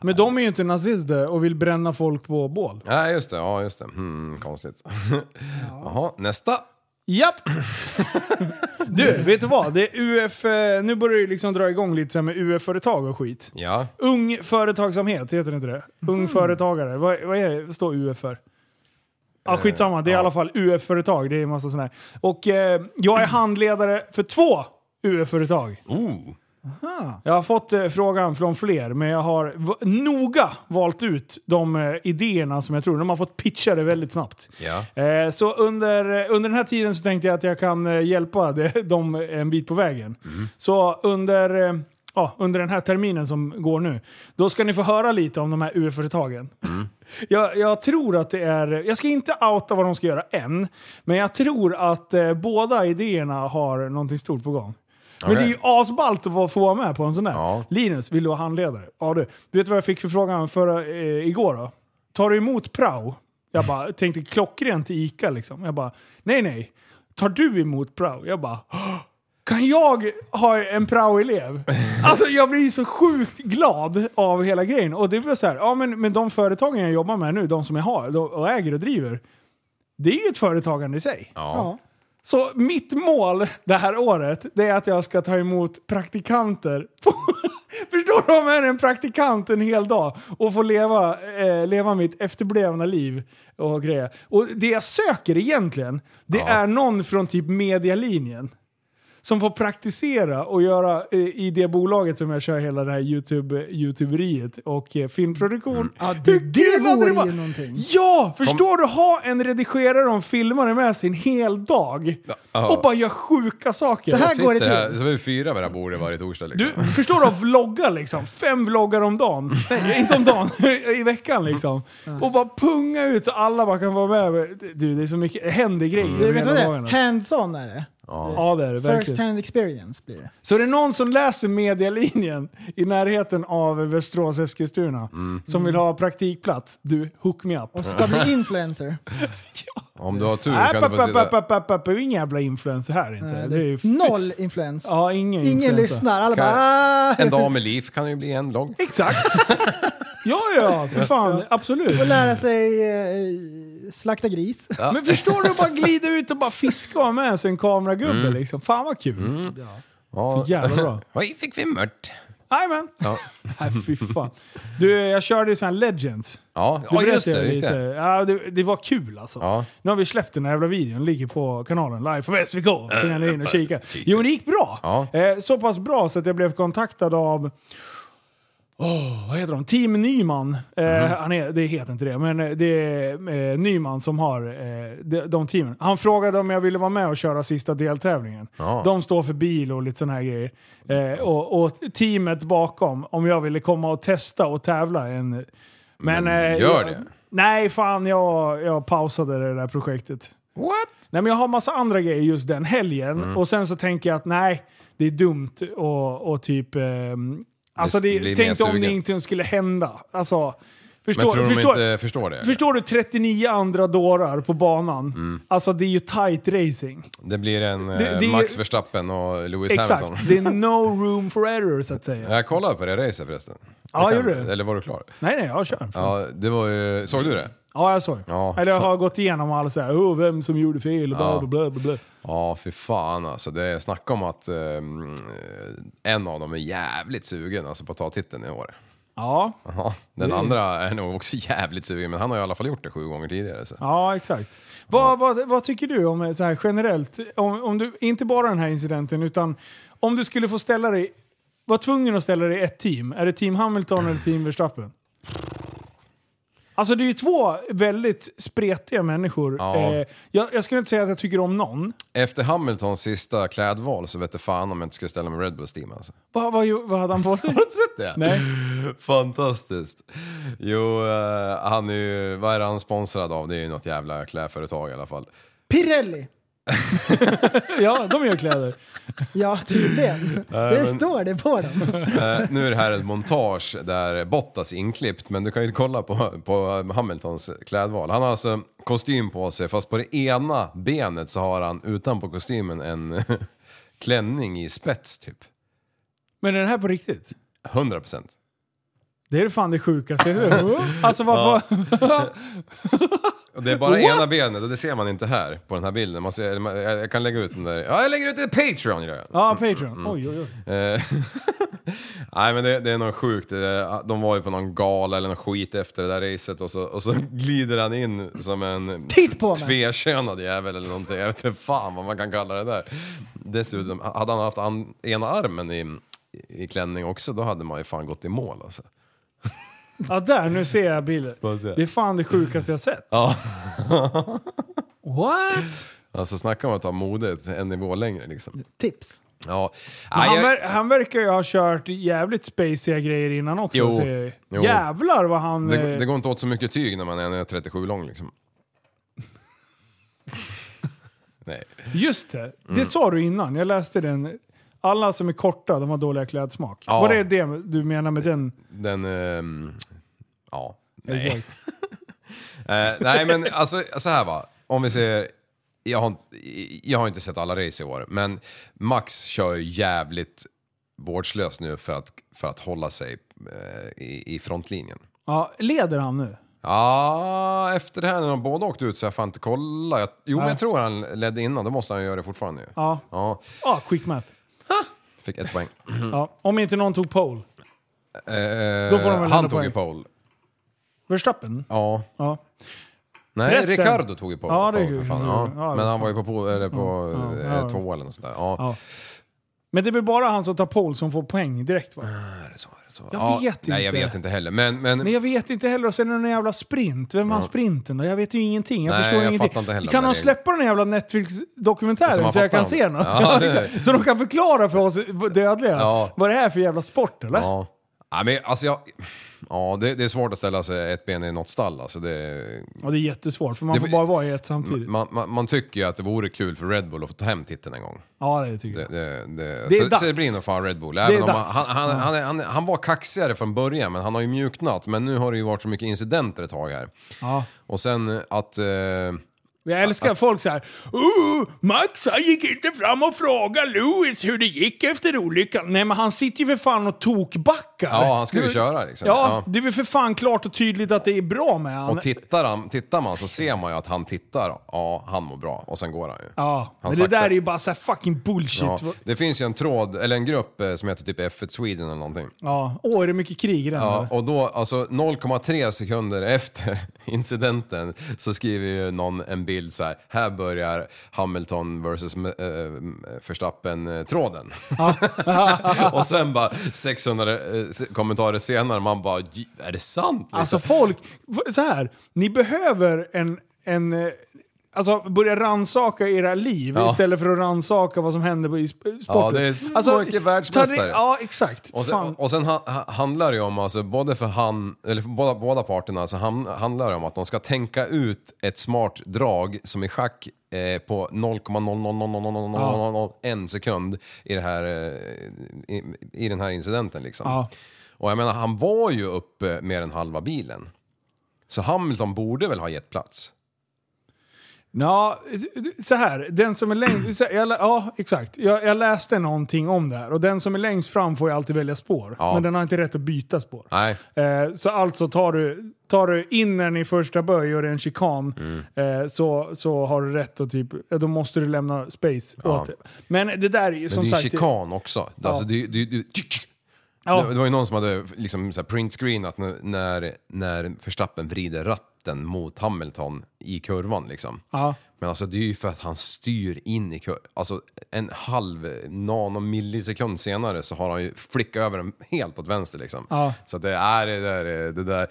Speaker 5: Men de är ju inte nazister och vill bränna folk på bål.
Speaker 7: Nej, just det. Ja, just det. Hmm, konstigt. Jaha, nästa.
Speaker 5: Japp! Du, vet du vad? Det är UF, eh, nu börjar det liksom dra igång lite så här med UF-företag och skit.
Speaker 7: Ja.
Speaker 5: Ung företagsamhet, heter det inte det? Ung företagare. Vad, vad är, vad står UF för? Ja, skitsamma. Det är i alla fall UF-företag. Det är en massa sådana här. Och eh, jag är handledare för två UF-företag.
Speaker 7: Oh.
Speaker 5: Jag har fått eh, frågan från fler, men jag har v- noga valt ut de eh, idéerna som jag tror. De har fått pitcha det väldigt snabbt.
Speaker 7: Ja.
Speaker 5: Eh, Så under, eh, under den här tiden så tänkte jag att jag kan eh, hjälpa de- dem en bit på vägen. Så under, eh, ja, under den här terminen som går nu, då ska ni få höra lite om de här UF-företagen. Jag, jag tror att det är... Jag ska inte outa vad de ska göra än, men jag tror att eh, båda idéerna har någonting stort på gång. Men
Speaker 7: Okej.
Speaker 5: det är ju asballt att vara- få vara med på en sån där.
Speaker 7: Ja.
Speaker 5: Linus, vill du vara handledare? Ja du. Du vet vad jag fick för frågan förra, eh, igår då? Tar du emot prao? Jag bara tänkte klockrent i ICA liksom. Jag bara, nej nej. Tar du emot prao? Jag bara, "Åh, kan jag ha en prao-elev? Alltså jag blir så sjukt glad av hela grejen. Och det blir så här, ja men, men de företagen jag jobbar med nu, de som jag har de- och äger och driver. Det är ju ett företagande i sig.
Speaker 7: Ja.
Speaker 5: Så mitt mål det här året, det är att jag ska ta emot praktikanter. På, förstår du? Om jag är en praktikant en hel dag och få leva, eh, leva mitt efterblivna liv och grejer. Och det jag söker egentligen, det är någon från typ medialinjen. som får praktisera och göra eh, i det bolaget som jag kör hela det här YouTube, youtuberiet och eh, filmproduktion.
Speaker 7: Mm.
Speaker 6: Ja, det, det
Speaker 5: hade
Speaker 6: vore
Speaker 5: varit?
Speaker 6: ju någonting.
Speaker 5: Ja! Förstår du? Ha en redigerare och en filmare med sig en hel dag
Speaker 7: ja.
Speaker 5: och bara göra sjuka saker.
Speaker 7: Så sitter här- Så är vi fyra vid det här bordet varje torsdag liksom.
Speaker 5: Du förstår du att vlogga liksom? Fem vloggar om dagen. Nej, inte om dagen. I veckan liksom.
Speaker 6: Mm.
Speaker 5: Och bara punga ut så alla bara kan vara med. Du, det är så mycket. Det händer grejer.
Speaker 7: Mm.
Speaker 6: Du, vet du vad det är?
Speaker 5: dagarna.
Speaker 6: Hands-on är det.
Speaker 5: Ja, det är det.
Speaker 6: First
Speaker 5: Verkligen.
Speaker 6: hand experience blir det.
Speaker 5: Så är det någon som läser medialinjen i närheten av Västerås, Eskilstuna, som vill ha praktikplats. Du, hook me up.
Speaker 6: Och ska bli influencer.
Speaker 7: Om du har tur
Speaker 5: Nej,
Speaker 7: kan du
Speaker 5: papp,
Speaker 7: få
Speaker 5: papp,
Speaker 7: sitta...
Speaker 5: papp, papp, papp. Ingen jävla influencer här inte. Det är ju fy-
Speaker 6: Noll influens.
Speaker 5: Ja, ingen
Speaker 6: Ingen
Speaker 5: influencer.
Speaker 6: lyssnar. Alla bara
Speaker 7: Kan-
Speaker 6: "Ah."
Speaker 7: En dag med liv kan ju bli en lång.
Speaker 5: Exakt. ja, ja, för fan. Absolut.
Speaker 6: Och lära sig eh, slakta gris.
Speaker 5: Men förstår du att bara glida ut och bara fiska och ha med sig en kameragubbe
Speaker 7: Mm.
Speaker 5: liksom. Fan vad kul.
Speaker 7: Ja.
Speaker 5: Så jävla bra.
Speaker 7: Oj, fick vi mört.
Speaker 5: Jajamän.
Speaker 7: Ja,
Speaker 5: Nej fy fan. Du, jag körde ju sån här Legends.
Speaker 7: ja.
Speaker 5: Du
Speaker 7: ja just
Speaker 5: berättade
Speaker 7: det.
Speaker 5: ju
Speaker 7: Just
Speaker 5: lite.
Speaker 7: det.
Speaker 5: Ja, det, det var kul alltså.
Speaker 7: Ja.
Speaker 5: Nu har vi släppt den här jävla videon, ligger på kanalen live på SVK. Så kan ni in och kika. Jo men det gick bra.
Speaker 7: Äh, Ja.
Speaker 5: Eh, så pass bra så att jag blev kontaktad av Åh, vad heter de? Team Nyman. Eh,
Speaker 7: Mhm.
Speaker 5: han är, det heter inte det, men eh, det är eh, Nyman som har eh, de, de teamen. Han frågade om jag ville vara med och köra sista deltävlingen.
Speaker 7: Ja.
Speaker 5: De står för bil och lite sådana här grejer. Eh, och, och teamet bakom, om jag ville komma och testa och tävla en... Men, eh,
Speaker 7: gör
Speaker 5: jag,
Speaker 7: det.
Speaker 5: Nej, fan jag, jag pausade det där projektet.
Speaker 7: What?
Speaker 5: Nej men jag har massa andra grejer just den helgen
Speaker 7: Mm.
Speaker 5: och sen så tänker jag att nej, det är dumt och, och typ... ehm, alltså
Speaker 7: Bli-
Speaker 5: det,
Speaker 7: bli mer
Speaker 5: tänk dig om det
Speaker 7: sugen.
Speaker 5: inte skulle hända. Alltså, förstår,
Speaker 7: Men tror du
Speaker 5: förstår,
Speaker 7: de inte förstår det?
Speaker 5: förstår du 39 andra dårar på banan?
Speaker 7: Mm.
Speaker 5: Alltså det är ju tight racing.
Speaker 7: Det blir en eh,
Speaker 5: Det- det är-
Speaker 7: Max Verstappen och Lewis
Speaker 5: Exakt,
Speaker 7: Hamilton.
Speaker 5: det är no room for error så att säga.
Speaker 7: Jag kollade på det racet förresten.
Speaker 5: Ja,
Speaker 7: Jag
Speaker 5: gjorde du?
Speaker 7: Eller var du klar?
Speaker 5: Nej nej, jag kör. Ja,
Speaker 7: Ja, det var ju... Såg du det?
Speaker 5: jag såg.
Speaker 7: Ja,
Speaker 5: Eller jag har gått igenom alla så här, oh, vem som gjorde fel och bla bla bla. bla, bla.
Speaker 7: Ja, för fan alltså. Det är snack om att eh, en av dem är jävligt sugen alltså, på att ta titeln i år.
Speaker 5: Ja.
Speaker 7: Ja, den andra är nog också jävligt sugen, men han har ju i alla fall gjort det sju gånger tidigare. Så.
Speaker 5: Ja, exakt. Vad, vad, vad tycker du om eh, så här generellt, om, om du, inte bara den här incidenten, utan om du skulle få ställa dig, vara tvungen att ställa dig i ett team, är det team Hamilton eller team Verstappen? Alltså det är ju två väldigt spretiga människor.
Speaker 7: Ja.
Speaker 5: Eh, jag, jag skulle inte säga att jag tycker om någon.
Speaker 7: Efter Hamiltons sista klädval så vet jag fan om jag inte skulle ställa mig i Red Bulls team alltså.
Speaker 5: Vad, vad, gjo- vad hade han på sig? Har du sett
Speaker 7: det?
Speaker 5: Nej.
Speaker 7: Fantastiskt. Jo, eh, han är ju, vad är han sponsrad av? Det är ju något jävla klädföretag i alla fall.
Speaker 6: Pirelli!
Speaker 5: Ja, de gör kläder.
Speaker 6: Ja, tydligen. Det står det på dem.
Speaker 7: Eh, nu är det här ett montage där Bottas är inklippt, men du kan ju kolla på, på Hamiltons klädval. Han har alltså kostym på sig, fast på det ena benet så har han utanpå kostymen en klänning i spets typ.
Speaker 5: Men är det här på riktigt?
Speaker 7: 100 procent.
Speaker 5: Det är det fan det sjukaste jag hört. Alltså varför?
Speaker 7: Och det är bara ena benet och det ser man inte här på den här bilden. Man ser, eller man- jag jag kan lägga ut den där. Ja, jag lägger ut det i Patreon gör jag.
Speaker 5: Ja, Patreon. Oj, oj, oj.
Speaker 7: Eh, Nej men det, det är något sjukt. Eh, De var ju på någon gala eller någon skit efter det där racet och så, och så glider han in som en
Speaker 6: Titt på mig!
Speaker 7: tvekönad jävel eller någonting. Jag vet inte fan vad man kan kalla det där. Dessutom, hade han haft an, ena armen i, i klänning också då hade man ju fan gått i mål alltså.
Speaker 5: Ja, där. Nu ser jag bilder.
Speaker 7: Får se.
Speaker 5: Det är fan det sjukaste jag sett.
Speaker 7: Ja.
Speaker 5: What?
Speaker 7: Alltså snacka om att ta modet en nivå längre liksom.
Speaker 6: Tips.
Speaker 7: Ja. Nej,
Speaker 5: Han,
Speaker 7: jag-
Speaker 5: ver- han verkar ju ha kört jävligt spaciga grejer innan också.
Speaker 7: Jo,
Speaker 5: ser jag ju.
Speaker 7: jo.
Speaker 5: Jävlar vad han...
Speaker 7: Det,
Speaker 5: eh,
Speaker 7: det går inte åt så mycket tyg när man är 37 lång liksom. Nej.
Speaker 5: Just det,
Speaker 7: Mm.
Speaker 5: det sa du innan. Jag läste den. Alla som är korta, de har dåliga klädsmak.
Speaker 7: Ja.
Speaker 5: Var det det du menar med den?
Speaker 7: Den... ehm, ja. Nej. Eh, nej men alltså så här va. Om vi säger... Jag har, jag har inte sett alla race i år, men Max kör ju jävligt vårdslöst nu för att, för att hålla sig eh, i, i frontlinjen.
Speaker 5: Ja, leder han nu?
Speaker 7: Ja, efter det här när de båda åkte ut så jag fan inte kolla. Jag, jo, men jag tror han ledde innan. Då måste han ju göra det fortfarande ju.
Speaker 5: Ja.
Speaker 7: ja.
Speaker 5: Ja, quick math.
Speaker 7: Fick ett poäng.
Speaker 5: Ja. Om inte någon tog pole.
Speaker 7: Eh,
Speaker 5: Då får de väl
Speaker 7: han
Speaker 5: ändå
Speaker 7: tog ju
Speaker 5: poäng.
Speaker 7: pole.
Speaker 5: Verstappen?
Speaker 7: Ja.
Speaker 5: Ja.
Speaker 7: Nej,
Speaker 5: Resten.
Speaker 7: Ricardo tog ju pole.
Speaker 5: Ja, det är
Speaker 7: pole,
Speaker 5: ju-
Speaker 7: för fan.
Speaker 5: ja,
Speaker 7: Ja. Men
Speaker 5: det är
Speaker 7: han var ju på, po- eller på
Speaker 5: Ja, ja,
Speaker 7: eh,
Speaker 5: ja.
Speaker 7: två eller något sånt där. Ja.
Speaker 5: Ja. Men det är väl bara han som tar pole som får poäng direkt va? Jag
Speaker 7: Ja,
Speaker 5: vet inte.
Speaker 7: Nej, jag vet inte heller. Men, men,
Speaker 5: Men jag vet inte heller. Och sen är det en jävla sprint. Vem vann
Speaker 7: Ja.
Speaker 5: sprinten då? Jag vet ju ingenting. Jag
Speaker 7: Nej,
Speaker 5: förstår
Speaker 7: jag
Speaker 5: ingenting.
Speaker 7: fattar inte heller
Speaker 5: kan
Speaker 7: den
Speaker 5: de
Speaker 7: regeln.
Speaker 5: släppa den här jävla
Speaker 7: Så
Speaker 5: Netflix-dokumentären
Speaker 7: man
Speaker 5: så jag
Speaker 7: fattar
Speaker 5: kan se
Speaker 7: dem.
Speaker 5: något?
Speaker 7: Ja,
Speaker 5: Ja,
Speaker 7: det är-
Speaker 5: exakt. så de kan förklara för oss dödliga
Speaker 7: Ja.
Speaker 5: vad det här är för jävla sport eller?
Speaker 7: Ja. ja, men alltså jag... Ja, det, det är svårt att ställa sig ett ben i något stall. Alltså det,
Speaker 5: Ja, det är jättesvårt för man
Speaker 7: Det
Speaker 5: får
Speaker 7: var-
Speaker 5: bara vara i ett samtidigt.
Speaker 7: man, man, man tycker ju att det vore kul för Red Bull att få ta hem titeln en gång.
Speaker 5: Ja, det tycker
Speaker 7: Det,
Speaker 5: jag.
Speaker 7: det, det,
Speaker 5: Det är
Speaker 7: så,
Speaker 5: dags.
Speaker 7: så det blir nog fan Red Bull.
Speaker 5: är
Speaker 7: Även om han,
Speaker 5: dags.
Speaker 7: han, han, han, är- han, han var kaxigare från början, men han har ju mjuknat. Men nu har det ju varit så mycket incidenter ett tag här.
Speaker 5: Ja.
Speaker 7: Och sen att... Eh,
Speaker 5: Jag älskar folk så här. Uh, Max han gick inte fram och frågade Lewis hur det gick efter olyckan. Nej men han sitter ju för fan och tokbackar.
Speaker 7: ja, han skulle
Speaker 5: Det
Speaker 7: ju
Speaker 5: är-
Speaker 7: köra liksom.
Speaker 5: Ja, det är väl för fan klart och tydligt att det är bra med han.
Speaker 7: Och tittar, han, tittar man så ser man ju att han tittar. Ja, han mår bra. Och sen går han ju.
Speaker 5: Ja,
Speaker 7: Han
Speaker 5: men det
Speaker 7: sakta-
Speaker 5: där är ju bara så här fucking bullshit.
Speaker 7: Ja,
Speaker 5: Ja.
Speaker 7: det finns ju en tråd, eller en grupp eh, som heter typ F1 Sweden eller någonting.
Speaker 5: Åh, är det mycket krig i den?
Speaker 7: Ja,
Speaker 5: eller?
Speaker 7: och då, alltså 0,3 sekunder efter incidenten så skriver ju någon en bild så här. Här börjar Hamilton eh, vs Verstappen-tråden. eh, och sen bara 600 eh, se- kommentarer senare, man bara, "J- är det sant? Liksom.
Speaker 5: Alltså folk, så här. Ni behöver en... en eh, Alltså börja ransaka era liv
Speaker 7: Ja.
Speaker 5: istället för att ransaka vad som händer på- i sp- sporten.
Speaker 7: Ja, det är så
Speaker 5: alltså,
Speaker 7: mycket
Speaker 5: ta det-
Speaker 7: världsmästare.
Speaker 5: Ja, exakt.
Speaker 7: Och
Speaker 5: Fan.
Speaker 7: sen, och sen ha, ha- handlar det ju om, alltså, både för han, eller för båda, båda parterna, så ham- handlar det om att de ska tänka ut ett smart drag som i schack eh, på 0,0000001 sekund i, det här, eh, i, i den här incidenten. Liksom.
Speaker 5: Ja.
Speaker 7: Och jag menar, han var ju uppe mer än halva bilen. Så Hamilton borde väl ha gett plats?
Speaker 5: Ja, så här. Den som är längst... så här, Jag, lä- ja, exakt. Jag, jag läste någonting om det här. Och den som är längst fram får ju alltid välja spår.
Speaker 7: Ja.
Speaker 5: Men den har inte rätt att byta spår.
Speaker 7: Nej.
Speaker 5: Eh, så alltså tar du, tar du in den i första böj och det är en chikan
Speaker 7: Mm.
Speaker 5: eh, så, så har du rätt att typ, eh, då måste du lämna space
Speaker 7: Ja.
Speaker 5: åt det. Men det där är ju som
Speaker 7: Men det är
Speaker 5: sagt...
Speaker 7: ju chikan också. Alltså, det, är ju- det, är ju- det, är ju-
Speaker 5: Ja.
Speaker 7: Det, det var ju någon som hade liksom så här printscreenat när, när, när Verstappen vrider ratten mot Hamilton i kurvan liksom.
Speaker 5: Ja.
Speaker 7: Men alltså det är ju för att han styr in i kurvan. Alltså en halv nanomillisekund senare så har han ju flickat över den helt åt vänster liksom.
Speaker 5: Ja.
Speaker 7: Så att det är det där... är- Det där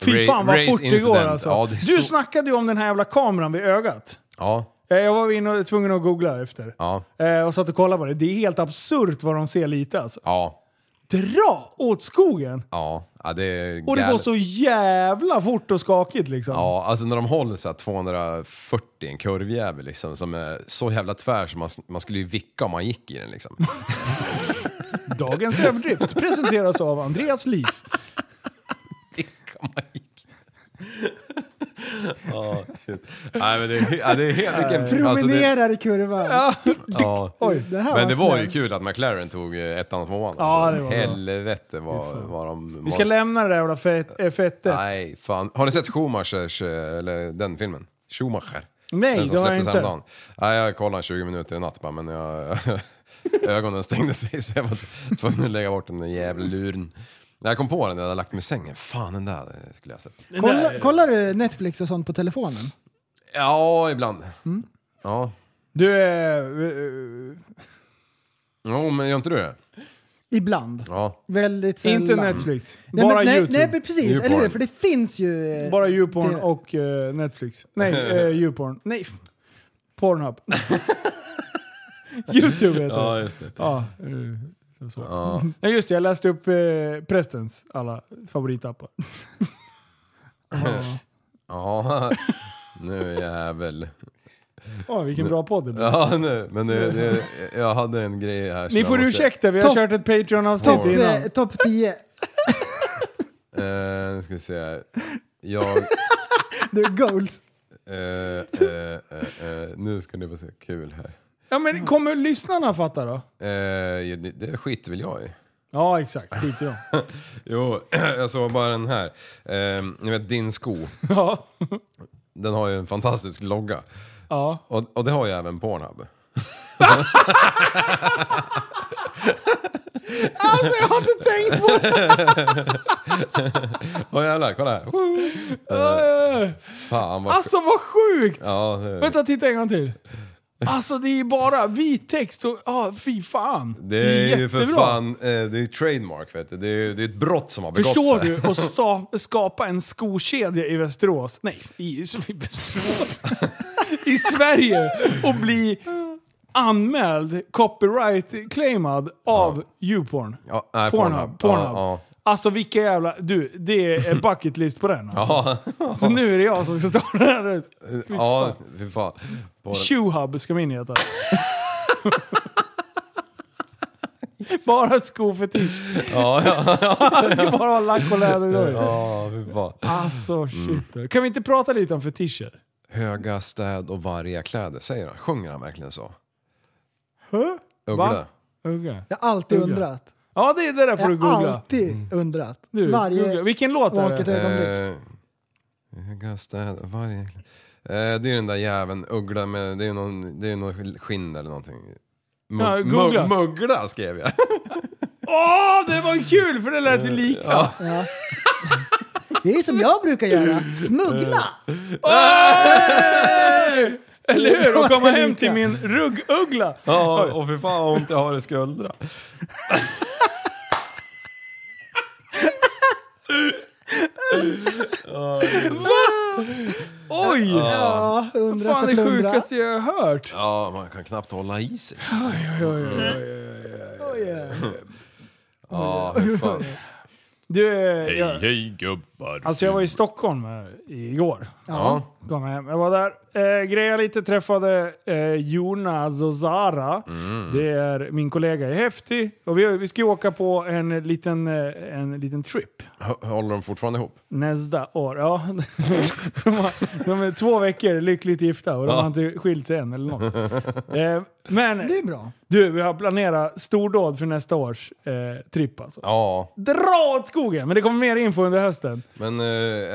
Speaker 5: Fy
Speaker 7: ra-
Speaker 5: fan vad
Speaker 7: race
Speaker 5: fort det går
Speaker 7: incident.
Speaker 5: alltså.
Speaker 7: Ja, det är
Speaker 5: du
Speaker 7: så-
Speaker 5: snackade ju om den här jävla kameran vid ögat.
Speaker 7: Ja,
Speaker 5: Eh, Jag var inne och, tvungen att googla efter.
Speaker 7: ja,
Speaker 5: Eh, och satt och kollade på det. Det är helt absurt vad de ser lite alltså.
Speaker 7: ja,
Speaker 5: Dra åt skogen!
Speaker 7: ja. ja det är
Speaker 5: Och det går
Speaker 7: galet.
Speaker 5: så jävla fort och skakigt liksom.
Speaker 7: Ja, alltså när de håller så här 240 i en kurvjävel liksom, som är så jävla tvär så man, man skulle ju vicka om man gick i den liksom.
Speaker 5: Dagens överdrift presenteras av Andreas Liv.
Speaker 7: vicka om man gick. Ja, shit. Nej men det, är- ja, det är helt... Vilken, alltså det,
Speaker 6: Promenerar i kurvan.
Speaker 7: ja.
Speaker 6: Oj, det här
Speaker 7: Men det var
Speaker 6: snällt.
Speaker 7: ju kul att McLaren tog eh, ettan och tvåan.
Speaker 5: Ja, det var bra.
Speaker 7: Helvete vad, vad de...
Speaker 5: Vi ska
Speaker 7: var-
Speaker 5: lämna det där jävla fet- eh, fettet.
Speaker 7: Nej, fan. Har ni sett Schumachers, eh, eller den filmen? Schumacher?
Speaker 5: Nej,
Speaker 7: den som
Speaker 5: det har jag
Speaker 7: släpptes
Speaker 5: inte.
Speaker 7: häromdagen. Nej, jag kollade 20 minuter i natt bara, men jag, ögonen stängde sig så jag var tv- tvungen att lägga bort den där jävla luren. När jag kom på den, jag hade lagt mig i sängen. Fan, den där eh, skulle jag ha sett.
Speaker 6: Kolla, kollar du Netflix och sånt på telefonen?
Speaker 7: Ja, ibland.
Speaker 5: Mm.
Speaker 7: Ja.
Speaker 5: Du, eh,
Speaker 7: Jo, men gör inte du det?
Speaker 6: Ibland.
Speaker 7: Ja.
Speaker 6: Väldigt
Speaker 5: eh,
Speaker 6: sällan.
Speaker 5: inte Netflix.
Speaker 6: Nej,
Speaker 5: bara
Speaker 6: men, nej,
Speaker 5: YouTube.
Speaker 6: nej, men precis.
Speaker 7: Youporn.
Speaker 6: Eller hur? För det finns ju... eh,
Speaker 5: bara YouPorn
Speaker 6: det-
Speaker 5: och eh, Netflix. Nej, eh, YouPorn. Nej. Pornhub. YouTube heter det.
Speaker 7: just det.
Speaker 5: Ja. eh, så. Nej, just det. Jag läste upp eh, prästens alla favoritappar.
Speaker 7: Ja, nu jävel.
Speaker 5: Åh, vilken bra podd det blev.
Speaker 7: Ja, nu. Men det, det, jag hade en grej här. som
Speaker 5: Ni
Speaker 7: jag
Speaker 5: får
Speaker 7: måste-
Speaker 5: ursäkta, vi har
Speaker 6: Topp-
Speaker 5: kört ett Patreon-avsnitt
Speaker 6: Topp
Speaker 5: innan.
Speaker 6: eh, topp 10.
Speaker 7: Eh, nu ska vi se här. Jag...
Speaker 6: Du är goals.
Speaker 7: Eh, eh, eh, eh, nu ska ni få se kul här.
Speaker 5: Ja, men kommer lyssnarna fatta då?
Speaker 7: Eh, det, det skiter väl jag i.
Speaker 5: Ja, exakt. Skit i dem.
Speaker 7: Jo, jag såg bara den här. Eh, ni vet din sko.
Speaker 5: Ja.
Speaker 7: Den har ju en fantastisk logga.
Speaker 5: ja.
Speaker 7: Och, och det har ju även Pornhub.
Speaker 5: Alltså, jag har inte tänkt på det!
Speaker 7: Åh jävlar, kolla här. Woo! Fan vad...
Speaker 5: Alltså vad sjukt!
Speaker 7: Äh, Ja, det-
Speaker 5: Vänta, titta en gång till. Alltså det är ju bara vit text och ah, fy fan.
Speaker 7: Det är ju för
Speaker 5: Jättebra.
Speaker 7: fan, eh, det är ju trademark vet du. Det är, ju- det är ett brott som har begåtts.
Speaker 5: Förstår
Speaker 7: här.
Speaker 5: du att sta- skapa en skokedja i Västerås? Nej, i, i Västerås. I Sverige och bli anmäld, copyright-claimad av Youporn.
Speaker 7: Ja, nej,
Speaker 5: Pornhub.
Speaker 7: Pornhub.
Speaker 5: Pornhub.
Speaker 7: Ja,
Speaker 5: Alltså vilka jävla... Du, det är bucket list på den alltså.
Speaker 7: Ja,
Speaker 5: Så nu är det jag som ska starta den här. Fy
Speaker 7: ja
Speaker 5: fan.
Speaker 7: fy fan. Porn-
Speaker 5: Shoehub ska min heta. bara skofetisch.
Speaker 7: Ja, ja, ja.
Speaker 5: Jag ska bara ha lack och läderdojor.
Speaker 7: Ja, fy fan.
Speaker 5: Alltså shit. Kan vi inte prata lite om fetischer?
Speaker 7: Höga städ och varga kläder, säger han. Sjunger han verkligen så?
Speaker 6: Huh?
Speaker 7: Uggla.
Speaker 5: Ugga.
Speaker 6: Jag har alltid
Speaker 5: Ugga.
Speaker 6: undrat.
Speaker 5: Ja, det, det där får
Speaker 6: Jag
Speaker 5: du
Speaker 6: har
Speaker 5: googla.
Speaker 6: alltid undrat.
Speaker 5: Du,
Speaker 6: Varje...
Speaker 5: googla. Vilken låt är
Speaker 6: Vaket
Speaker 5: det?
Speaker 6: ögonblick.
Speaker 7: Eh, Höga städ och varga kläder. Eh, det är den där jäveln, Uggla med, det är någon, det är någon skinn eller någonting. Mug-
Speaker 5: Ja, googla.
Speaker 7: mug- Muggla skrev jag.
Speaker 5: Åh, det var kul för det lät ju lika.
Speaker 6: Ja. Det är ju som jag brukar göra. Smuggla!
Speaker 5: Eh, Hey! Eller hur? Och komma hem till min rugguggla.
Speaker 7: Ja, och för fan vad ont jag har i skuldra.
Speaker 5: Oj!
Speaker 6: Ja, undra
Speaker 5: Fan
Speaker 6: för
Speaker 5: det
Speaker 6: plundra.
Speaker 5: sjukaste jag har hört.
Speaker 7: Ja, man kan knappt hålla i sig.
Speaker 6: Oj, ja.
Speaker 7: Ja, hur fan.
Speaker 5: Du, eh, jag,
Speaker 12: Hej gubbar.
Speaker 5: alltså jag var i Stockholm eh, igår.
Speaker 7: Ja.
Speaker 5: Kom hem. Jag var där, eh, grejade lite, träffade eh, Jonas och Zara.
Speaker 7: Mm.
Speaker 5: Det är min kollega i Häftig. Och vi, vi ska ju åka på en liten, eh, en liten trip.
Speaker 7: H- Håller de fortfarande ihop?
Speaker 5: Nästa år. Ja. De, har, de är två veckor lyckligt gifta och de
Speaker 7: Ja.
Speaker 5: har inte skilt sig än eller något. Eh, men
Speaker 6: Det är bra.
Speaker 5: du, vi har planerat stordåd för nästa års eh, tripp alltså.
Speaker 7: Ja,
Speaker 5: Dra åt skogen! Men det kommer mer info under hösten.
Speaker 7: men eh,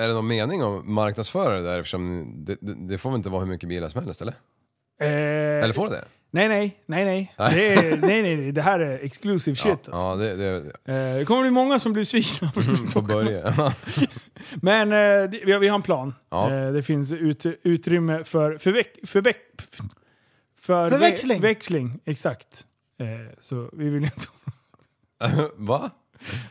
Speaker 7: är det någon mening om marknadsförare där eftersom det, det, det får väl inte vara hur mycket bilar som helst eller?
Speaker 5: Eh,
Speaker 7: Eller får det det?
Speaker 5: Nej, nej, nej, nej.
Speaker 7: Nej.
Speaker 5: Det är, nej, nej, nej. Det här är exclusive
Speaker 7: Ja, Mm,
Speaker 5: shit alltså.
Speaker 7: ja det, det, det
Speaker 5: Eh, det kommer bli många som blir svikna.
Speaker 7: får börja.
Speaker 5: Men eh, det- vi, har, vi har en plan.
Speaker 7: Ja.
Speaker 5: Eh, det finns ut, utrymme för förväx, förväx, för
Speaker 6: Förväxling.
Speaker 5: Ve, växling, exakt. Eh, så vi vill inte...
Speaker 7: Va?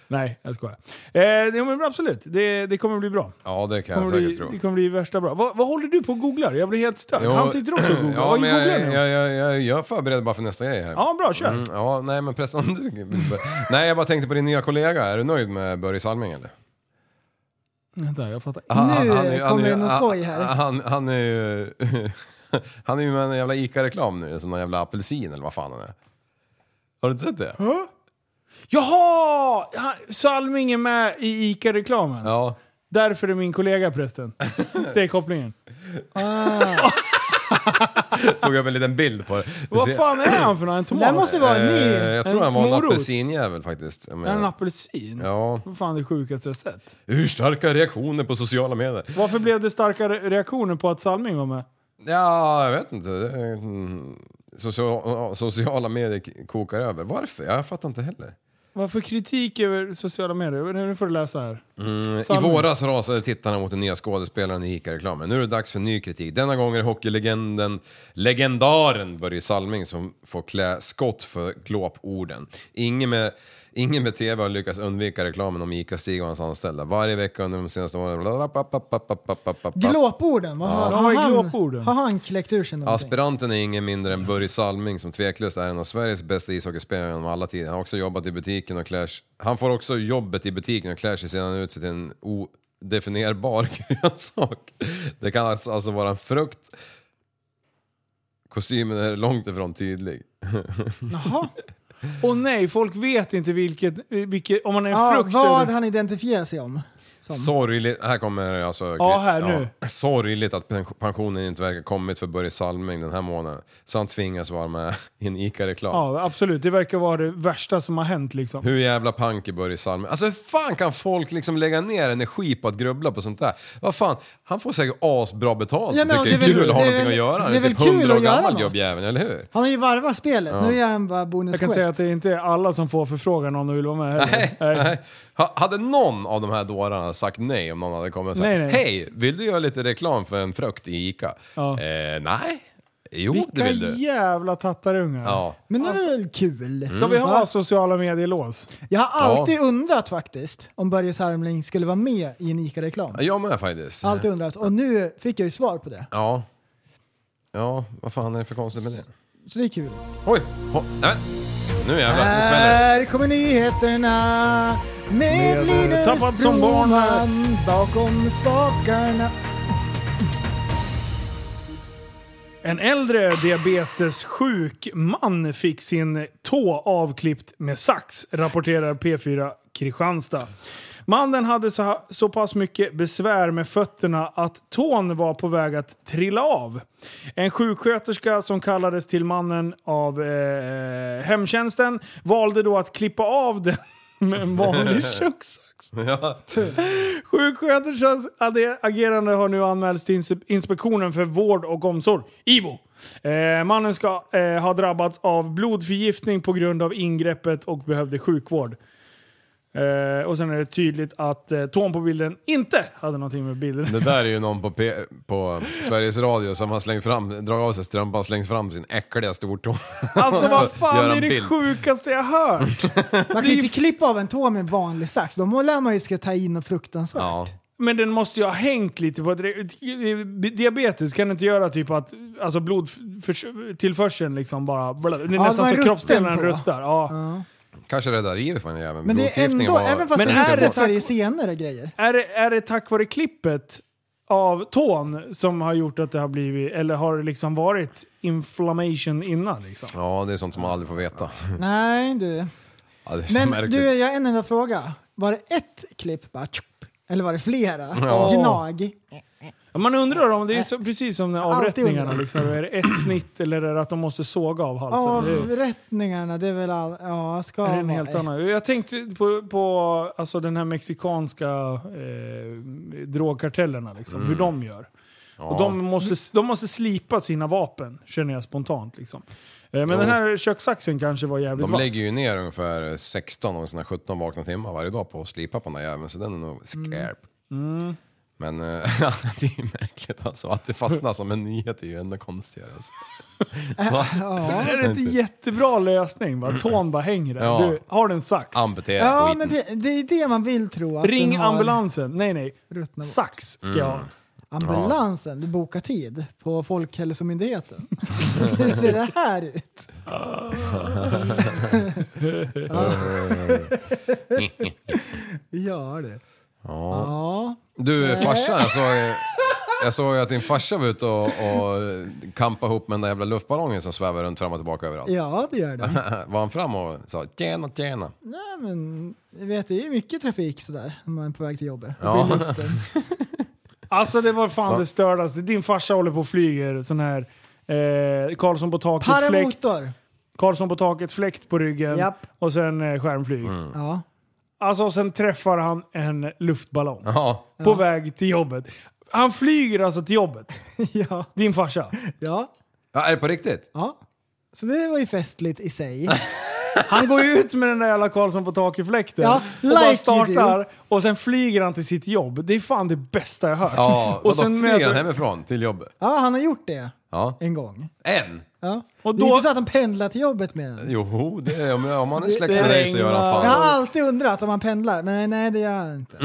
Speaker 5: Nej, jag skojar. Eh, det, men absolut, det, det kommer bli bra.
Speaker 7: Ja, det kan
Speaker 5: Kommer
Speaker 7: jag
Speaker 5: bli,
Speaker 7: säkert
Speaker 5: det
Speaker 7: tro.
Speaker 5: kommer bli värsta bra. Vad, vad håller du på och googlar? Jag blir helt störd.
Speaker 7: Jo.
Speaker 5: Han sitter också och googlar.
Speaker 7: Ja,
Speaker 5: vad
Speaker 7: men
Speaker 5: googlar
Speaker 7: jag,
Speaker 5: ni om?
Speaker 7: jag, jag, jag, jag förbereder bara för nästa grej här.
Speaker 5: Ja, bra. Kör.
Speaker 7: Mm, ja, nej men pressen om du vill börja. Nej, jag bara tänkte på din nya kollega. Är du nöjd med Börje Salming eller?
Speaker 5: Vänta, jag fattar.
Speaker 7: Han- han-
Speaker 6: Nu
Speaker 7: han är ju- han
Speaker 6: kommer
Speaker 7: är ju-
Speaker 6: det någon
Speaker 7: han-
Speaker 6: skoj här.
Speaker 7: Han, han är ju... Han är ju med en jävla ICA-reklam nu, som någon jävla apelsin eller vad fan han är. Har du inte sett det?
Speaker 5: Jaha! Han, Salming är med i ICA-reklamen.
Speaker 7: Ja.
Speaker 5: Därför är min kollega prästen. Det är kopplingen.
Speaker 7: Tog upp en liten bild på det. Vi
Speaker 5: Vad
Speaker 7: ser-
Speaker 5: fan är han för något? En
Speaker 6: Det här
Speaker 5: tomat?
Speaker 6: måste vara en
Speaker 7: Eh,
Speaker 6: ny.
Speaker 7: jag
Speaker 5: En
Speaker 7: tror han var en
Speaker 5: morot.
Speaker 7: apelsinjävel faktiskt. Jag
Speaker 5: Är han en
Speaker 7: menar,
Speaker 5: apelsin?
Speaker 7: ja.
Speaker 5: Vad fan det sjukaste jag sett.
Speaker 7: Hur starka reaktioner på sociala medier?
Speaker 5: Varför blev det starka re- reaktioner på att Salming var med?
Speaker 7: Ja, jag vet inte. Det är- mm, Socia sociala medier k- kokar över. Varför? Jag fattar inte heller.
Speaker 5: Varför kritik över sociala medier? Nu får du läsa här.
Speaker 7: Mm, I
Speaker 5: Salming.
Speaker 7: våras rasade tittarna mot den nya skådespelaren i ICA-reklamen. Nu är det dags för ny kritik. Denna gång är det hockeylegenden, legendaren Börje Salming som får klä skott för glåporden. Ingen med, ingen med TV har lyckats undvika reklamen om ICA-Stig och hans anställda. Varje vecka under de senaste åren...
Speaker 6: Glåporden, vad har,
Speaker 5: Ja,
Speaker 6: har,
Speaker 5: vad är
Speaker 6: han,
Speaker 5: glåporden?
Speaker 6: har han kläckt ur sig någonting?
Speaker 7: Aspiranten är ingen mindre än Börje Salming som tveklöst är en av Sveriges bästa ishockeyspelare genom alla tider. Han har också jobbat i butiken och klär sig- Han får också jobbet i butiken och klär sig sedan ut sig till en odefinierbar grönsak. Det kan alltså alltså vara en frukt. Kostymen är långt ifrån tydlig.
Speaker 6: Jaha.
Speaker 5: Och nej, folk vet inte vilket, vilket om man är en
Speaker 6: Ja,
Speaker 5: frukt
Speaker 6: Ah, vad
Speaker 5: eller...
Speaker 6: han identifierar sig om.
Speaker 7: Sorgligt, här kommer alltså...
Speaker 5: Ja, här nu.
Speaker 7: sorgligt att pen- pensionen inte verkar kommit för Börje Salming den här månaden. Så han tvingas vara med i en ICA-reklam.
Speaker 5: Ja, absolut. Det verkar vara det värsta som har hänt liksom.
Speaker 7: Hur jävla pank är Börje Salming? Alltså hur fan kan folk liksom lägga ner energi på att grubbla på sånt där? Vad fan, han får säkert asbra betalt
Speaker 6: Ja,
Speaker 7: och
Speaker 6: men
Speaker 7: tycker det
Speaker 6: det är
Speaker 7: är
Speaker 6: väl-
Speaker 7: kul att ha
Speaker 6: det är
Speaker 7: någonting att
Speaker 6: väl-
Speaker 7: göra. Han
Speaker 6: det
Speaker 7: är
Speaker 6: är väl
Speaker 7: typ
Speaker 6: kul
Speaker 7: 100 år
Speaker 6: att göra
Speaker 7: gammal
Speaker 6: något.
Speaker 7: gubbjäveln, eller hur?
Speaker 6: Han har ju varvat spelet, nu gör han bara bonus
Speaker 5: Jag kan
Speaker 6: quest.
Speaker 5: säga att det inte är alla som får förfrågan om de vill vara med heller.
Speaker 7: Nej, nej. Ha- Hade någon av de här dårarna sagt nej om någon hade kommit och sagt
Speaker 5: Nej, nej.
Speaker 7: Hej, vill du göra lite reklam för en frukt i ICA?
Speaker 5: Ja.
Speaker 7: Eh, nej. Jo,
Speaker 5: Vilka
Speaker 7: det vill du.
Speaker 5: jävla tattarungar.
Speaker 7: Ja.
Speaker 6: Men det är väl kul?
Speaker 5: Ska vi ha
Speaker 6: Va?
Speaker 5: sociala medier-lås?
Speaker 6: Jag har
Speaker 7: Ja.
Speaker 6: alltid undrat faktiskt om Börje Sarmling skulle vara med i en ICA-reklam.
Speaker 7: Jag med faktiskt.
Speaker 6: Alltid undrat. Och nu fick jag ju svar på det.
Speaker 7: Ja. Ja, vad fan är det för konstigt med det?
Speaker 6: Så det är kul.
Speaker 7: Oj! Ho, nej. Nu jävlar, nu smäller det.
Speaker 6: Här kommer nyheterna med
Speaker 5: Med, eh, Tappad
Speaker 6: Linus
Speaker 5: som barn här.
Speaker 6: Broman bakom spakarna.
Speaker 5: En äldre diabetessjuk man fick sin tå avklippt med sax, rapporterar P4 Kristianstad. Mannen hade så, ha- så pass mycket besvär med fötterna att tån var på väg att trilla av. En sjuksköterska som kallades till mannen av eh, hemtjänsten valde då att klippa av den med en vanlig kökssax.
Speaker 7: Ja.
Speaker 5: Sjuksköterskans ade- agerande har nu anmälts till inse- Inspektionen för vård och omsorg, IVO. Eh, mannen ska eh, ha drabbats av blodförgiftning på grund av ingreppet och behövde sjukvård. Eh, och sen är det tydligt att eh, tån på bilden inte hade någonting med bilden
Speaker 7: Det där är ju någon på, P- på Sveriges Radio som har slängt fram, dragit av sig strumpan och slängt fram sin äckliga stortå.
Speaker 5: Alltså vad fan
Speaker 7: Göra
Speaker 5: det
Speaker 7: en
Speaker 5: är det
Speaker 7: bild.
Speaker 5: sjukaste jag hört!
Speaker 6: Man kan ju inte klippa av en tå med en vanlig sax. Då lär man ju ska ta in och fruktansvärt.
Speaker 7: Ja.
Speaker 5: Men den måste ju ha hängt lite på... Diabetes kan inte göra typ att alltså blodtillförseln liksom bara... Det är
Speaker 6: var
Speaker 5: nästan
Speaker 6: en
Speaker 5: så
Speaker 6: rutten
Speaker 5: kroppsdelen
Speaker 6: tå.
Speaker 5: ruttar. Ja.
Speaker 7: Kanske räddar livet på den jäveln.
Speaker 6: Men det är
Speaker 7: Blodförgiftningen
Speaker 6: ändå, även fast
Speaker 5: Men
Speaker 6: det
Speaker 5: är det
Speaker 6: är
Speaker 5: tack-
Speaker 6: Sverige senare grejer.
Speaker 5: Är det, är det tack vare klippet av tån som har gjort att det har blivit, eller har det liksom varit inflammation innan? Liksom?
Speaker 7: Ja, det är sånt som man aldrig får veta.
Speaker 5: Mm.
Speaker 6: Nej du.
Speaker 7: Ja, det är så
Speaker 6: Men
Speaker 7: märkligt.
Speaker 6: du, jag har en enda fråga. Var det ett klipp bara tjup, eller var det flera?
Speaker 7: Ja.
Speaker 6: Gnag.
Speaker 5: Ja, Man undrar om det är så, precis som när
Speaker 6: Alltid
Speaker 5: avrättningarna,
Speaker 6: undrar.
Speaker 5: liksom, är det ett snitt eller är det att de måste såga av halsen? Alltså, det är,
Speaker 6: Avrättningarna, det är väl all... Ja, ska
Speaker 5: är det en
Speaker 6: vara
Speaker 5: helt
Speaker 6: ett.
Speaker 5: annan. Jag tänkte på, på alltså, den här mexikanska eh, drogkartellerna, liksom,
Speaker 7: Mm.
Speaker 5: hur de gör. Och de, måste, de måste slipa sina vapen, känner jag spontant. Liksom. Eh, Men den här kökssaxen kanske var jävligt
Speaker 7: De
Speaker 5: vass.
Speaker 7: lägger ju ner ungefär 16 av sina 17 vakna timmar varje dag på att slipa på den där jäveln, så den är nog
Speaker 6: Mm.
Speaker 7: skarp. Men eh, det är ju märkligt alltså, att det fastnar som en nyhet är ju ännu konstigare. Alltså.
Speaker 6: Äh,
Speaker 7: Va?
Speaker 5: Det är inte jättebra lösning. Va? Tån bara hänger där.
Speaker 7: Mm. Ja.
Speaker 5: Du, har den sax?
Speaker 7: Amputera
Speaker 6: Ja, men
Speaker 7: skiten.
Speaker 6: pre- det är det man vill tro. Att
Speaker 5: Ring
Speaker 6: den har
Speaker 5: ambulansen. Nej, nej.
Speaker 6: ruttnat bort.
Speaker 5: Sax ska jag
Speaker 7: Mm.
Speaker 5: ha.
Speaker 6: Ambulansen, du bokar tid på Folkhälsomyndigheten. Hur ser det här ut? Ja du. Ja.
Speaker 7: Du
Speaker 5: Eh.
Speaker 7: farsan, jag såg, jag såg ju att din farsa var ute och, och kampade ihop med den där jävla luftballongen som svävar runt fram och tillbaka överallt.
Speaker 6: Ja, det gör det.
Speaker 7: Var han fram och sa tjena, tjena?
Speaker 6: Nej, men jag vet, det är mycket trafik sådär när man är på väg till jobbet.
Speaker 7: Ja.
Speaker 6: Ja. I luften.
Speaker 5: Alltså det var fan det stördaste. Din farsa håller på och flyger sån här eh, Karlsson på taket fläkt.
Speaker 6: Paramotor.
Speaker 5: Karlsson på taket fläkt på ryggen.
Speaker 6: Japp.
Speaker 5: Och sen eh, skärmflyg.
Speaker 7: Mm.
Speaker 6: Ja.
Speaker 5: Alltså och sen träffar han en luftballong.
Speaker 7: Ja.
Speaker 5: På väg till jobbet. Han flyger alltså till jobbet.
Speaker 6: ja.
Speaker 5: Din farsa.
Speaker 6: Ja.
Speaker 7: ja. Är det på riktigt?
Speaker 6: Ja. Så det var ju festligt i sig.
Speaker 5: Han går ju ut med den där jävla Karlsson på taket-fläkten
Speaker 6: Ja,
Speaker 5: och bara
Speaker 6: like you
Speaker 5: startar och sen flyger han till sitt jobb. Det är fan det bästa jag hört.
Speaker 7: Ja,
Speaker 5: och,
Speaker 7: och då
Speaker 5: sen
Speaker 7: flyger han
Speaker 5: möter,
Speaker 7: hemifrån till jobbet.
Speaker 6: Ja, han har gjort det
Speaker 7: Ja.
Speaker 6: en gång.
Speaker 7: En?
Speaker 6: Ja.
Speaker 5: och
Speaker 6: Det är
Speaker 5: då
Speaker 6: inte så att han pendlar till jobbet med den.
Speaker 7: Joho, det är, om, om han är släkt
Speaker 5: det
Speaker 7: med dig så gör han
Speaker 6: Jag
Speaker 7: fan.
Speaker 6: har alltid undrat om han pendlar, men nej, nej det gör han inte.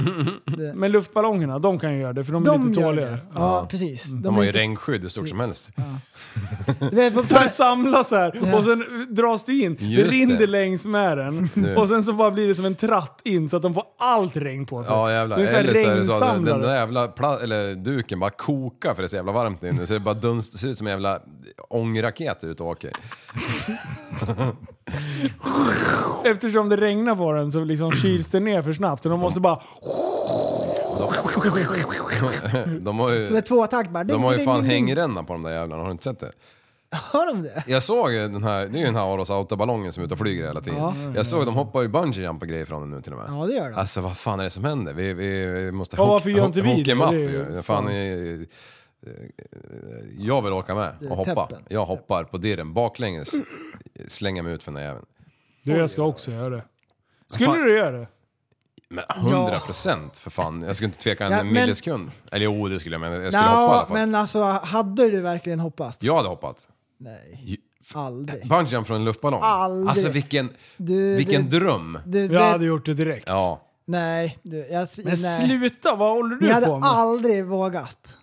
Speaker 5: Men luftballongerna, de kan ju göra det för de är
Speaker 6: De
Speaker 5: lite
Speaker 6: gör
Speaker 5: tåligare.
Speaker 6: det. Ja, precis.
Speaker 7: Mm. De har ju
Speaker 6: är inte-
Speaker 7: regnskydd hur stort som helst.
Speaker 6: Du vet, på
Speaker 5: Så det samlas här
Speaker 6: Ja.
Speaker 5: och sen dras du in. det
Speaker 7: Just
Speaker 5: rinner
Speaker 7: det.
Speaker 5: längs med den.
Speaker 7: Nu.
Speaker 5: Och sen så bara blir det som en tratt in så att de får allt regn på sig.
Speaker 7: Ja jävlar.
Speaker 5: Det är så här
Speaker 7: Eller så är det så att den
Speaker 5: regnsamlare.
Speaker 7: där jävla pla- eller duken bara kokar för det är så jävla varmt inne. Så det bara dunst, det ser ut som en jävla ångraket ut och åker.
Speaker 5: Eftersom det regnar på den så liksom kyls det ner för snabbt. Så de måste bara... Mm.
Speaker 7: De har
Speaker 6: Som är
Speaker 7: ju,
Speaker 6: tvåtakt bara. Ding,
Speaker 7: de har ju
Speaker 6: ding,
Speaker 7: fan
Speaker 6: ding, ding.
Speaker 7: hängränna på de där jävlarna, har du inte sett det?
Speaker 6: Har de det?
Speaker 7: Jag såg ju den här, det är ju den här Aros Auta-ballongen som är ute och flyger hela tiden. Jag såg de hoppar ju bungee jump och grejer från den nu till och med.
Speaker 6: Ja, det gör de.
Speaker 7: Alltså vad fan är det som händer? Vi, vi, vi måste
Speaker 5: Ja, varför gör inte vi
Speaker 7: hook
Speaker 5: det?
Speaker 7: em up
Speaker 5: Det är ju-
Speaker 7: ju. Fan, eh, eh, jag vill åka med och hoppa.
Speaker 6: Täppen.
Speaker 7: Jag hoppar på dirren baklänges, slänger mig ut för den där jäveln.
Speaker 5: Du, jag ska också göra det. Skulle
Speaker 7: Fan.
Speaker 5: du göra det?
Speaker 7: Men 100 procent för fan. Jag skulle inte tveka en
Speaker 6: Ja, men-
Speaker 7: millisekund. Eller jo, det skulle jag men jag skulle hoppa i alla
Speaker 6: Nå,
Speaker 7: fall.
Speaker 6: men alltså hade du verkligen hoppats?
Speaker 7: Jag hade hoppat.
Speaker 6: Nej.
Speaker 7: Ju- f-
Speaker 6: Aldrig.
Speaker 7: Bungyjump från en luftballong.
Speaker 6: Aldrig.
Speaker 7: Alltså vilken,
Speaker 6: Du,
Speaker 7: vilken
Speaker 6: du,
Speaker 7: dröm.
Speaker 6: du, du,
Speaker 5: Jag hade gjort det direkt.
Speaker 7: Ja.
Speaker 6: Nej, du, jag,
Speaker 5: Men
Speaker 6: nej.
Speaker 5: sluta, vad håller
Speaker 6: Ni
Speaker 5: du
Speaker 6: hade
Speaker 5: på med?
Speaker 6: aldrig vågat.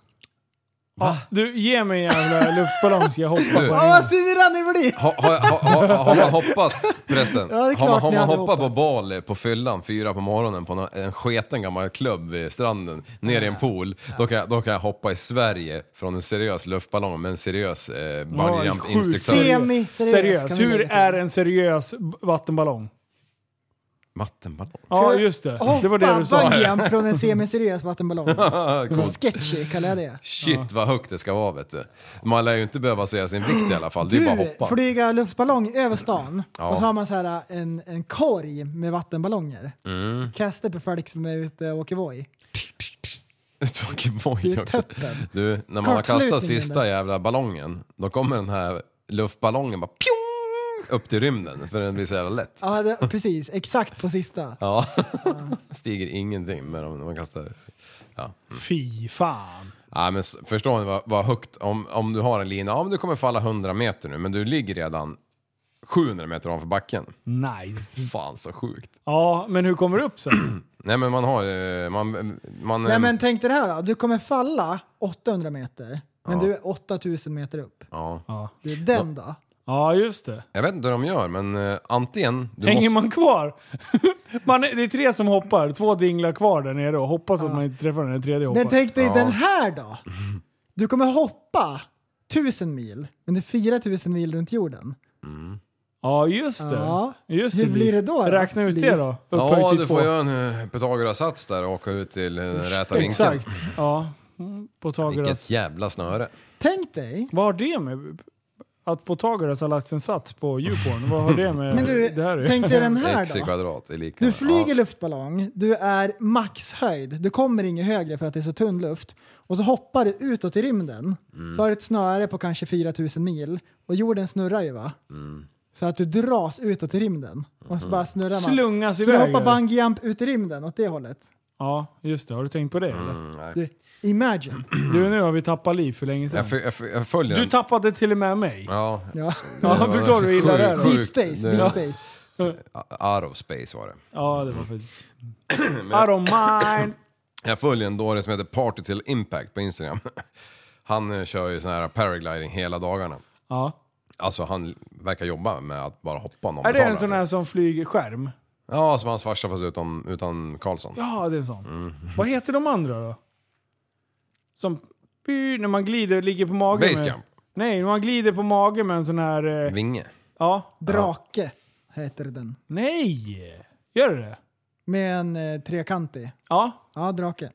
Speaker 5: Ja, du, ge mig en jävla luftballong ska jag hoppa på
Speaker 7: Du.
Speaker 5: den.
Speaker 6: Åh, vad sura ni blir!
Speaker 7: Har ha, ha, ha, har man hoppat förresten?
Speaker 6: Ja, det är
Speaker 7: har man,
Speaker 6: klart
Speaker 7: har
Speaker 6: ni
Speaker 7: man
Speaker 6: hade
Speaker 7: hoppat, på Bali på fyllan fyra på morgonen på en, en sketen gammal klubb vid stranden ner i en pool. Då, kan jag, då kan jag hoppa i Sverige från en seriös luftballong med en seriös eh,
Speaker 5: sjukt
Speaker 7: bungyjump-instruktör.
Speaker 5: seriös.
Speaker 6: Semi-seriös. kan
Speaker 5: Seriös,
Speaker 6: vi
Speaker 5: hur
Speaker 6: säga.
Speaker 5: är en seriös b- vattenballong?
Speaker 7: Vattenballong?
Speaker 5: Ja, just det. Det var det du
Speaker 6: Hoppa
Speaker 5: sa.
Speaker 6: bungyjump från en semiseriös vattenballong.
Speaker 7: Coolt.
Speaker 6: Sketchy kallar jag det.
Speaker 7: Shit vad högt det ska vara vet du. Man lär ju inte behöva säga sin vikt i alla fall, det är bara att
Speaker 6: Du,
Speaker 7: hoppa.
Speaker 6: flyga luftballong över stan
Speaker 7: Ja.
Speaker 6: och så har man så här äh, en, en korg med vattenballonger.
Speaker 7: Mm.
Speaker 6: Kasta på folk som är ute och åker voj.
Speaker 7: Tråkig
Speaker 6: Det
Speaker 7: boj
Speaker 6: är
Speaker 7: också.
Speaker 6: toppen.
Speaker 7: Du, när man har
Speaker 6: Kortslutningen
Speaker 7: kastat sista
Speaker 6: där.
Speaker 7: jävla ballongen, då kommer den här luftballongen bara pjong, upp till rymden för den blir så jävla lätt.
Speaker 6: Ja, det, precis. Exakt på sista.
Speaker 7: Ja, stiger ingenting med dem när man kastar. Ja.
Speaker 5: Fy fan.
Speaker 7: Ja, men s- förstår ni vad, vad högt, om, om du har en lina, ja men du kommer falla 100 meter nu men du ligger redan 700 meter ovanför backen.
Speaker 5: Nice.
Speaker 7: Fan så sjukt.
Speaker 5: Ja, men hur kommer du upp sen?
Speaker 7: Nej men man har ju, man, man...
Speaker 6: Nej men tänk dig det här då. Du kommer falla 800 meter, men du är 8000 meter upp.
Speaker 7: Ja.
Speaker 6: Du är den då.
Speaker 5: Ja, just det.
Speaker 7: Jag vet inte hur de gör men eh, antingen... Du
Speaker 5: Hänger
Speaker 7: måste,
Speaker 5: man kvar? man, är- det är tre som hoppar, två dinglar kvar där nere och hoppas att man inte träffar den tredje hoppar.
Speaker 6: Men tänk dig den här då. Du kommer hoppa 1000 mil, men det är 4000 mil runt jorden.
Speaker 5: Ja, just det.
Speaker 6: Ja.
Speaker 5: Just
Speaker 6: Hur blir
Speaker 5: Liv.
Speaker 6: det då, då?
Speaker 5: Räkna ut det
Speaker 6: Liv.
Speaker 5: då. Upphöjt
Speaker 7: Ja,
Speaker 5: till
Speaker 7: du
Speaker 5: två.
Speaker 7: får göra en eh, Pythagoras-sats där och åka ut till eh, den räta vinkeln.
Speaker 5: Exakt. Ja. Mm, Pythagoras.
Speaker 7: Vilket jävla snöre.
Speaker 6: Tänk dig
Speaker 5: Vad har det med... Att Pythagoras har lagt en sats på djuporn, vad har det med
Speaker 6: Men du,
Speaker 5: det här att
Speaker 6: tänk
Speaker 5: göra?
Speaker 6: dig den
Speaker 7: X
Speaker 6: här
Speaker 7: i
Speaker 6: då.
Speaker 7: kvadrat är lika
Speaker 6: Du
Speaker 7: med-
Speaker 6: flyger
Speaker 7: ja.
Speaker 6: luftballong, du är maxhöjd, du kommer inget högre för att det är så tunn luft. Och så hoppar du utåt i rymden.
Speaker 7: Mm.
Speaker 6: Så har du ett snöre på kanske 4000 mil och jorden snurrar ju va?
Speaker 7: Mm.
Speaker 6: Så att du dras utåt i rymden. Och så bara snurrar man.
Speaker 5: Slungas
Speaker 6: så du
Speaker 5: iväg,
Speaker 6: hoppar
Speaker 5: eller?
Speaker 6: bungyjump ut i rymden åt det hållet.
Speaker 5: Ja, just det. Har du tänkt på det eller?
Speaker 7: Mm,
Speaker 6: Du, imagine.
Speaker 5: Du, nu har vi tappat liv för länge sedan.
Speaker 7: Jag, fö- jag, fö- jag följer
Speaker 5: Du
Speaker 7: den.
Speaker 5: tappade till och med mig.
Speaker 7: Ja.
Speaker 6: Ja.
Speaker 5: Ja,
Speaker 7: var
Speaker 5: förstår du hur illa det är?
Speaker 7: sjukt.
Speaker 5: då?
Speaker 6: Deep space,
Speaker 7: Det-
Speaker 6: deep space.
Speaker 7: Out of space var det.
Speaker 5: Ja, det var faktiskt... I don't mind.
Speaker 7: Jag följer en dåre som heter Party till Impact på Instagram. Han eh, kör ju sån här paragliding hela dagarna.
Speaker 5: Ja.
Speaker 7: Alltså han verkar jobba med att bara hoppa om någon
Speaker 5: Är det
Speaker 7: betalar
Speaker 5: en sån
Speaker 7: för
Speaker 5: här som flyger skärm?
Speaker 7: Ja, som hans farsa fast utan, utan Karlsson.
Speaker 5: Ja, det är en sån.
Speaker 7: Mm.
Speaker 5: Vad heter de andra då? Som... By, när man glider och ligger på magen med...
Speaker 7: Basecamp.
Speaker 5: Nej, när man glider på magen med en sån här... Eh,
Speaker 7: Vinge.
Speaker 5: ja.
Speaker 6: Drake heter den.
Speaker 5: Nej! Gör det det?
Speaker 6: Med en eh, trekantig.
Speaker 5: Ja.
Speaker 6: Ja, drake.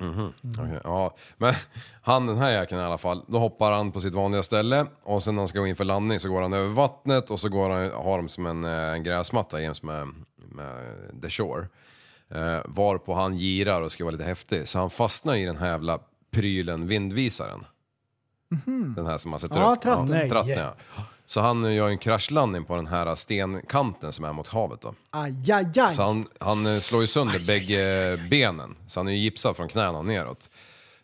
Speaker 7: Mm. Okej, ja. Men han den här jäkeln i alla fall, då hoppar han på sitt vanliga ställe och sen när han ska gå in för landning så går han över vattnet och så går han, har de som en, eh, en gräsmatta jäms med, med the shore. Eh, varpå han girar och ska vara lite häftig så han fastnar i den här jävla prylen vindvisaren. Den här som man sätter
Speaker 6: Mhm. Ja,
Speaker 7: upp.
Speaker 6: tratten.
Speaker 5: Nej.
Speaker 7: tratten ja. Så han eh, gör ju en kraschlandning på den här stenkanten som är mot havet då.
Speaker 6: Ajajaj.
Speaker 7: Så han, han eh, slår ju sönder bägge benen, så han är ju gipsad från knäna och neråt.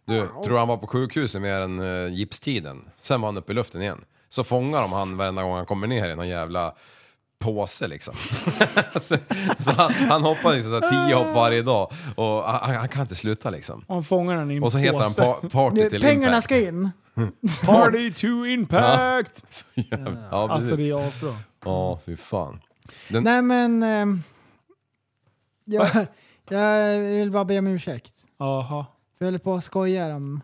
Speaker 7: Du, tror han var på sjukhuset mer än uh, gipstiden? Sen var han uppe i luften igen. Så fångar de han varenda gång han kommer ner i någon jävla påse liksom. så, så han, han hoppar liksom så här tio hopp varje dag och han, han kan inte sluta liksom.
Speaker 5: Han fångar den i en
Speaker 7: Och så heter han
Speaker 5: påse.
Speaker 7: pa- Party
Speaker 6: Nu,
Speaker 7: till
Speaker 6: pengarna
Speaker 7: Impact.
Speaker 6: ska in.
Speaker 5: Party to impact!
Speaker 7: Ja, precis.
Speaker 5: Alltså det är asbra.
Speaker 7: Ja, fy fan. Den,
Speaker 6: Nej men... ehm, jag, jag vill bara be om ursäkt.
Speaker 5: Jaha.
Speaker 6: För jag håller på och skojar om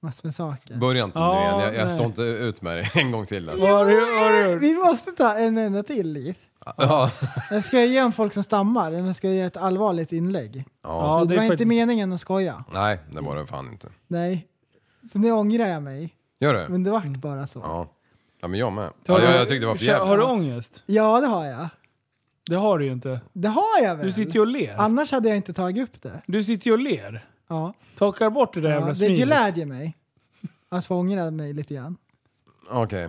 Speaker 6: massor med saker.
Speaker 7: Börja inte nu
Speaker 5: Ja,
Speaker 7: igen, jag, jag
Speaker 5: nej.
Speaker 7: står inte ut med det en gång till. Alltså.
Speaker 5: Vad har du- vad har du gjort?
Speaker 6: Vi måste ta en enda till liv.
Speaker 7: Ja.
Speaker 6: Jag ska ge om folk som stammar, men jag ska ge ett allvarligt inlägg.
Speaker 5: Ja,
Speaker 6: det,
Speaker 5: det är
Speaker 6: var inte
Speaker 5: faktiskt-
Speaker 6: meningen att skoja.
Speaker 7: Nej, det var det fan inte.
Speaker 6: Nej. Så nu ångrar jag mig.
Speaker 7: Gör det?
Speaker 6: Men det vart
Speaker 5: Mm.
Speaker 6: bara så.
Speaker 7: Ja. ja, men jag med.
Speaker 5: Har
Speaker 7: Ja, jag,
Speaker 5: du-
Speaker 7: jag tyckte det var för
Speaker 5: Kör- Har du
Speaker 7: jävligt.
Speaker 5: ångest?
Speaker 6: Ja, det har jag.
Speaker 5: Det har du ju inte.
Speaker 6: Det har jag väl?
Speaker 5: Du sitter ju och ler.
Speaker 6: Annars hade jag inte tagit upp det.
Speaker 5: Du sitter ju och ler.
Speaker 6: Ja.
Speaker 5: Torkar bort det där
Speaker 6: Ja,
Speaker 5: jävla
Speaker 6: det
Speaker 5: smilet.
Speaker 6: glädjer mig. Alltså jag ångrar mig lite grann.
Speaker 7: Okej.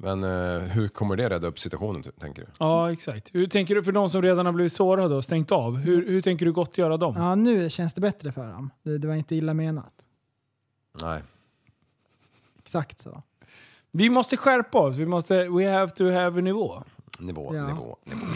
Speaker 7: Men eh, hur kommer det rädda upp situationen, ty- tänker du?
Speaker 5: Ja, exakt. Hur tänker du för de som redan har blivit sårade och stängt av? Hur, hur tänker du gottgöra dem?
Speaker 6: Ja, nu känns det bättre för dem. Det, det var inte illa menat.
Speaker 7: Nej.
Speaker 6: Exakt så.
Speaker 5: Vi måste skärpa oss. Vi måste, we have to have a nivå.
Speaker 7: Nivå,
Speaker 5: Ja.
Speaker 7: nivå, nivå.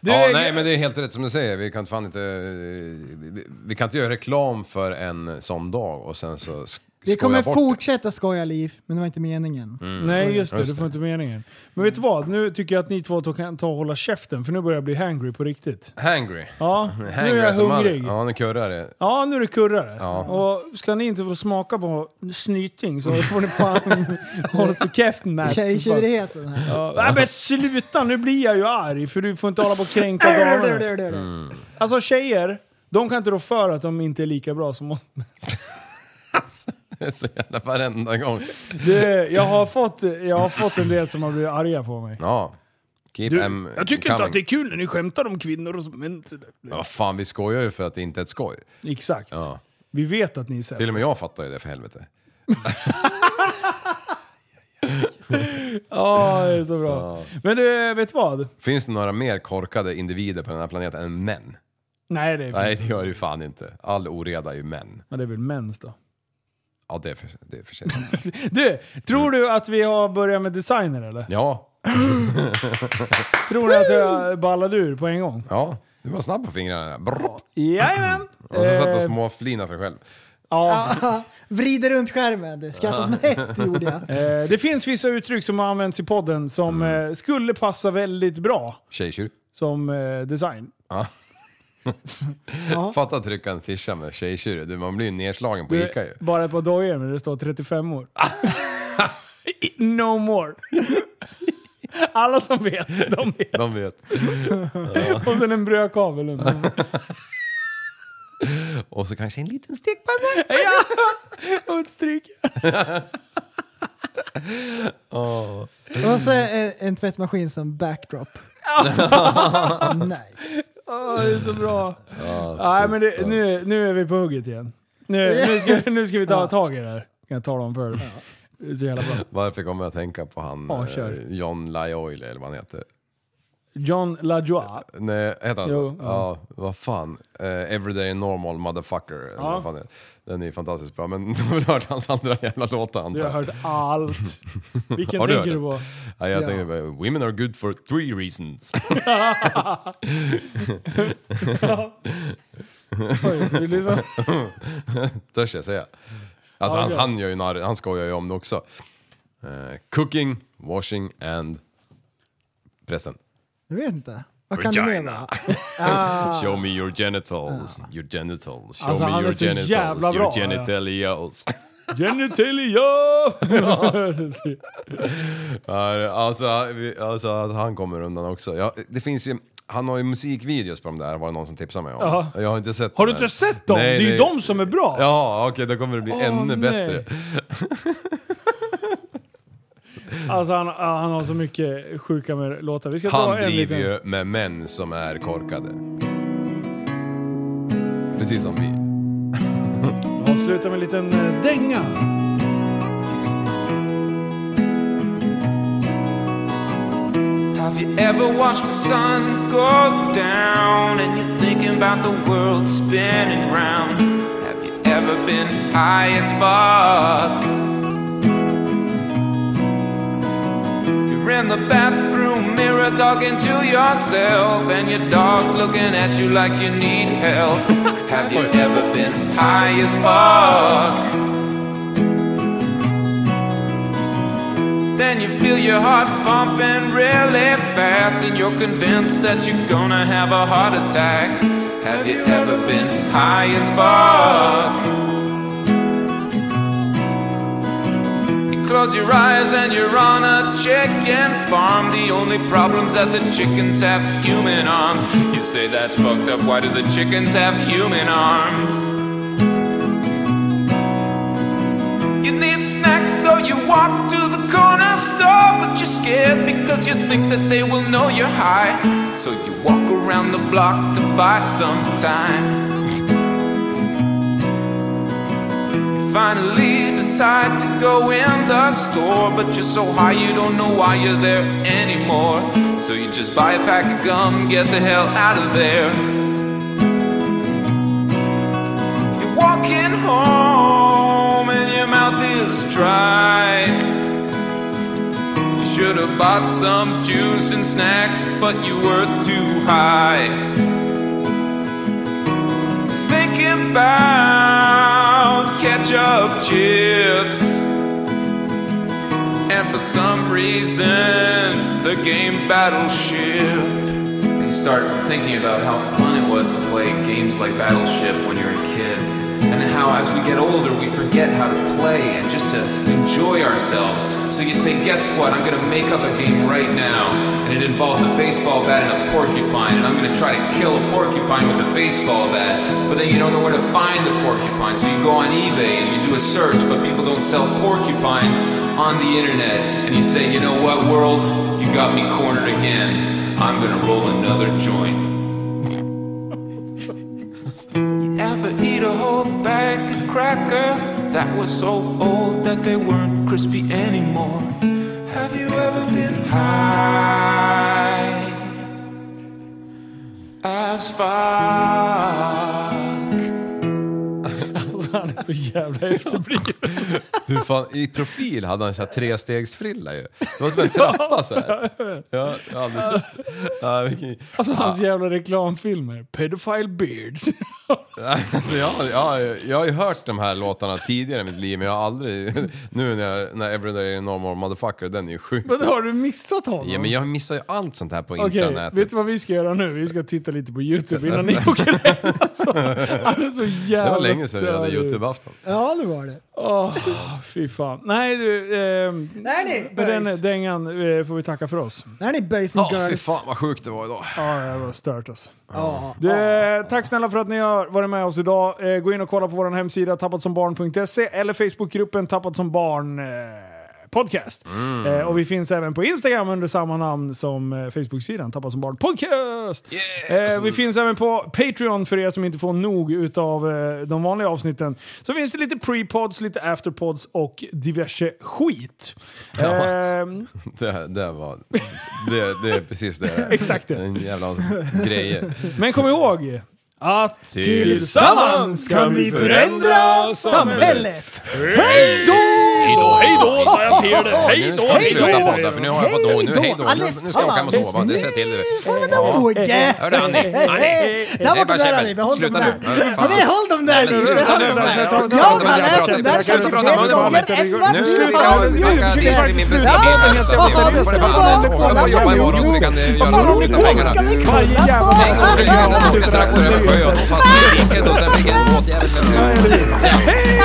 Speaker 5: Du,
Speaker 7: ja,
Speaker 5: jag-
Speaker 7: nej men det är helt rätt som du säger. Vi kan fan inte... eh, Vi, vi kan inte göra reklam för en sån dag och sen så sk-
Speaker 6: Vi
Speaker 7: skoja
Speaker 6: kommer
Speaker 7: bort
Speaker 6: fortsätta skoja liv, men det var inte meningen.
Speaker 7: Mm.
Speaker 5: Nej just det,
Speaker 7: Just
Speaker 5: det får inte meningen. Men vet du vad? Nu tycker jag att ni två to- kan ta och hålla käften för nu börjar jag bli hangry på riktigt.
Speaker 7: Hangry.
Speaker 5: Ja,
Speaker 7: Hangry
Speaker 5: nu är jag
Speaker 7: as a mother.
Speaker 5: hungrig.
Speaker 7: Ja, nu kurrar det.
Speaker 5: Ja, nu är det kurrare.
Speaker 7: Ja.
Speaker 5: Och ska ni inte få smaka på snyting så får ni fan hålla till käften Mats.
Speaker 6: Tjejtjurigheten här.
Speaker 5: Ja, nej, men sluta, nu blir jag ju arg för du får inte hålla på och kränka damerna.
Speaker 7: Mm.
Speaker 5: Alltså tjejer, de kan inte rå för att de inte är lika bra som oss.
Speaker 7: Så jävla varenda gång.
Speaker 5: Det- Jag har fått, jag har fått en del som har blivit arga på mig.
Speaker 7: Ja. Keep em
Speaker 5: Jag tycker
Speaker 7: coming.
Speaker 5: inte att det är kul när ni skämtar om kvinnor och så, men...
Speaker 7: Ja, fan, vi skojar ju för att det inte är ett skoj.
Speaker 5: Exakt.
Speaker 7: Ja.
Speaker 5: Vi vet att ni är sämre.
Speaker 7: Till och med jag fattar ju det, för helvete.
Speaker 5: Ja, det är så bra. Men du, vet du vad?
Speaker 7: Finns det några mer korkade individer på den här planeten än män?
Speaker 5: Nej, det är
Speaker 7: Nej, det gör det ju fan inte. All oreda är ju män.
Speaker 5: Men det är väl mens då?
Speaker 7: Ja, det är för, det är för sent.
Speaker 5: Du, tror du att vi har börjat med designer eller?
Speaker 7: Ja.
Speaker 5: Tror du att jag ballade ur på en gång?
Speaker 7: ja, du var snabb på fingrarna. Brr.
Speaker 5: Jajamän!
Speaker 7: Och så satt
Speaker 5: Eh,
Speaker 7: du småflina för dig själv.
Speaker 5: Ja.
Speaker 6: Vrider runt skärmen. du. Skrattar som en häst gjorde jag.
Speaker 5: Eh, Det finns vissa uttryck som har använts i podden som
Speaker 7: Mm.
Speaker 5: eh, skulle passa väldigt bra
Speaker 7: Tjejtjur.
Speaker 5: som eh, design.
Speaker 7: Fatta att trycka en tischa med tjejtjur. Du, Man blir ju nedslagen på
Speaker 5: Du,
Speaker 7: Ica ju.
Speaker 5: Bara ett par dojor men det står 35 år. no more. Alla som vet, de vet.
Speaker 7: De vet.
Speaker 5: Och sen en brödkavel under.
Speaker 7: Och så kanske en liten stekpanna.
Speaker 5: Och ett stryk.
Speaker 6: Och så en, en tvättmaskin som backdrop. Nej.
Speaker 5: Åh, det är så bra. Nej, men det, nu, nu är vi på hugget igen. Nu, nu, ska, nu ska vi ta tag i det här. Kan jag tala om för dig. Det är så jävla bra.
Speaker 7: Varför kommer jag att tänka på han
Speaker 5: Ja,
Speaker 7: eh,
Speaker 5: kör.
Speaker 7: John Lajoy eller vad han heter?
Speaker 5: John LaJoie.
Speaker 7: Nej, heter han
Speaker 5: Jo,
Speaker 7: så? Ja, vad fan. Eh, Everyday normal motherfucker. eller Vad fan det är. Den är ju fantastiskt bra, men du har väl hört hans andra jävla låtar antar
Speaker 5: Du har
Speaker 7: jag?
Speaker 5: hört allt. Vilken
Speaker 7: Har du
Speaker 5: tänker du på?
Speaker 7: hört Ja, jag
Speaker 6: Ja.
Speaker 7: tänkte bara, women are good for three reasons.
Speaker 5: Oj, vill du lyssna?
Speaker 7: Törs jag säga. Alltså
Speaker 5: Ja,
Speaker 7: han,
Speaker 5: gör.
Speaker 7: han gör ju narr, han skojar ju om det också. Eh, cooking, washing and... Prästen.
Speaker 6: Jag vet inte. Vad kan det mena?
Speaker 7: Show me your genitals, your genitals. Show
Speaker 5: Alltså,
Speaker 7: me
Speaker 5: han är
Speaker 7: your
Speaker 5: så
Speaker 7: genitals,
Speaker 5: jävla
Speaker 7: your
Speaker 5: bra, ja.
Speaker 7: genitalias.
Speaker 5: Genitalia!
Speaker 7: Ja, Alltså, vi- alltså att han kommer undan också. Ja, det finns ju, han har ju musikvideos på de där var det någon som tipsade mig om.
Speaker 5: Jaha.
Speaker 7: Jag har inte sett
Speaker 5: har du
Speaker 7: den
Speaker 5: inte
Speaker 7: än.
Speaker 5: sett dem? det är ju de som är bra.
Speaker 7: Ja, okej då kommer det bli
Speaker 5: Åh, nej.
Speaker 7: ännu bättre.
Speaker 5: Alltså han, han har så mycket sjuka med låtar. Vi ska ta
Speaker 7: Han
Speaker 5: en
Speaker 7: driver
Speaker 5: liten.
Speaker 7: ju med män som är korkade. Precis som vi.
Speaker 5: Avsluta med en liten eh, dänga.
Speaker 12: Have you ever watched the sun go down and you're thinking about the world spinning round? Have you ever been high as fuck? You're in the bathroom mirror talking to yourself and your dog's looking at you like you need help. Have you ever been high as fuck? Then you feel your heart pumping really fast, and you're convinced that you're gonna have a heart attack. Have you ever been high as fuck? You close your eyes and you're on a chicken farm. The only problem's that the chickens have human arms. You say that's fucked up, why do the chickens have human arms? You need snacks, so you walk to the corner store, but you're scared because you think that they will know you're high. So you walk around the block to buy some time. You finally decide to go in the store, but you're so high you don't know why you're there anymore. So you just buy a pack of gum, get the hell out of there. You're walking home and your mouth is dry.
Speaker 13: bought some juice and snacks, but you were too high. Thinking about ketchup chips. And for some reason, the game Battleship. And you start thinking about how fun it was to play games like Battleship when you're a kid. And how as we get older, we forget how to play and just to enjoy ourselves. So you say, guess what? I'm gonna make up a game right now. And it involves a baseball bat and a porcupine. And I'm gonna try to kill a porcupine with a baseball bat. But then you don't know where to find the porcupine. So you go on eBay and you do a search, but people don't sell porcupines on the internet. And you say, you know what, world? You got me cornered again. I'm gonna roll another joint.
Speaker 12: You ever eat a whole bag of crackers that were so old that they weren't crispy anymore? Have you ever been high as fuck?
Speaker 5: Alltså han är så jävla efterbliven.
Speaker 7: Du fan, i profil hade han så här trestegsfrilla ju. Det var som en trappa så här. Ja, jag har aldrig sett. Ja, vilken...
Speaker 5: Alltså hans
Speaker 7: ja,
Speaker 5: jävla reklamfilmer. Pedophile beards.
Speaker 7: alltså, jag, jag, jag har ju hört de här låtarna tidigare i mitt liv men jag har aldrig... Nu när, jag, när Everyday Normal Motherfucker, den är ju sjuk.
Speaker 5: Men har du missat honom?
Speaker 7: Ja, men jag missar ju allt sånt här på
Speaker 5: Okej,
Speaker 7: intranätet.
Speaker 5: vet du vad vi ska göra nu? Vi ska titta lite på YouTube innan ni åker hem. Alltså, han är så jävla
Speaker 7: det var länge sedan vi hade
Speaker 5: störig.
Speaker 7: YouTube-afton.
Speaker 6: Ja, det var det.
Speaker 5: Åh, fy fan. Nej du, ehm,
Speaker 6: Nej, nej,
Speaker 5: med den
Speaker 6: boys.
Speaker 5: dängan eh, får vi tacka för oss.
Speaker 6: Nej, ni boys
Speaker 12: Oh,
Speaker 7: Ja,
Speaker 6: and
Speaker 7: fy
Speaker 6: girls.
Speaker 7: fan vad sjukt det var idag.
Speaker 5: Ja, det var stört alltså.
Speaker 6: Ja.
Speaker 5: Du, eh, tack snälla för att ni har varit med oss idag. Eh, Gå in och kolla på vår hemsida tappatsombarn.se eller Facebookgruppen Tappat som barn eh, podcast.
Speaker 7: Mm.
Speaker 5: Eh, Och vi finns även på Instagram under samma namn som eh, Facebooksidan Tappat som barn podcast. Eh, Vi finns även på Patreon för er som inte får nog utav eh, de vanliga avsnitten. Så finns det lite pre-pods, lite afterpods och diverse skit.
Speaker 7: Ja.
Speaker 5: Ehm,
Speaker 7: Det, det var... Det, det är precis det.
Speaker 5: Exakt det.
Speaker 7: En jävla grejer.
Speaker 5: Men kom ihåg att
Speaker 7: Tillsammans kan vi förändra samhället.
Speaker 5: Hej då! Hej då, hej då, sa jag till dig. Hej då,
Speaker 7: Hej
Speaker 5: hej
Speaker 7: då!
Speaker 5: då!
Speaker 7: För nu har jag fått nog. Nu, hej då! Nu, nu ska jag åka hem och sova. Det säger jag till dig.
Speaker 6: Åge!
Speaker 7: Hörru Annie! Annie!
Speaker 6: Där borta
Speaker 7: Nej,
Speaker 6: där
Speaker 7: bara käften.
Speaker 6: Annie, behåll dem
Speaker 7: Sluta
Speaker 6: där.
Speaker 7: nu. Ja, fan.
Speaker 6: Ja, men håll dem där
Speaker 7: Nej,
Speaker 6: nu!
Speaker 7: men sluta nu. Nej,
Speaker 6: Jag
Speaker 7: sluta nu.
Speaker 6: har läst
Speaker 7: Sluta
Speaker 6: den där
Speaker 7: prata. Sluta prata.
Speaker 6: kanske fler
Speaker 7: Munnen på
Speaker 6: gånger
Speaker 7: mig.
Speaker 6: än
Speaker 7: Nu
Speaker 6: vad
Speaker 7: ska
Speaker 6: du
Speaker 7: jag-
Speaker 6: har
Speaker 7: jag kan
Speaker 6: gjort.
Speaker 7: läsa i min
Speaker 6: Ja,
Speaker 7: beskrivning.
Speaker 6: vad fan,
Speaker 7: Jag får
Speaker 6: beställ
Speaker 7: fan
Speaker 6: barn,
Speaker 7: åka och
Speaker 6: kolla
Speaker 7: jobba
Speaker 6: på
Speaker 7: imorgon så vi
Speaker 6: YouTube.
Speaker 7: kan, eh, göra
Speaker 6: Vad fan,
Speaker 7: något
Speaker 6: om ni
Speaker 7: med
Speaker 6: kollar
Speaker 7: pengarna.
Speaker 6: ska vi kolla
Speaker 5: Varje jävla
Speaker 6: på.
Speaker 5: dag.
Speaker 7: Så fick jag sen åka traktor över sjön och fast i riket och sen fick jag en båtjävel över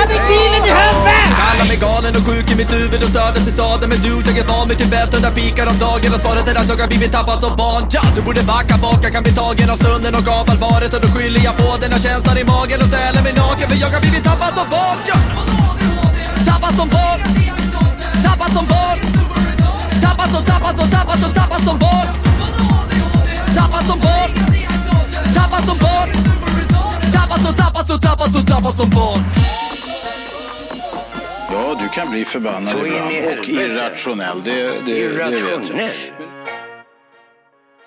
Speaker 6: Han fick bilen i huvudet!
Speaker 1: Kallar mig galen och sjuk i mitt huvud och stördes i staden Men du, jag är van vid Tibet och där fikar om dagen Och svaret är att jag har blivit tappad som barn ja, Du borde backa bak, jag kan bli tagen av stunden och av allvaret Och då skyller jag på den här känslan i magen och ställer mig naken För jag har blivit tappad som barn ja. Tappad som barn Tappad som barn Tappad som, tappad som, tappad som, tappad som barn Tappad som barn Tappad som barn Tappad som, tappad som, tappad som, tappad som barn
Speaker 3: Ja, du kan bli förbannad
Speaker 14: Så in i
Speaker 3: ibland och
Speaker 14: helvete.
Speaker 3: irrationell. Det, det, det vet jag.
Speaker 14: Irrationell.